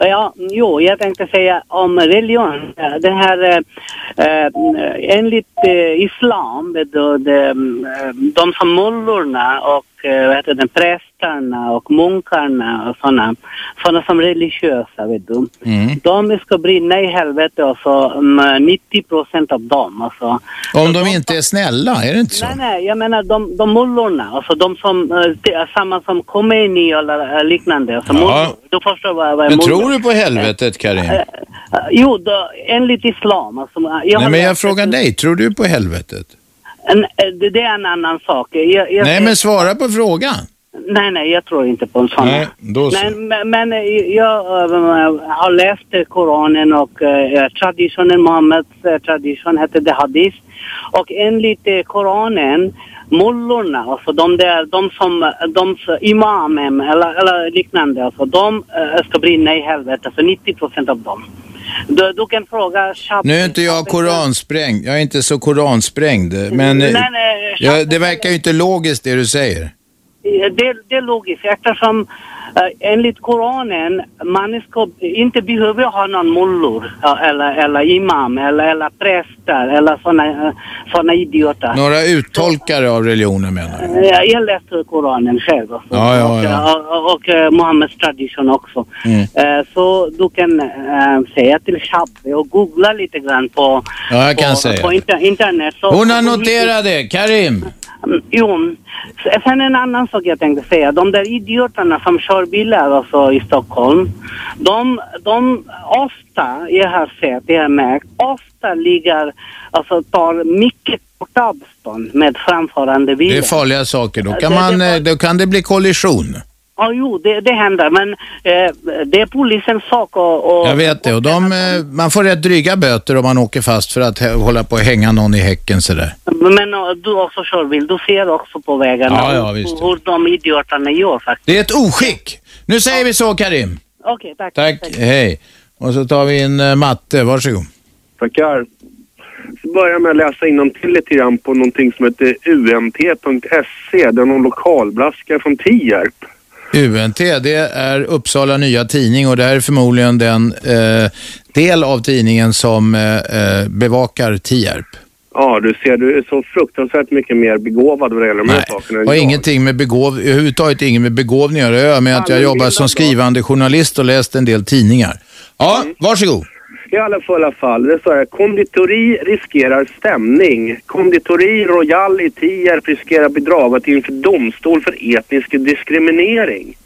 Ja, jo, jag tänkte säga om religion. Det här, eh, eh, enligt eh, islam, då de, de som mullorna och eh, vad heter det, prästerna och munkarna och sådana, sådana som religiösa, vet du. Mm. De ska brinna i helvete och så mm, 90 procent av dem. Alltså. Om de inte är snälla, är det inte så? Nej, nej, jag menar de, de mullorna, alltså de som, eh, det är samma som Khomeini eller eh, liknande. Alltså, Ja. mullor. Du förstår vad, vad Men mullor- tror du på helvetet, Karim? Eh, eh, Jo, då, enligt islam. Alltså, jag Nej, har men jag läst- frågar dig. Tror du på helvetet? en, eh, det, det är en annan sak. Jag, jag, Nej, men svara på frågan. nej, nej, jag tror inte på en sån. Nej, då så. Men, men, men eh, jag eh, har läst eh, Koranen och eh, traditionen, Muhammeds eh, tradition heter det hadis. Och enligt eh, Koranen, mullorna, alltså de där, de som, de som imamen eller, eller liknande, alltså de eh, ska brinna i helvetet, alltså 90 procent av dem. Du, du kan fråga Shab- Nu är inte jag koransprängd. Jag är inte så koransprängd. Men eh, Nej, nej, ja, det verkar ju inte logiskt det du säger. Eh, Det, det är logiskt eftersom eh, enligt Koranen man ska inte behöver ha någon mullor eh, eller, eller imam eller, eller präster eller såna, eh, såna idioter. Några uttolkare av religionen menar du? Eh, Jag läste Koranen själv också. Ja, ja, ja. Och, och, och eh, Muhammeds tradition också. Mm. Eh, Så du kan eh, säga till Shabbe och googla lite grann på, Ja, jag kan på, säga på det. inter- internet. Så- Hon har noterat det. Karim. Mm, Jo, S- sen en annan sak jag tänkte säga. De där idioterna som kör bilar alltså i Stockholm, de, de ofta, jag har sett, jag har märkt, ofta ligger, alltså tar mycket kort avstånd med framförande bilar. Det är farliga saker. Då kan, man, eh, då kan det bli kollision. Ja, jo, det, det händer, men eh, det är polisens sak och, och Jag vet det. Och de, eh, man får rätt dryga böter om man åker fast för att hä- hålla på och hänga någon i häcken sådär. men eh, du också kör bil, du ser också på vägarna Ja, ja, visst. hur de idioterna gör faktiskt. Det är ett oskick! Nu säger vi så Karim. Okej, tack. Tack, hej. Och så tar vi in eh, Matte, varsågod. Tackar. Så börjar jag med att läsa innantill lite grann på någonting som heter umt.se. Det är någon lokalbraska från Tierp. UNT, det är Uppsala Nya Tidning och det här är förmodligen den eh, del av tidningen som eh, eh, bevakar Tierp. Ja, du ser, du är så fruktansvärt mycket mer begåvad vad det gäller de här sakerna. än Och jag. ingenting med begåv, överhuvudtaget inget med begåvning att göra, med att jag jobbar som skrivande journalist och läst en del tidningar. Ja, varsågod. I alla fall, alla fall det är så här. Konditori riskerar stämning. Konditori Royal i Tierp riskerar bli draget inför domstol för etnisk diskriminering.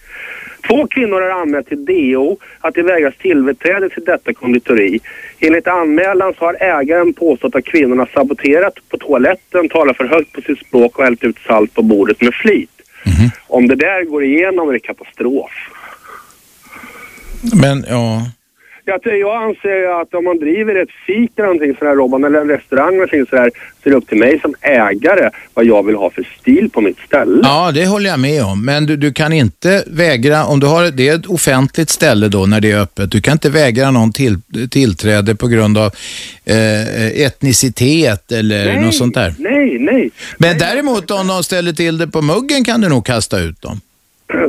Två kvinnor har anmält till DO att de vägras tillträde till detta konditori. Enligt anmälan så har ägaren påstått att kvinnorna saboterat på toaletten, talar för högt på sitt språk och hällt ut salt på bordet med flit. Om det där går igenom är det katastrof. Men ja, Jag, jag anser ju att om man driver ett fik eller någonting sådär Robban, eller en restaurang eller någonting sådär, så är det upp till mig som ägare vad jag vill ha för stil på mitt ställe. ja, det håller jag med om. Men du, du kan inte vägra, om du har, det är ett offentligt ställe då när det är öppet, du kan inte vägra någon till, tillträde på grund av eh, etnicitet eller något sånt där. Nej, nej. Men däremot om de ställer till det på muggen kan du nog kasta ut dem.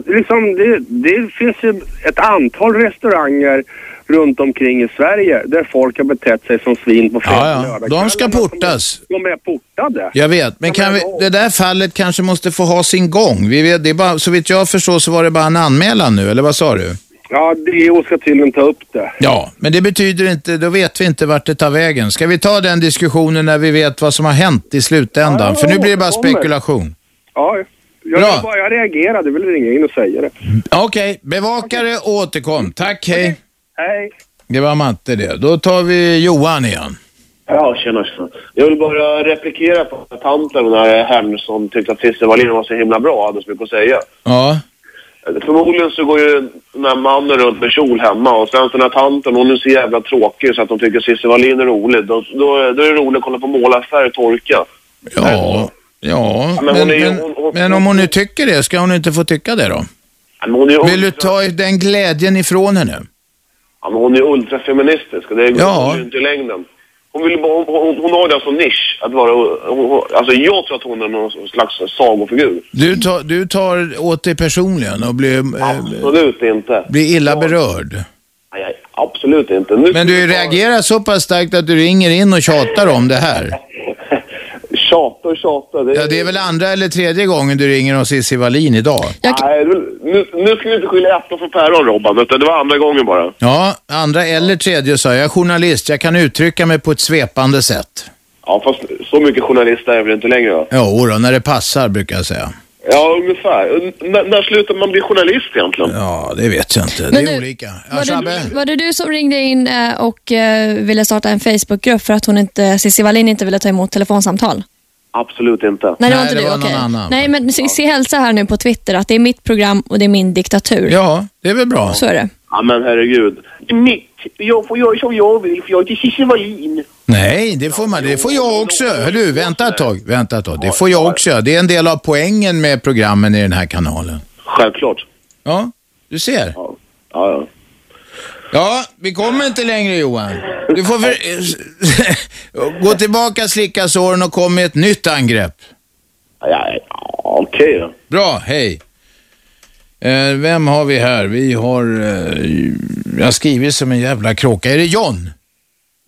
Liksom det, det finns ju ett antal restauranger runt omkring i Sverige där folk har betett sig som svin på fredag Ja, ja. lördag. De ska portas. De är portade. Jag vet, men kan vi, det där fallet kanske måste få ha sin gång. Vi vet, det är bara, så vitt jag förstår så var det bara en anmälan nu, eller vad sa du? Ja, DO ska tydligen ta upp det. Ja, men det betyder inte, då vet vi inte vart det tar vägen. Ska vi ta den diskussionen när vi vet vad som har hänt i slutändan? Ja, För nu blir det bara återkommer. spekulation. Ja, jag, Bra. jag, bara- jag reagerade. Jag ville ringa in och säga det. Okej, bevakare återkom. Tack, hej. Hej. Det var Matte det. Då tar vi Johan igen. Ja, tjena, tjena. Jag vill bara replikera på tanten där hem som tyckte att Christer Wallin var så himla bra, hade så mycket att säga. Eh, Ja. Förmodligen så går ju den här mannen runt med kjol hemma och sen så när tanten, hon är så jävla tråkig så att hon tycker att Christer Wallin är rolig. Då, då, då är det roligt att kolla på målarfärg torka. Ja, ja. men Men, hon är ju- men, hon- hon- men om hon nu tycker det, ska hon inte få tycka det då? Men hon är ju Vill du ta den glädjen ifrån henne? Ja, men hon är ju ultrafeministisk och det går Ja. ju inte i längden. Hon, vill bara, hon, hon, hon har det som nisch att vara... Hon, hon, alltså jag tror att hon är någon slags sagofigur. Du tar, du tar åt dig personligen och blir, eh, Absolut inte. blir illa berörd. Nej, absolut inte. Nu Men du reagerar så pass starkt att du ringer in och tjatar om det här. Tjata och tjata. Det... Ja, det är väl andra eller tredje gången du ringer om Cissi Wallin idag. Nej, du- nu, nu ska vi inte skylla äpplen för päron Robban, utan det var andra gången bara. Ja, andra eller tredje sa jag. Jag är journalist, jag kan uttrycka mig på ett svepande sätt. Ja, fast så mycket journalister är jag väl inte längre va? Jo då, när det passar brukar jag säga. Ja, ungefär. N- när- när slutar man bli journalist egentligen? Ja, det vet jag inte. Det Men är du- olika. Ja, Var Shabbe? det, var det du som ringde in eh, och eh, ville starta en Facebookgrupp för att hon inte, Cissi Wallin inte ville ta emot telefonsamtal? Absolut inte. Nej, det var inte du. Okej. Nej, men Cissi hälsa här nu på Twitter att det är mitt program och det är min diktatur. Ja, det är väl bra. Så är det. Ja, men herregud. Mitt. Jag får göra som jag vill, för jag är Cissi Wallin. Nej, det får man. Det får jag också. Hör du, vänta ett tag. Vänta ett tag. Det får jag också. Det är en del av poängen med programmen i den här kanalen. Självklart. Ja, du ser. Ja, ja. Ja, vi kommer inte längre Johan. Du får för... gå tillbaka, slicka såren och kom med ett nytt angrepp. Ja, okej då. Bra, hej. Eh, vem har vi här? Vi har... Eh, jag skriver som en jävla kråka. Är det John?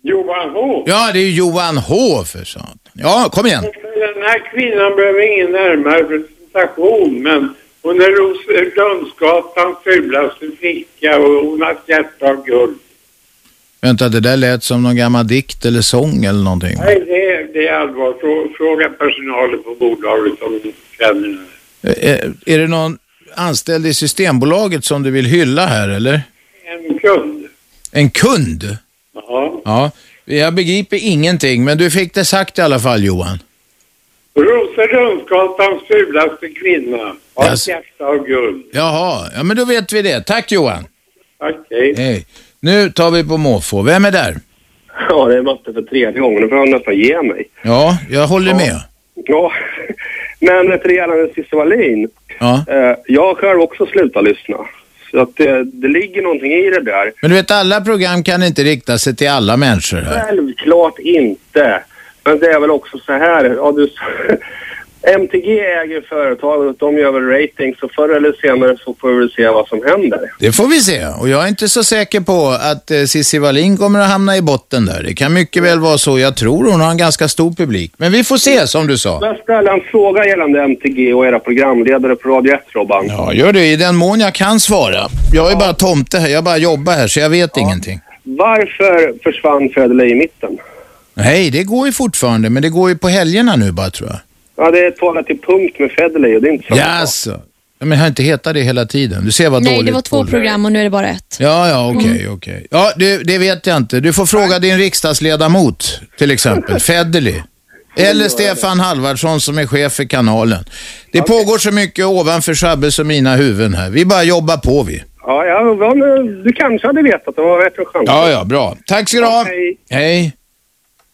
Johan H. Ja, det är Johan H för satan. Ja, kom igen. Den här kvinnan behöver ingen närmare presentation, men hon är Rosenlundsgatans fulaste flicka och hon har ett hjärta av guld. Vänta, det där lät som någon gammal dikt eller sång eller någonting. Nej, det är, det är allvar. Frå- Fråga personalen på bolaget om de känner henne. Eh, Är det någon anställd i Systembolaget som du vill hylla här, eller? En kund. En kund? Ja. Ja, jag begriper ingenting, men du fick det sagt i alla fall, Johan. Rosenlundsgatans fulaste kvinna har ett hjärta av guld. Jaha, ja men då vet vi det. Tack Johan. Tack, hej. Hej. Nu tar vi på måfå. Vem är där? Ja, det är Matte för tredje gången. Nu får han nästan ge mig. Ja, jag håller med. Ja, men vet du, gällande Cissi Wallin. Ja. Eh, jag har själv också slutat lyssna. Så att det, det ligger någonting i det där. Men du vet, alla program kan inte rikta sig till alla människor här. Självklart inte. Men det är väl också så här. Ja, du, MTG äger företaget, de gör väl rating, så förr eller senare så får vi väl se vad som händer. Det får vi se. Och jag är inte så säker på att eh, Cissi Wallin kommer att hamna i botten där. Det kan mycket väl vara så. Jag tror hon har en ganska stor publik. Men vi får se, som du sa. Jag ställer en fråga gällande MTG och era programledare på Radio 1, Robban. Ja, gör det i den mån jag kan svara. Jag är bara tomte här. Jag bara jobbar här, så jag vet ingenting. Varför försvann Federley i mitten? Nej, det går ju fortfarande, men det går ju på helgerna nu bara, tror jag. Ja, det är talat till punkt med Federley och det är inte så Jaså? Ja, Men har inte hetat det hela tiden? Du ser vad Nej, dåligt det var två koll- program och nu är det bara ett. Ja, ja, okej, okej. Ja, det, det vet jag inte. Du får fråga din riksdagsledamot, till exempel, Federley. Eller Stefan Halvardsson som är chef för kanalen. Det pågår så mycket ovanför Sabbes och mina huvuden här. Vi bara jobbar på vi. Ja, ja, vad nu- du kanske hade vetat. Det var värt en chans. Ja, ja, bra. Tack ska du ha. Hej.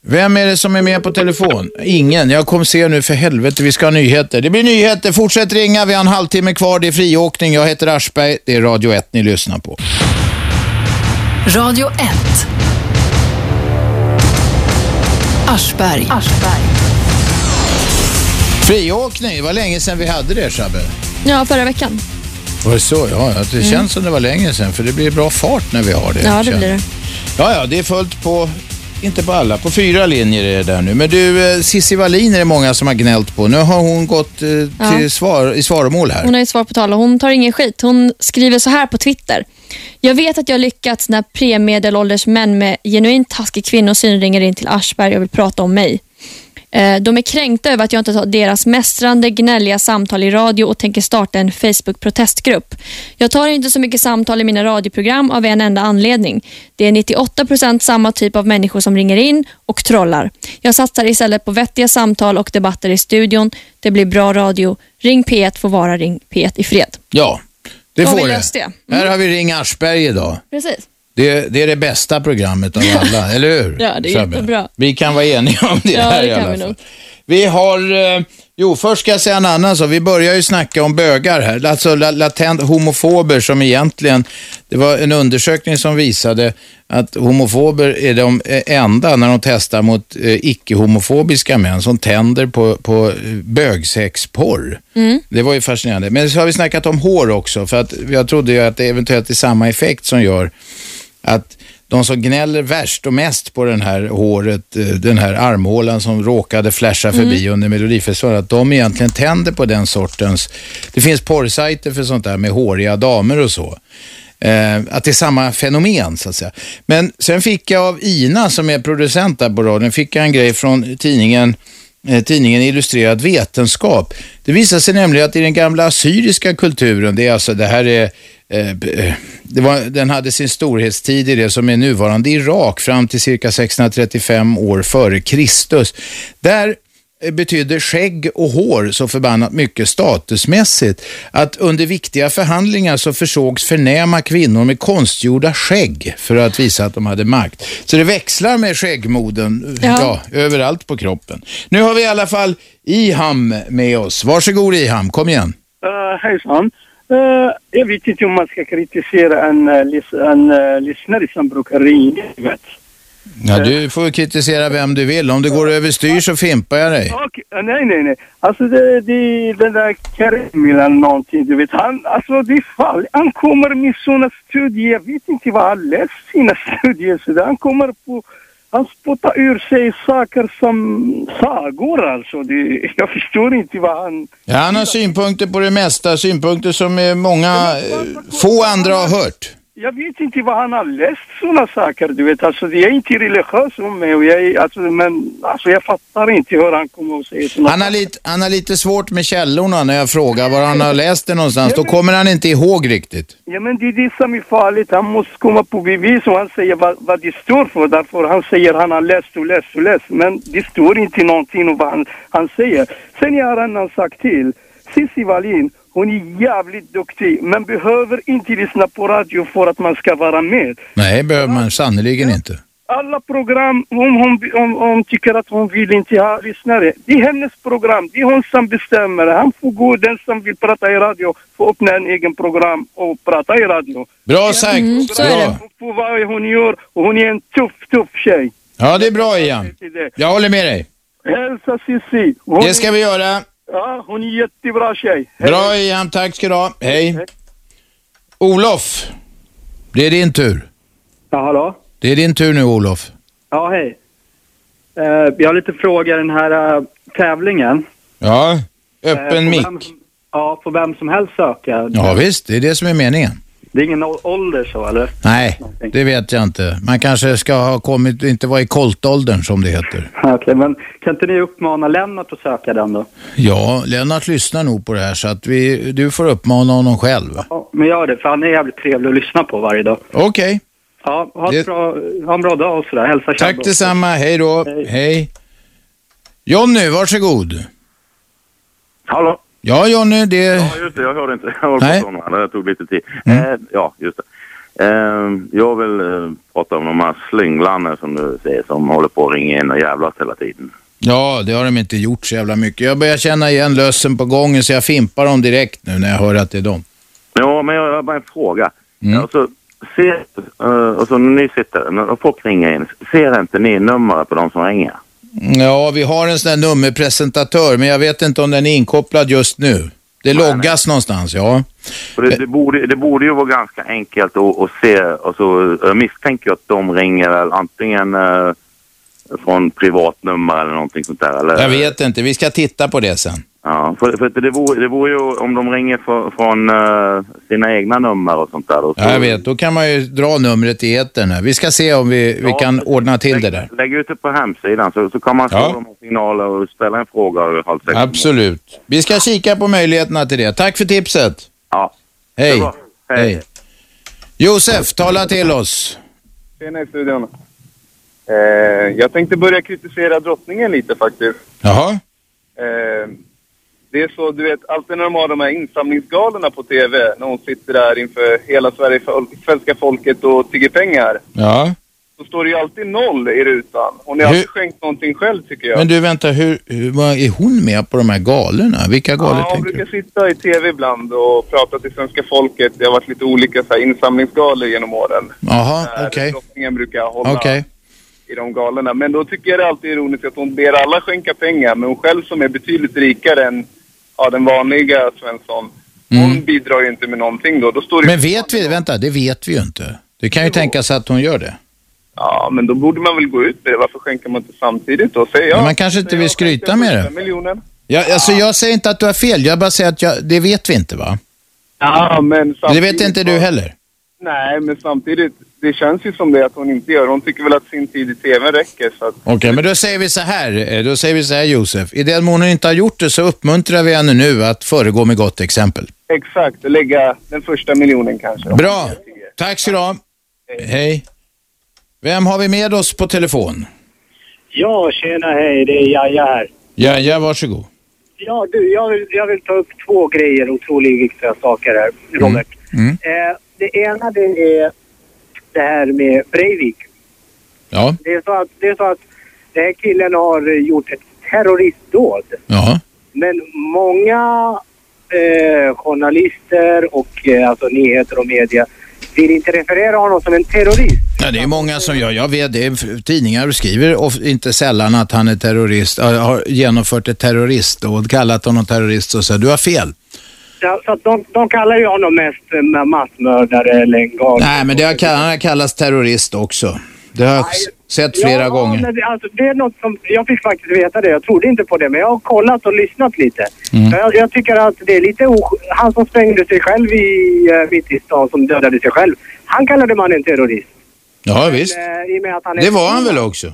Vem är det som är med på telefon? Ingen. Jag kommer se nu, för helvete, vi ska ha nyheter. Det blir nyheter. Fortsätt ringa. Vi har en halvtimme kvar. Det är friåkning. Jag heter Aschberg. Det är Radio 1 ni lyssnar på. Radio 1. Aschberg. Friåkning. Det var länge sedan vi hade det, Shabbe. Ja, förra veckan. Var det så? Ja, ja, det Mm. känns som det var länge sedan för det blir bra fart när vi har det. Ja, det känner blir det. Ja, ja, det är fullt på, inte på alla, på fyra linjer är det där nu. Men du, eh, Cissi Wallin är det många som har gnällt på. Nu har hon gått eh, till Ja. svar, i svaromål här. Hon har ju svar på tal och hon tar ingen skit. Hon skriver så här på Twitter. Jag vet att jag lyckats när premedelålders män med genuint taskig kvinnosyn ringer in till Aschberg och vill prata om mig. Eh, De är kränkta över att jag inte tar deras mästrande, gnälliga samtal i radio och tänker starta en Facebook-protestgrupp. Jag tar inte så mycket samtal i mina radioprogram av en enda anledning. Det är 98% samma typ av människor som ringer in och trollar. Jag satsar istället på vettiga samtal och debatter i studion. Det blir bra radio. Ring P1 får vara Ring P1 i fred. Ja, det Då har får vi det. löst det. Mm. Här har vi Ring Aschberg idag. Precis. Det, det är det bästa programmet av alla, eller hur? Ja, det är Shabbe? jättebra. Vi kan vara eniga om det Ja, här det i kan alla vi fall. nog. Vi har, eh, jo först ska jag säga en annan sak. Vi börjar ju snacka om bögar här, alltså la- latent homofober som egentligen, det var en undersökning som visade att homofober är de eh, enda när de testar mot eh, icke-homofobiska män som tänder på, på eh, bögsexporr. Det var ju fascinerande. Men så har vi snackat om hår också, för att jag trodde ju att det eventuellt är samma effekt som gör att de som gnäller värst och mest på den här håret, eh, den här armhålan som råkade flasha förbi under Melodifestivalen, att de egentligen tänder på den sortens... Det finns porrsajter för sånt där med håriga damer och så. Eh, att det är samma fenomen så att säga. Men sen fick jag av Ina som är producent där på radion, fick jag en grej från tidningen eh, tidningen Illustrerad Vetenskap. Det visar sig nämligen att i den gamla assyriska kulturen, det är alltså det här är eh, b- eh, det var, den hade sin storhetstid i det som är nuvarande Irak fram till cirka 635 år före Kristus. Där eh, betydde skägg och hår så förbannat mycket statusmässigt att under viktiga förhandlingar så försågs förnäma kvinnor med konstgjorda skägg för att visa att de hade makt. Så det växlar med skäggmoden ja. Ja. överallt på kroppen. Nu har vi i alla fall Iham med oss. Varsågod Iham, kom igen. Uh, hejsan. Eh, jag vet inte om man ska kritisera en, eh, lys- en eh, lyssnare som brukar ringa. jag vet. Ja, du får kritisera vem du vill. Om det går överstyr så fimpar jag dig. Okej, eh, nej, nej, nej. Alltså det, det, den där Karim eller någonting, du vet. Han, alltså det är fall. Han kommer med såna studier. Jag vet inte vad han läst sina studier. Så där. Han kommer på... Han spottar ur sig saker som sagor alltså. Det, jag förstår inte vad han... Ja, han har synpunkter på det mesta, synpunkter som eh, många, eh, få andra har hört. jag vet inte vad han har läst sådana saker, du vet. Alltså, jag är inte religiös om mig och jag, är, alltså, men, alltså, jag fattar inte hur han kommer och säger sådana Han har, lite, han har lite svårt med källorna när jag frågar var han har läst det någonstans. Då kommer han inte ihåg riktigt. Ja, men det är det som är farligt. Han måste komma på bevis och han säger vad, vad det står för. Därför han säger han har läst och läst och läst. Men det står inte någonting om vad han, han säger. Sen jag har en annan sak till. Cissi Wallin, hon är jävligt duktig. Man behöver inte lyssna på radio för att man ska vara med. Nej, behöver man sannerligen inte. Alla program, om hon om, om tycker att hon vill inte ha lyssnare, det är hennes program. Det är hon som bestämmer. Han får gå, den som vill prata i radio, får öppna en egen program och prata i radio. Bra sagt! Mm, Bra. Hon får vad hon gör och hon är en tuff, tuff tjej. Ja, det är bra Ian. Jag håller med dig. Hälsa Cissi. Hon Det ska vi göra. Ja, hon är jättebra tjej. Bra Ian, tack ska du ha. Hej. Olof, det är din tur. Ja, hallå? Det är din tur nu Olof. Ja, hej. Eh, jag har lite frågor i den här eh, tävlingen. Eh, Ja, öppen på mick. vem som- Ja, på vem som helst söka. Ja visst, det är det som är meningen. Det är ingen å- ålder så, eller? Nej, det vet jag inte. Man kanske ska ha kommit, inte vara i koltåldern som det heter. Okej, men kan inte ni uppmana Lennart att söka den då? Ja, Lennart lyssnar nog på det här så att vi, du får uppmana honom själv. Ja, men gör det, för han är jävligt trevlig att lyssna på varje dag. Okej. Ja, ha, ett bra, ha en bra dag och sådär. Hälsa Chabbe Tack också. detsamma, hej då. Hej. Jonny, varsågod. Hallå? Ja, Jonny, det... Ja, just det. Jag hörde inte. Jag höll på Eh. Nej. Mm. att somna. Det tog lite tid. Eh, ja, just det. Eh, jag vill eh, prata om de här slynglarna som du säger som håller på att ringa in och jävlas hela tiden. Ja, det har de inte gjort så jävla mycket. Jag börjar känna igen lösen på gången så jag fimpar dem direkt nu när jag hör att det är dem. Ja, men jag jag har bara en fråga. Mm. Alltså, ser, eh, alltså, när ni sitter, när folk ringer in, ser inte ni numret på de som ringer? Mm, Ja, vi har en sån här nummerpresentatör, men jag vet inte om den är inkopplad just nu. Det loggas någonstans, ja. För det, det, borde, det borde ju vara ganska enkelt att, att se. Alltså, jag misstänker att de ringer väl antingen eh, från privatnummer eller någonting sånt där. Eller? Jag vet inte, vi ska titta på det sen. Ja, för, för att det, vore, det vore ju om de ringer för, från eh, sina egna nummer och sånt där. Och så, Ja, jag vet, då kan man ju dra numret i etern. här. Vi ska se om vi, vi Ja, kan ordna till det där. Lägg ut det på hemsidan så, så kan man få Ja. de här signaler och ställa en fråga. och Halv sex. Absolut. Vi ska kika på möjligheterna till det. Tack för tipset. Ja. Hej. Hej. Josef, tala till oss. Tjena i studion. Eh, jag tänkte börja kritisera drottningen lite faktiskt. Jaha. Eh, det är så, du vet, alltid när de har de här insamlingsgalorna på TV, när hon sitter där inför hela Sverige, svenska folket och tigger pengar, Ja. så står det ju alltid noll i rutan. Hon har Hur- alltid skänkt någonting själv tycker jag. Men du, vänta, hur, hur, vad är hon med på de här galorna? Vilka galor Ja, hon tänker brukar sitta i TV ibland och prata till svenska folket. Det har varit lite olika så här, insamlingsgalor genom åren. Jaha, Där okej. Drottningen brukar hålla Okej. i de galorna. Men då tycker jag det är alltid ironiskt att hon ber alla skänka pengar, men hon själv som är betydligt rikare än ja, den vanliga Svensson, hon bidrar ju inte med någonting då. då står det Mm. Men vet vi, vänta, det vet vi ju inte. Det kan ju tänkas att hon gör det. Ja, men då borde man väl gå ut med det. Varför skänker man inte samtidigt då? Säger jag. Men man kanske inte vill skryta med det. miljoner. Jag, alltså, jag säger inte att du har fel, jag bara säger att jag, det vet vi inte va? Ja, men Det samtidigt vet inte du så- heller. Nej, men samtidigt, det känns ju som det att hon inte gör. Hon tycker väl att sin tid i TV räcker. Så att, Okej, men då säger vi så här, eh, då säger vi så här Josef. I den mån hon inte har gjort det så uppmuntrar vi henne nu att föregå med gott exempel. exakt, lägga den första miljonen kanske. Bra, tack så du ha. Hej. Vem har vi med oss på telefon? Ja, tjena hej, det är Jaja här. Ja, ja varsågod. Ja, du, jag vill, jag vill ta upp två grejer, otroligt viktiga saker här, Robert. Mm. Eh, det ena det är det här med Breivik. Ja. Det är så att, det är så att den här killen har eh, gjort ett terroristdåd. Ja. Men många eh, journalister och eh, alltså nyheter och media vill inte referera honom som en terrorist. Ja, det är många som gör, jag vet, det är, tidningar skriver of, inte sällan att han är terrorist, äh, har genomfört ett terroristdåd, kallat honom terrorist och så, du har fel. Ja, så att de, de kallar ju honom mest eh, massmördare eller en galning. Nej, men det har, han har kallats terrorist också. Det har jag s- sett flera ja, gånger. Men det, alltså, det är något som, jag fick faktiskt veta det. Jag trodde inte på det, men jag har kollat och lyssnat lite. Mm. Så Jag, jag tycker att det är lite o, Han som sprängde sig själv i, eh, mitt i stan, som dödade sig själv. Han kallade mannen terrorist. Ja, visst. Eh, I och med att han är- Det var han väl också?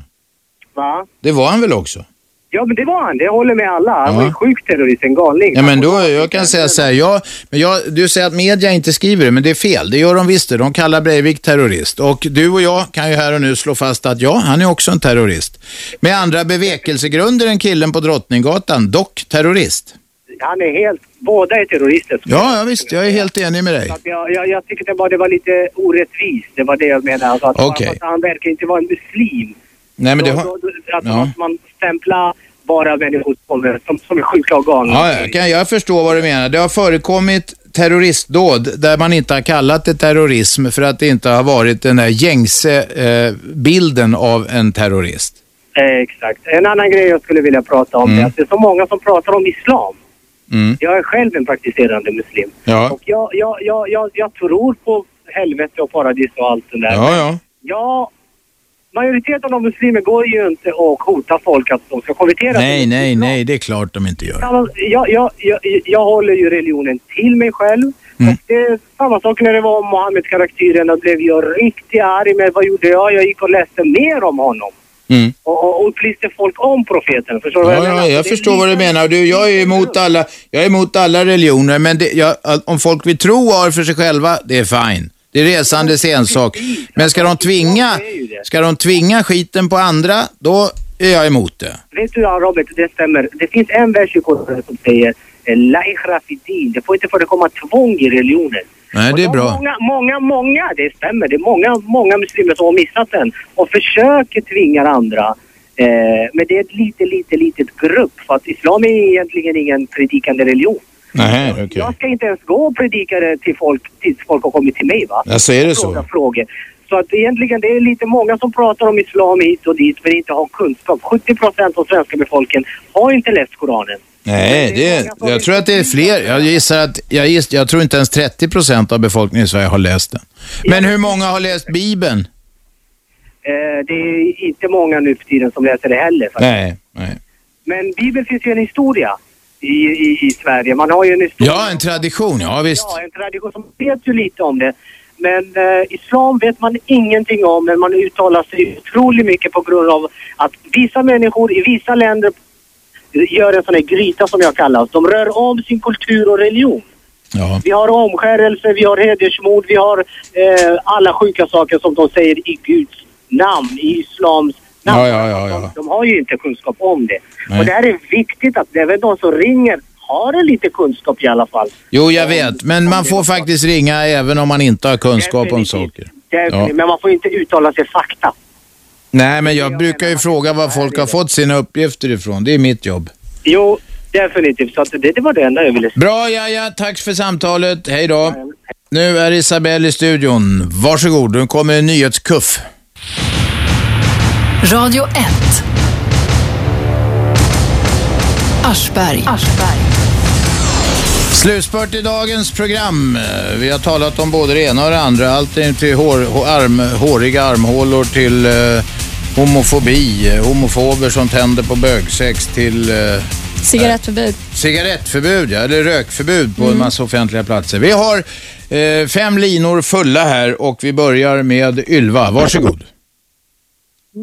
Va? Det var han väl också? Ja, men det var han. Det håller med alla. Han Ja. var ju sjuk terrorist, en galning. Ja, men då, jag kan säga så här, jag, men jag, du säger att media inte skriver det, men det är fel. Det gör de visst det. De kallar Breivik terrorist. Och du och jag kan ju här och nu slå fast att ja, han är också en terrorist. Med andra bevekelsegrunder än killen på Drottninggatan, dock terrorist. Han är helt... Båda är terrorister. Ja, ja visst, jag är helt enig med dig. Så att jag, jag, jag tycker det var, det var lite orättvist. Det var det jag menade. Alltså att bara Okej. för att han verkar inte vara en muslim. Nej, men det då, har... då, då, alltså, Ja. måste man stämpla bara människor som, som, som är sjuka och galna. Ja, jag, kan, jag förstår vad du menar. Det har förekommit terroristdåd där man inte har kallat det terrorism för att det inte har varit den där gängse eh, bilden av en terrorist. Eh, exakt. En annan grej jag skulle vilja prata om Mm. är att det är så många som pratar om islam. Mm. Jag är själv en praktiserande muslim. Ja, Och jag, jag, jag, jag, jag tror på helvete och paradis och allt det där. ja, ja. Ja, majoriteten av muslimer går ju inte och hotar folk att de ska konvertera. Nej, nej, nej, det är klart de inte gör. Samma- Jag, jag, jag, jag håller ju religionen till mig själv. Mm. Och det är samma sak när det var om Mohammed-karaktären. Då blev jag riktigt arg. Men vad gjorde jag? Jag gick och läste mer om honom. Mm. Och, och, och upplyste folk om profeten. Förstår du vad Ja, ja, jag Det är förstår vad du menar. Du, jag, är emot alla, jag är emot alla religioner, men det, jag, att- om folk vill tro och har för sig själva, det är fine. Det är resandes ensak. Men ska de tvinga, ska de tvinga skiten på andra, då är jag emot det. Vet du, ja, Robert, det stämmer. Det finns en vers i Koranen som säger eh, La ikhra fi din. Det får inte förekomma tvång i religionen. Nej, det är bra. Många, många, många, det stämmer. Det är många, många muslimer som har missat den och försöker tvinga andra. Eh, men det är ett lite, lite, litet grupp för att islam är egentligen ingen predikande religion. Nej, okej. Jag ska inte ens gå och predika det till folk tills folk har kommit till mig va? Ja, så Alltså, är det Och så. Fråga frågor. Så att egentligen det är lite många som pratar om islam hit och dit men inte har kunskap. 70 procent av svenska befolkningen har inte läst Koranen. Nej, det, jag tror att det är fler. Jag gissar att, jag, giss, jag tror inte ens 30 procent av befolkningen i Sverige har läst den. Men hur många har läst Bibeln? Eh, det är inte många nu för tiden som läser det heller. faktiskt. Nej, nej. Men Bibeln finns ju en historia i, i, i Sverige. Man har ju en historia. Ja, en tradition, ja visst. Ja, en tradition som vet ju lite om det. Men eh, islam vet man ingenting om, men man uttalar sig otroligt mycket på grund av att vissa människor i vissa länder gör en sån här gryta som jag kallar det. De rör om sin kultur och religion. Vi har omskärelse, vi har hedersmord, vi har eh, alla sjuka saker som de säger i Guds namn, i islams namn. Ja, ja, ja, ja. De har ju inte kunskap om det. Nej. Och det här är viktigt att även de som ringer har en lite kunskap i alla fall. Jo, jag vet, men man får faktiskt ringa även om man inte har kunskap om saker. Därför- Ja. Men man får inte uttala sig fakta. Nej, men jag brukar ju fråga var folk har fått sina uppgifter ifrån. Det är mitt jobb. Jo, definitivt. Så att det, det var det enda jag ville säga. Bra Jaja, tack för samtalet. Hej då. Nu är Isabelle i studion. Varsågod, nu kommer en nyhetskuff. Radio 1. Aschberg. Slutspurt i dagens program. Eh, Vi har talat om både det ena och det andra. Allt in till hår, hår, arm, håriga armhålor till eh, homofobi, eh, homofober som tänder på bögsex till eh, Cigarettförbud. cigarettförbud, ja, eller rökförbud på en massa offentliga platser. Vi har eh, fem linor fulla här och vi börjar med Ylva. Varsågod.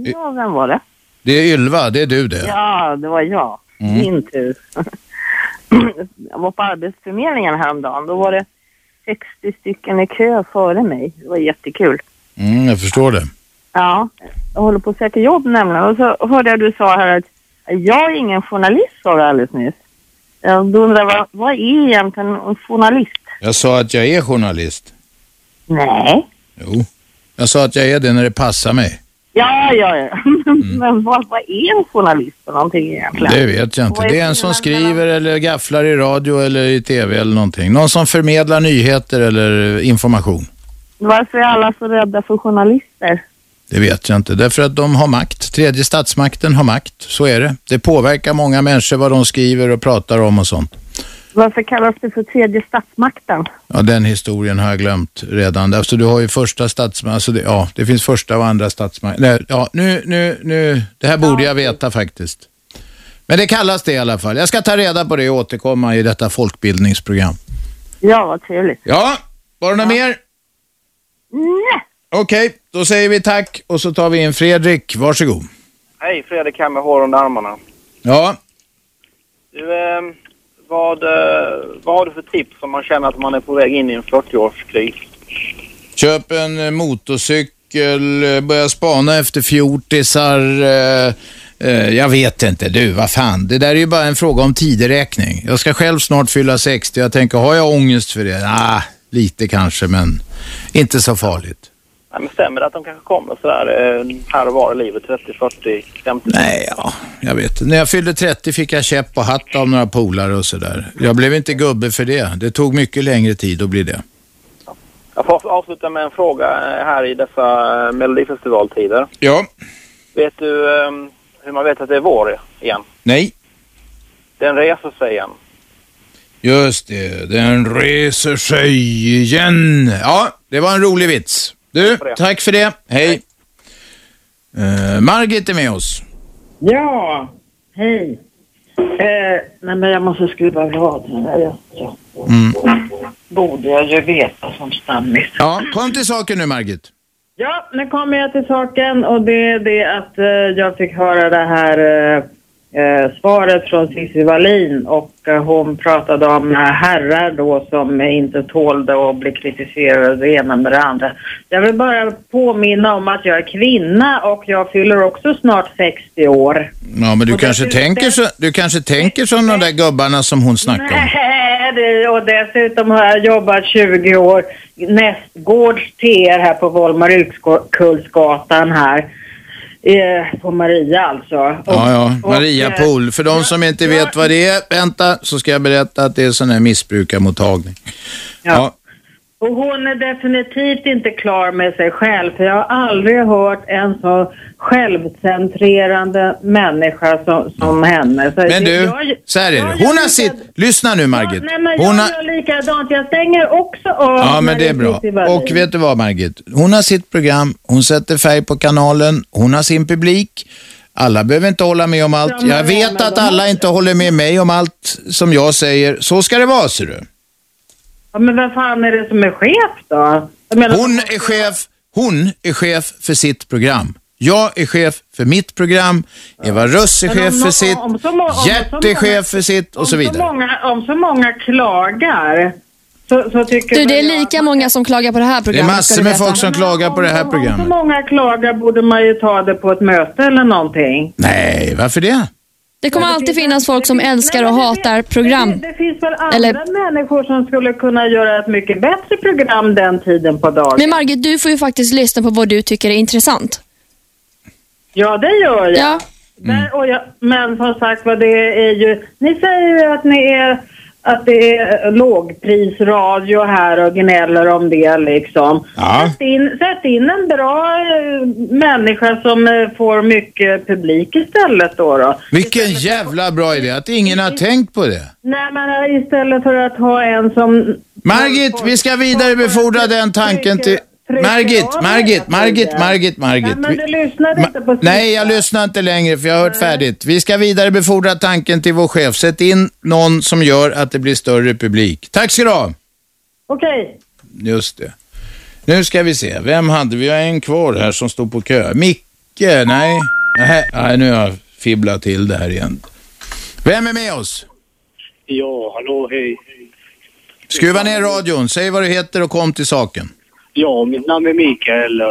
Ja, vem var det? Det är Ylva, det är du det. Ja, det var jag. Mm. Min tur. jag var på Arbetsförmedlingen häromdagen. Då var det 60 stycken i kö före mig. Det var jättekul. Mm, jag förstår det. Ja, jag håller på att söka jobb nämligen. Och så hörde jag du sa här att jag är ingen journalist, sa du alldeles nyss. Ja, Då undrar jag, vad, vad är egentligen en journalist? Jag sa att jag är journalist. Nej. Jo. Jag sa att jag är det när det passar mig. Ja, ja, ja. Men vad, vad är en journalist för någonting egentligen? Mm. Det vet jag inte. Vad är Det är en som skriver eller gafflar i radio eller i tv eller någonting. Någon som förmedlar nyheter eller eh, information. Varför är alla så rädda för journalister? Det vet jag inte. Därför att de har makt. Tredje statsmakten har makt. Så är det. Det påverkar många människor vad de skriver och pratar om och sånt. Varför kallas det för tredje statsmakten? Ja, den historien har jag glömt redan. Alltså, du har ju första statsmakten. Alltså, det, ja, det finns första och andra statsmakten. Nej, Ja, nu, nu, nu. Det här borde jag veta faktiskt. Men det kallas det i alla fall. Jag ska ta reda på det och återkomma i detta folkbildningsprogram. Ja, vad trevligt. Ja, var det något mer? Okej, då säger vi tack och så tar vi in Fredrik. Varsågod. Hej, Fredrik här med hår under armarna. Ja, Du, eh, vad, eh, vad har du för tips om man känner att man är på väg in i en 40-årskris? köp en eh, motorcykel, eh, börja spana efter fjortisar. eh, eh, Jag vet inte, du, vad fan. Det där är ju bara en fråga om tideräkning. Jag ska själv snart fylla 60. Jag tänker, har jag ångest för det? Ah, lite kanske, men inte så farligt. Nej, men stämmer det att de kanske kommer sådär eh, här och var i livet, 30, 40, 50? Nej, ja. Jag vet När jag fyllde 30 fick jag käpp och hatt av några polare och sådär. Jag blev inte gubbe för det. Det tog mycket längre tid att bli det. Jag får avsluta med en fråga eh, här i dessa eh, melodifestivaltider. Ja. Vet du eh, hur man vet att det är vår igen? Nej. Den reser sig igen. Just det, den reser sig igen. Ja, det var en rolig vits. Du, tack för det. Hej. Eh, Margit är med oss. Ja, hej. Eh, nej, men jag måste skruva av radion. här. Jag- jag- Mm. Borde jag ju veta som stammis. Ja, kom till saken nu, Margit. Ja, nu kommer jag till saken och det är det att eh, jag fick höra det här eh, eh, svaret från Cissi Wallin och eh, hon pratade om eh, herrar då som inte tålde att bli kritiserade det ena med det andra. Jag vill bara påminna om att jag är kvinna och jag fyller också snart 60 år. Ja, men du kanske tänker, så, du kanske tänker som de där gubbarna som hon snackade om. Nej, det- och dessutom har jag jobbat 20 år nästgårds TR här på Volmar Utkullsgatan här. Eh, på Maria alltså. Ja, ja. Maria Pool. För de som inte vet vad det är, vänta, så ska jag berätta att det är sån här missbrukarmottagning. Ja. Och hon är definitivt inte klar med sig själv för jag har aldrig hört en så självcentrerande människa som, som henne. Så Men du, jag, så här är det. Hon har sitt... Lyssna nu, Margit. nej, men jag Hon har... gör likadant. Jag stänger också av Ja, men det är bra. Marie-Louise Wallin. Och vet du vad, Margit? Hon har sitt program, hon sätter färg på kanalen, hon har sin publik. Alla behöver inte hålla med om allt. Jag vet att alla inte håller med mig om allt som jag säger. Så ska det vara, ser du. Ja, men vem fan är det som är chef då? Hon är chef, hon är chef för sitt program. Jag är chef för mitt program, Eva Röss är Men om chef för nå- sitt, om så må- om så Gert är många- chef för sitt och så Så vidare. många, om så många klagar så, så tycker Du, det är lika många som klagar på det här Det är programmet. ska massor du med veta. folk som klagar på det här Om så programmet. många klagar borde man ju ta det på ett möte eller någonting. Nej, varför det? Det kommer alltid finnas folk som älskar och hatar program. Det finns väl andra Eller- människor som skulle kunna göra ett mycket bättre program den tiden på dagen. Men Margit, du får ju faktiskt lyssna på vad du tycker är intressant. Ja, det gör jag. Mm. Där, och jag men som sagt vad det är ju... Ni säger ju att ni är... Att det är eh, lågprisradio här och gnäller om det liksom. Sätt, in, sätt in en bra eh, människa som eh, får mycket publik istället då. då. Vilken jävla bra idé att ingen har tänkt på det. Nej men eh, istället för att ha en som... Margit, vi ska vidarebefordra den tanken till... Margit, Margit, Margit, Margit, Margit. Men du Vi- lyssnade inte på... Nej, jag lyssnar inte längre för jag har hört färdigt. Vi ska vidarebefordra tanken till vår chef. Sätt in någon som gör att det blir större publik. Tack ska du ha. Okej. Just det. Nu ska vi se. Vem hade vi? Vi har en kvar här som står på kö. Micke? Nej. Nähä. Nej, nu har jag fibblat till det här igen. Vem är med oss? Ja, hallå, hej. Skruva ner radion. Säg vad du heter och kom till saken. Ja, mitt namn är Mikael eh,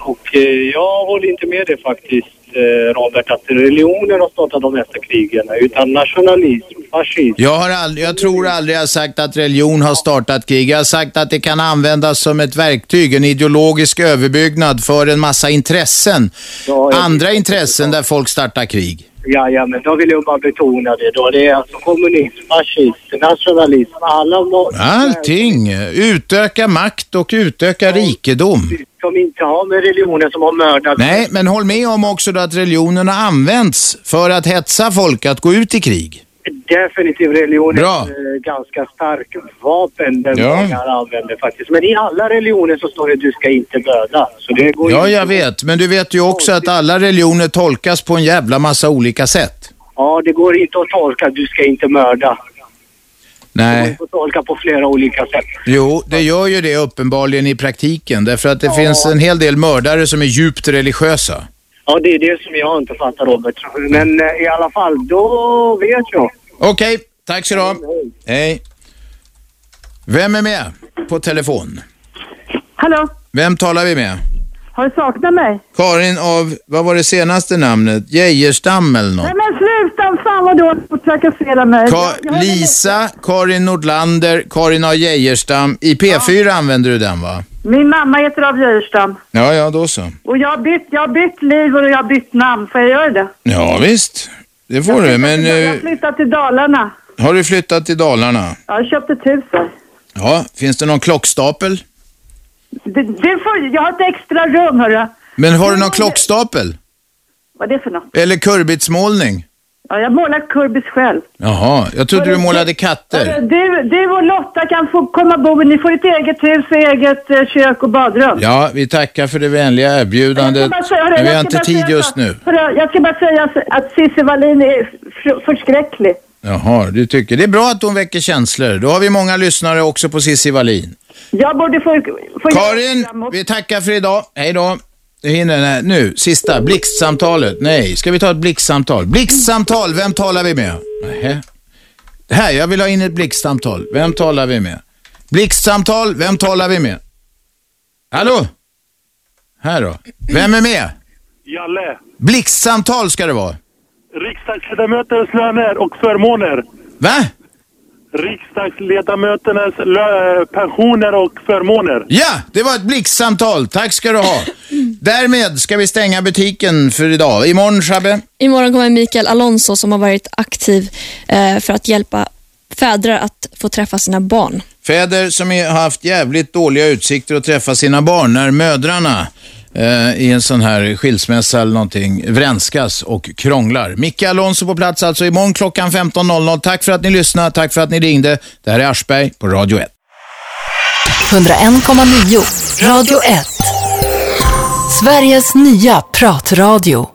och eh, jag håller inte med dig faktiskt, eh, Robert, att religionen har startat de mesta krigen, utan nationalism, fascism. Jag, har aldrig, jag tror aldrig jag har sagt att religion har startat krig. Jag har sagt att det kan användas som ett verktyg, en ideologisk överbyggnad för en massa intressen. Andra intressen där folk startar krig. Ja, ja, men då vill jag bara betona det då. Det är alltså kommunism, fascism, nationalism, alla må- Allting. Utöka makt och utöka rikedom. som inte har med religionen som har mördat. Nej, men håll med om också då att religionen har använts för att hetsa folk att gå ut i krig. Definitivt religionen Bra. är eh, ganska stark vapen den Ja. många använder faktiskt. Men i alla religioner så står det du ska inte döda. Så det går Ja, inte- jag vet. Men du vet ju också att alla religioner tolkas på en jävla massa olika sätt. Ja, det går inte att tolka. Du ska inte mörda. Nej. får tolka på flera olika sätt. Jo, det gör ju det uppenbarligen i praktiken. Därför att det finns en hel del mördare som är djupt religiösa. Ja, det är det som jag inte fattar Robert. Men eh, i alla fall, då vet jag. Okej, tack så du ha. Hej. Vem är med på telefon? Hallå, Vem talar vi med? har du saknat mig? Karin av, vad var det senaste namnet? Geijerstam eller något? Nej men sluta, fan vad du håller på att trakassera mig. Ka- Lisa, Karin Nordlander, Karin A. Geijerstam. I P4 använder du den va? Min mamma heter Av Geijerstam Ja, ja, då så. och jag har, bytt, jag har bytt liv och jag har bytt namn. Får jag göra det? Ja, visst. Det får du, men Jag har eh, flyttat till Dalarna. har du flyttat till Dalarna? Jag köpte ett hus där. Ja, finns det någon klockstapel? Det, det får, jag har ett extra rum hörru. Men har du någon klockstapel? Vad är det för något? Eller kurbitsmålning? Ja, jag målar kurbis själv. Jaha, jag trodde du målade katter. Du, du och Lotta kan få komma bo, ni får ett eget hus och eget eh, kök och badrum. Ja, vi tackar för det vänliga erbjudandet. Jag ska bara säga det, Men vi jag har ska inte bara tid säga just nu. Hörru, jag ska bara säga så- att Cissi Wallin är fr- förskräcklig. Jaha, du tycker. Det är bra att hon väcker känslor. Då har vi många lyssnare också på Cissi Wallin. Jag borde få... få Karin, vi tackar för idag. Hej då. Jag hinner den här. Nu, sista. Blixtsamtalet. Nej, ska vi ta ett blixtsamtal? Blixtsamtal, vem talar vi med? Nähä. Här, jag vill ha in ett blixtsamtal. Vem talar vi med? Blixtsamtal, vem talar vi med? Hallå? Här då. Vem är med? Jalle, Blixtsamtal ska det vara. riksdagsledamöternas löner och förmåner. Va? Riksdagsledamöternas lö- pensioner och förmåner. Ja, det var ett blixtsamtal. Tack ska du ha. Därmed ska vi stänga butiken för idag. Imorgon, Shabbe. Imorgon kommer Mikael Alonso som har varit aktiv eh, för att hjälpa fäder att få träffa sina barn. Fäder som har haft jävligt dåliga utsikter att träffa sina barn när mödrarna eh, i en sån här skilsmässa eller någonting vrenskas och krånglar. Micke Alonso på plats alltså imorgon klockan 15.00. Tack för att ni lyssnade, tack för att ni ringde. Det här är Aschberg på Radio 1. 101,9 Radio 1. Sveriges nya pratradio.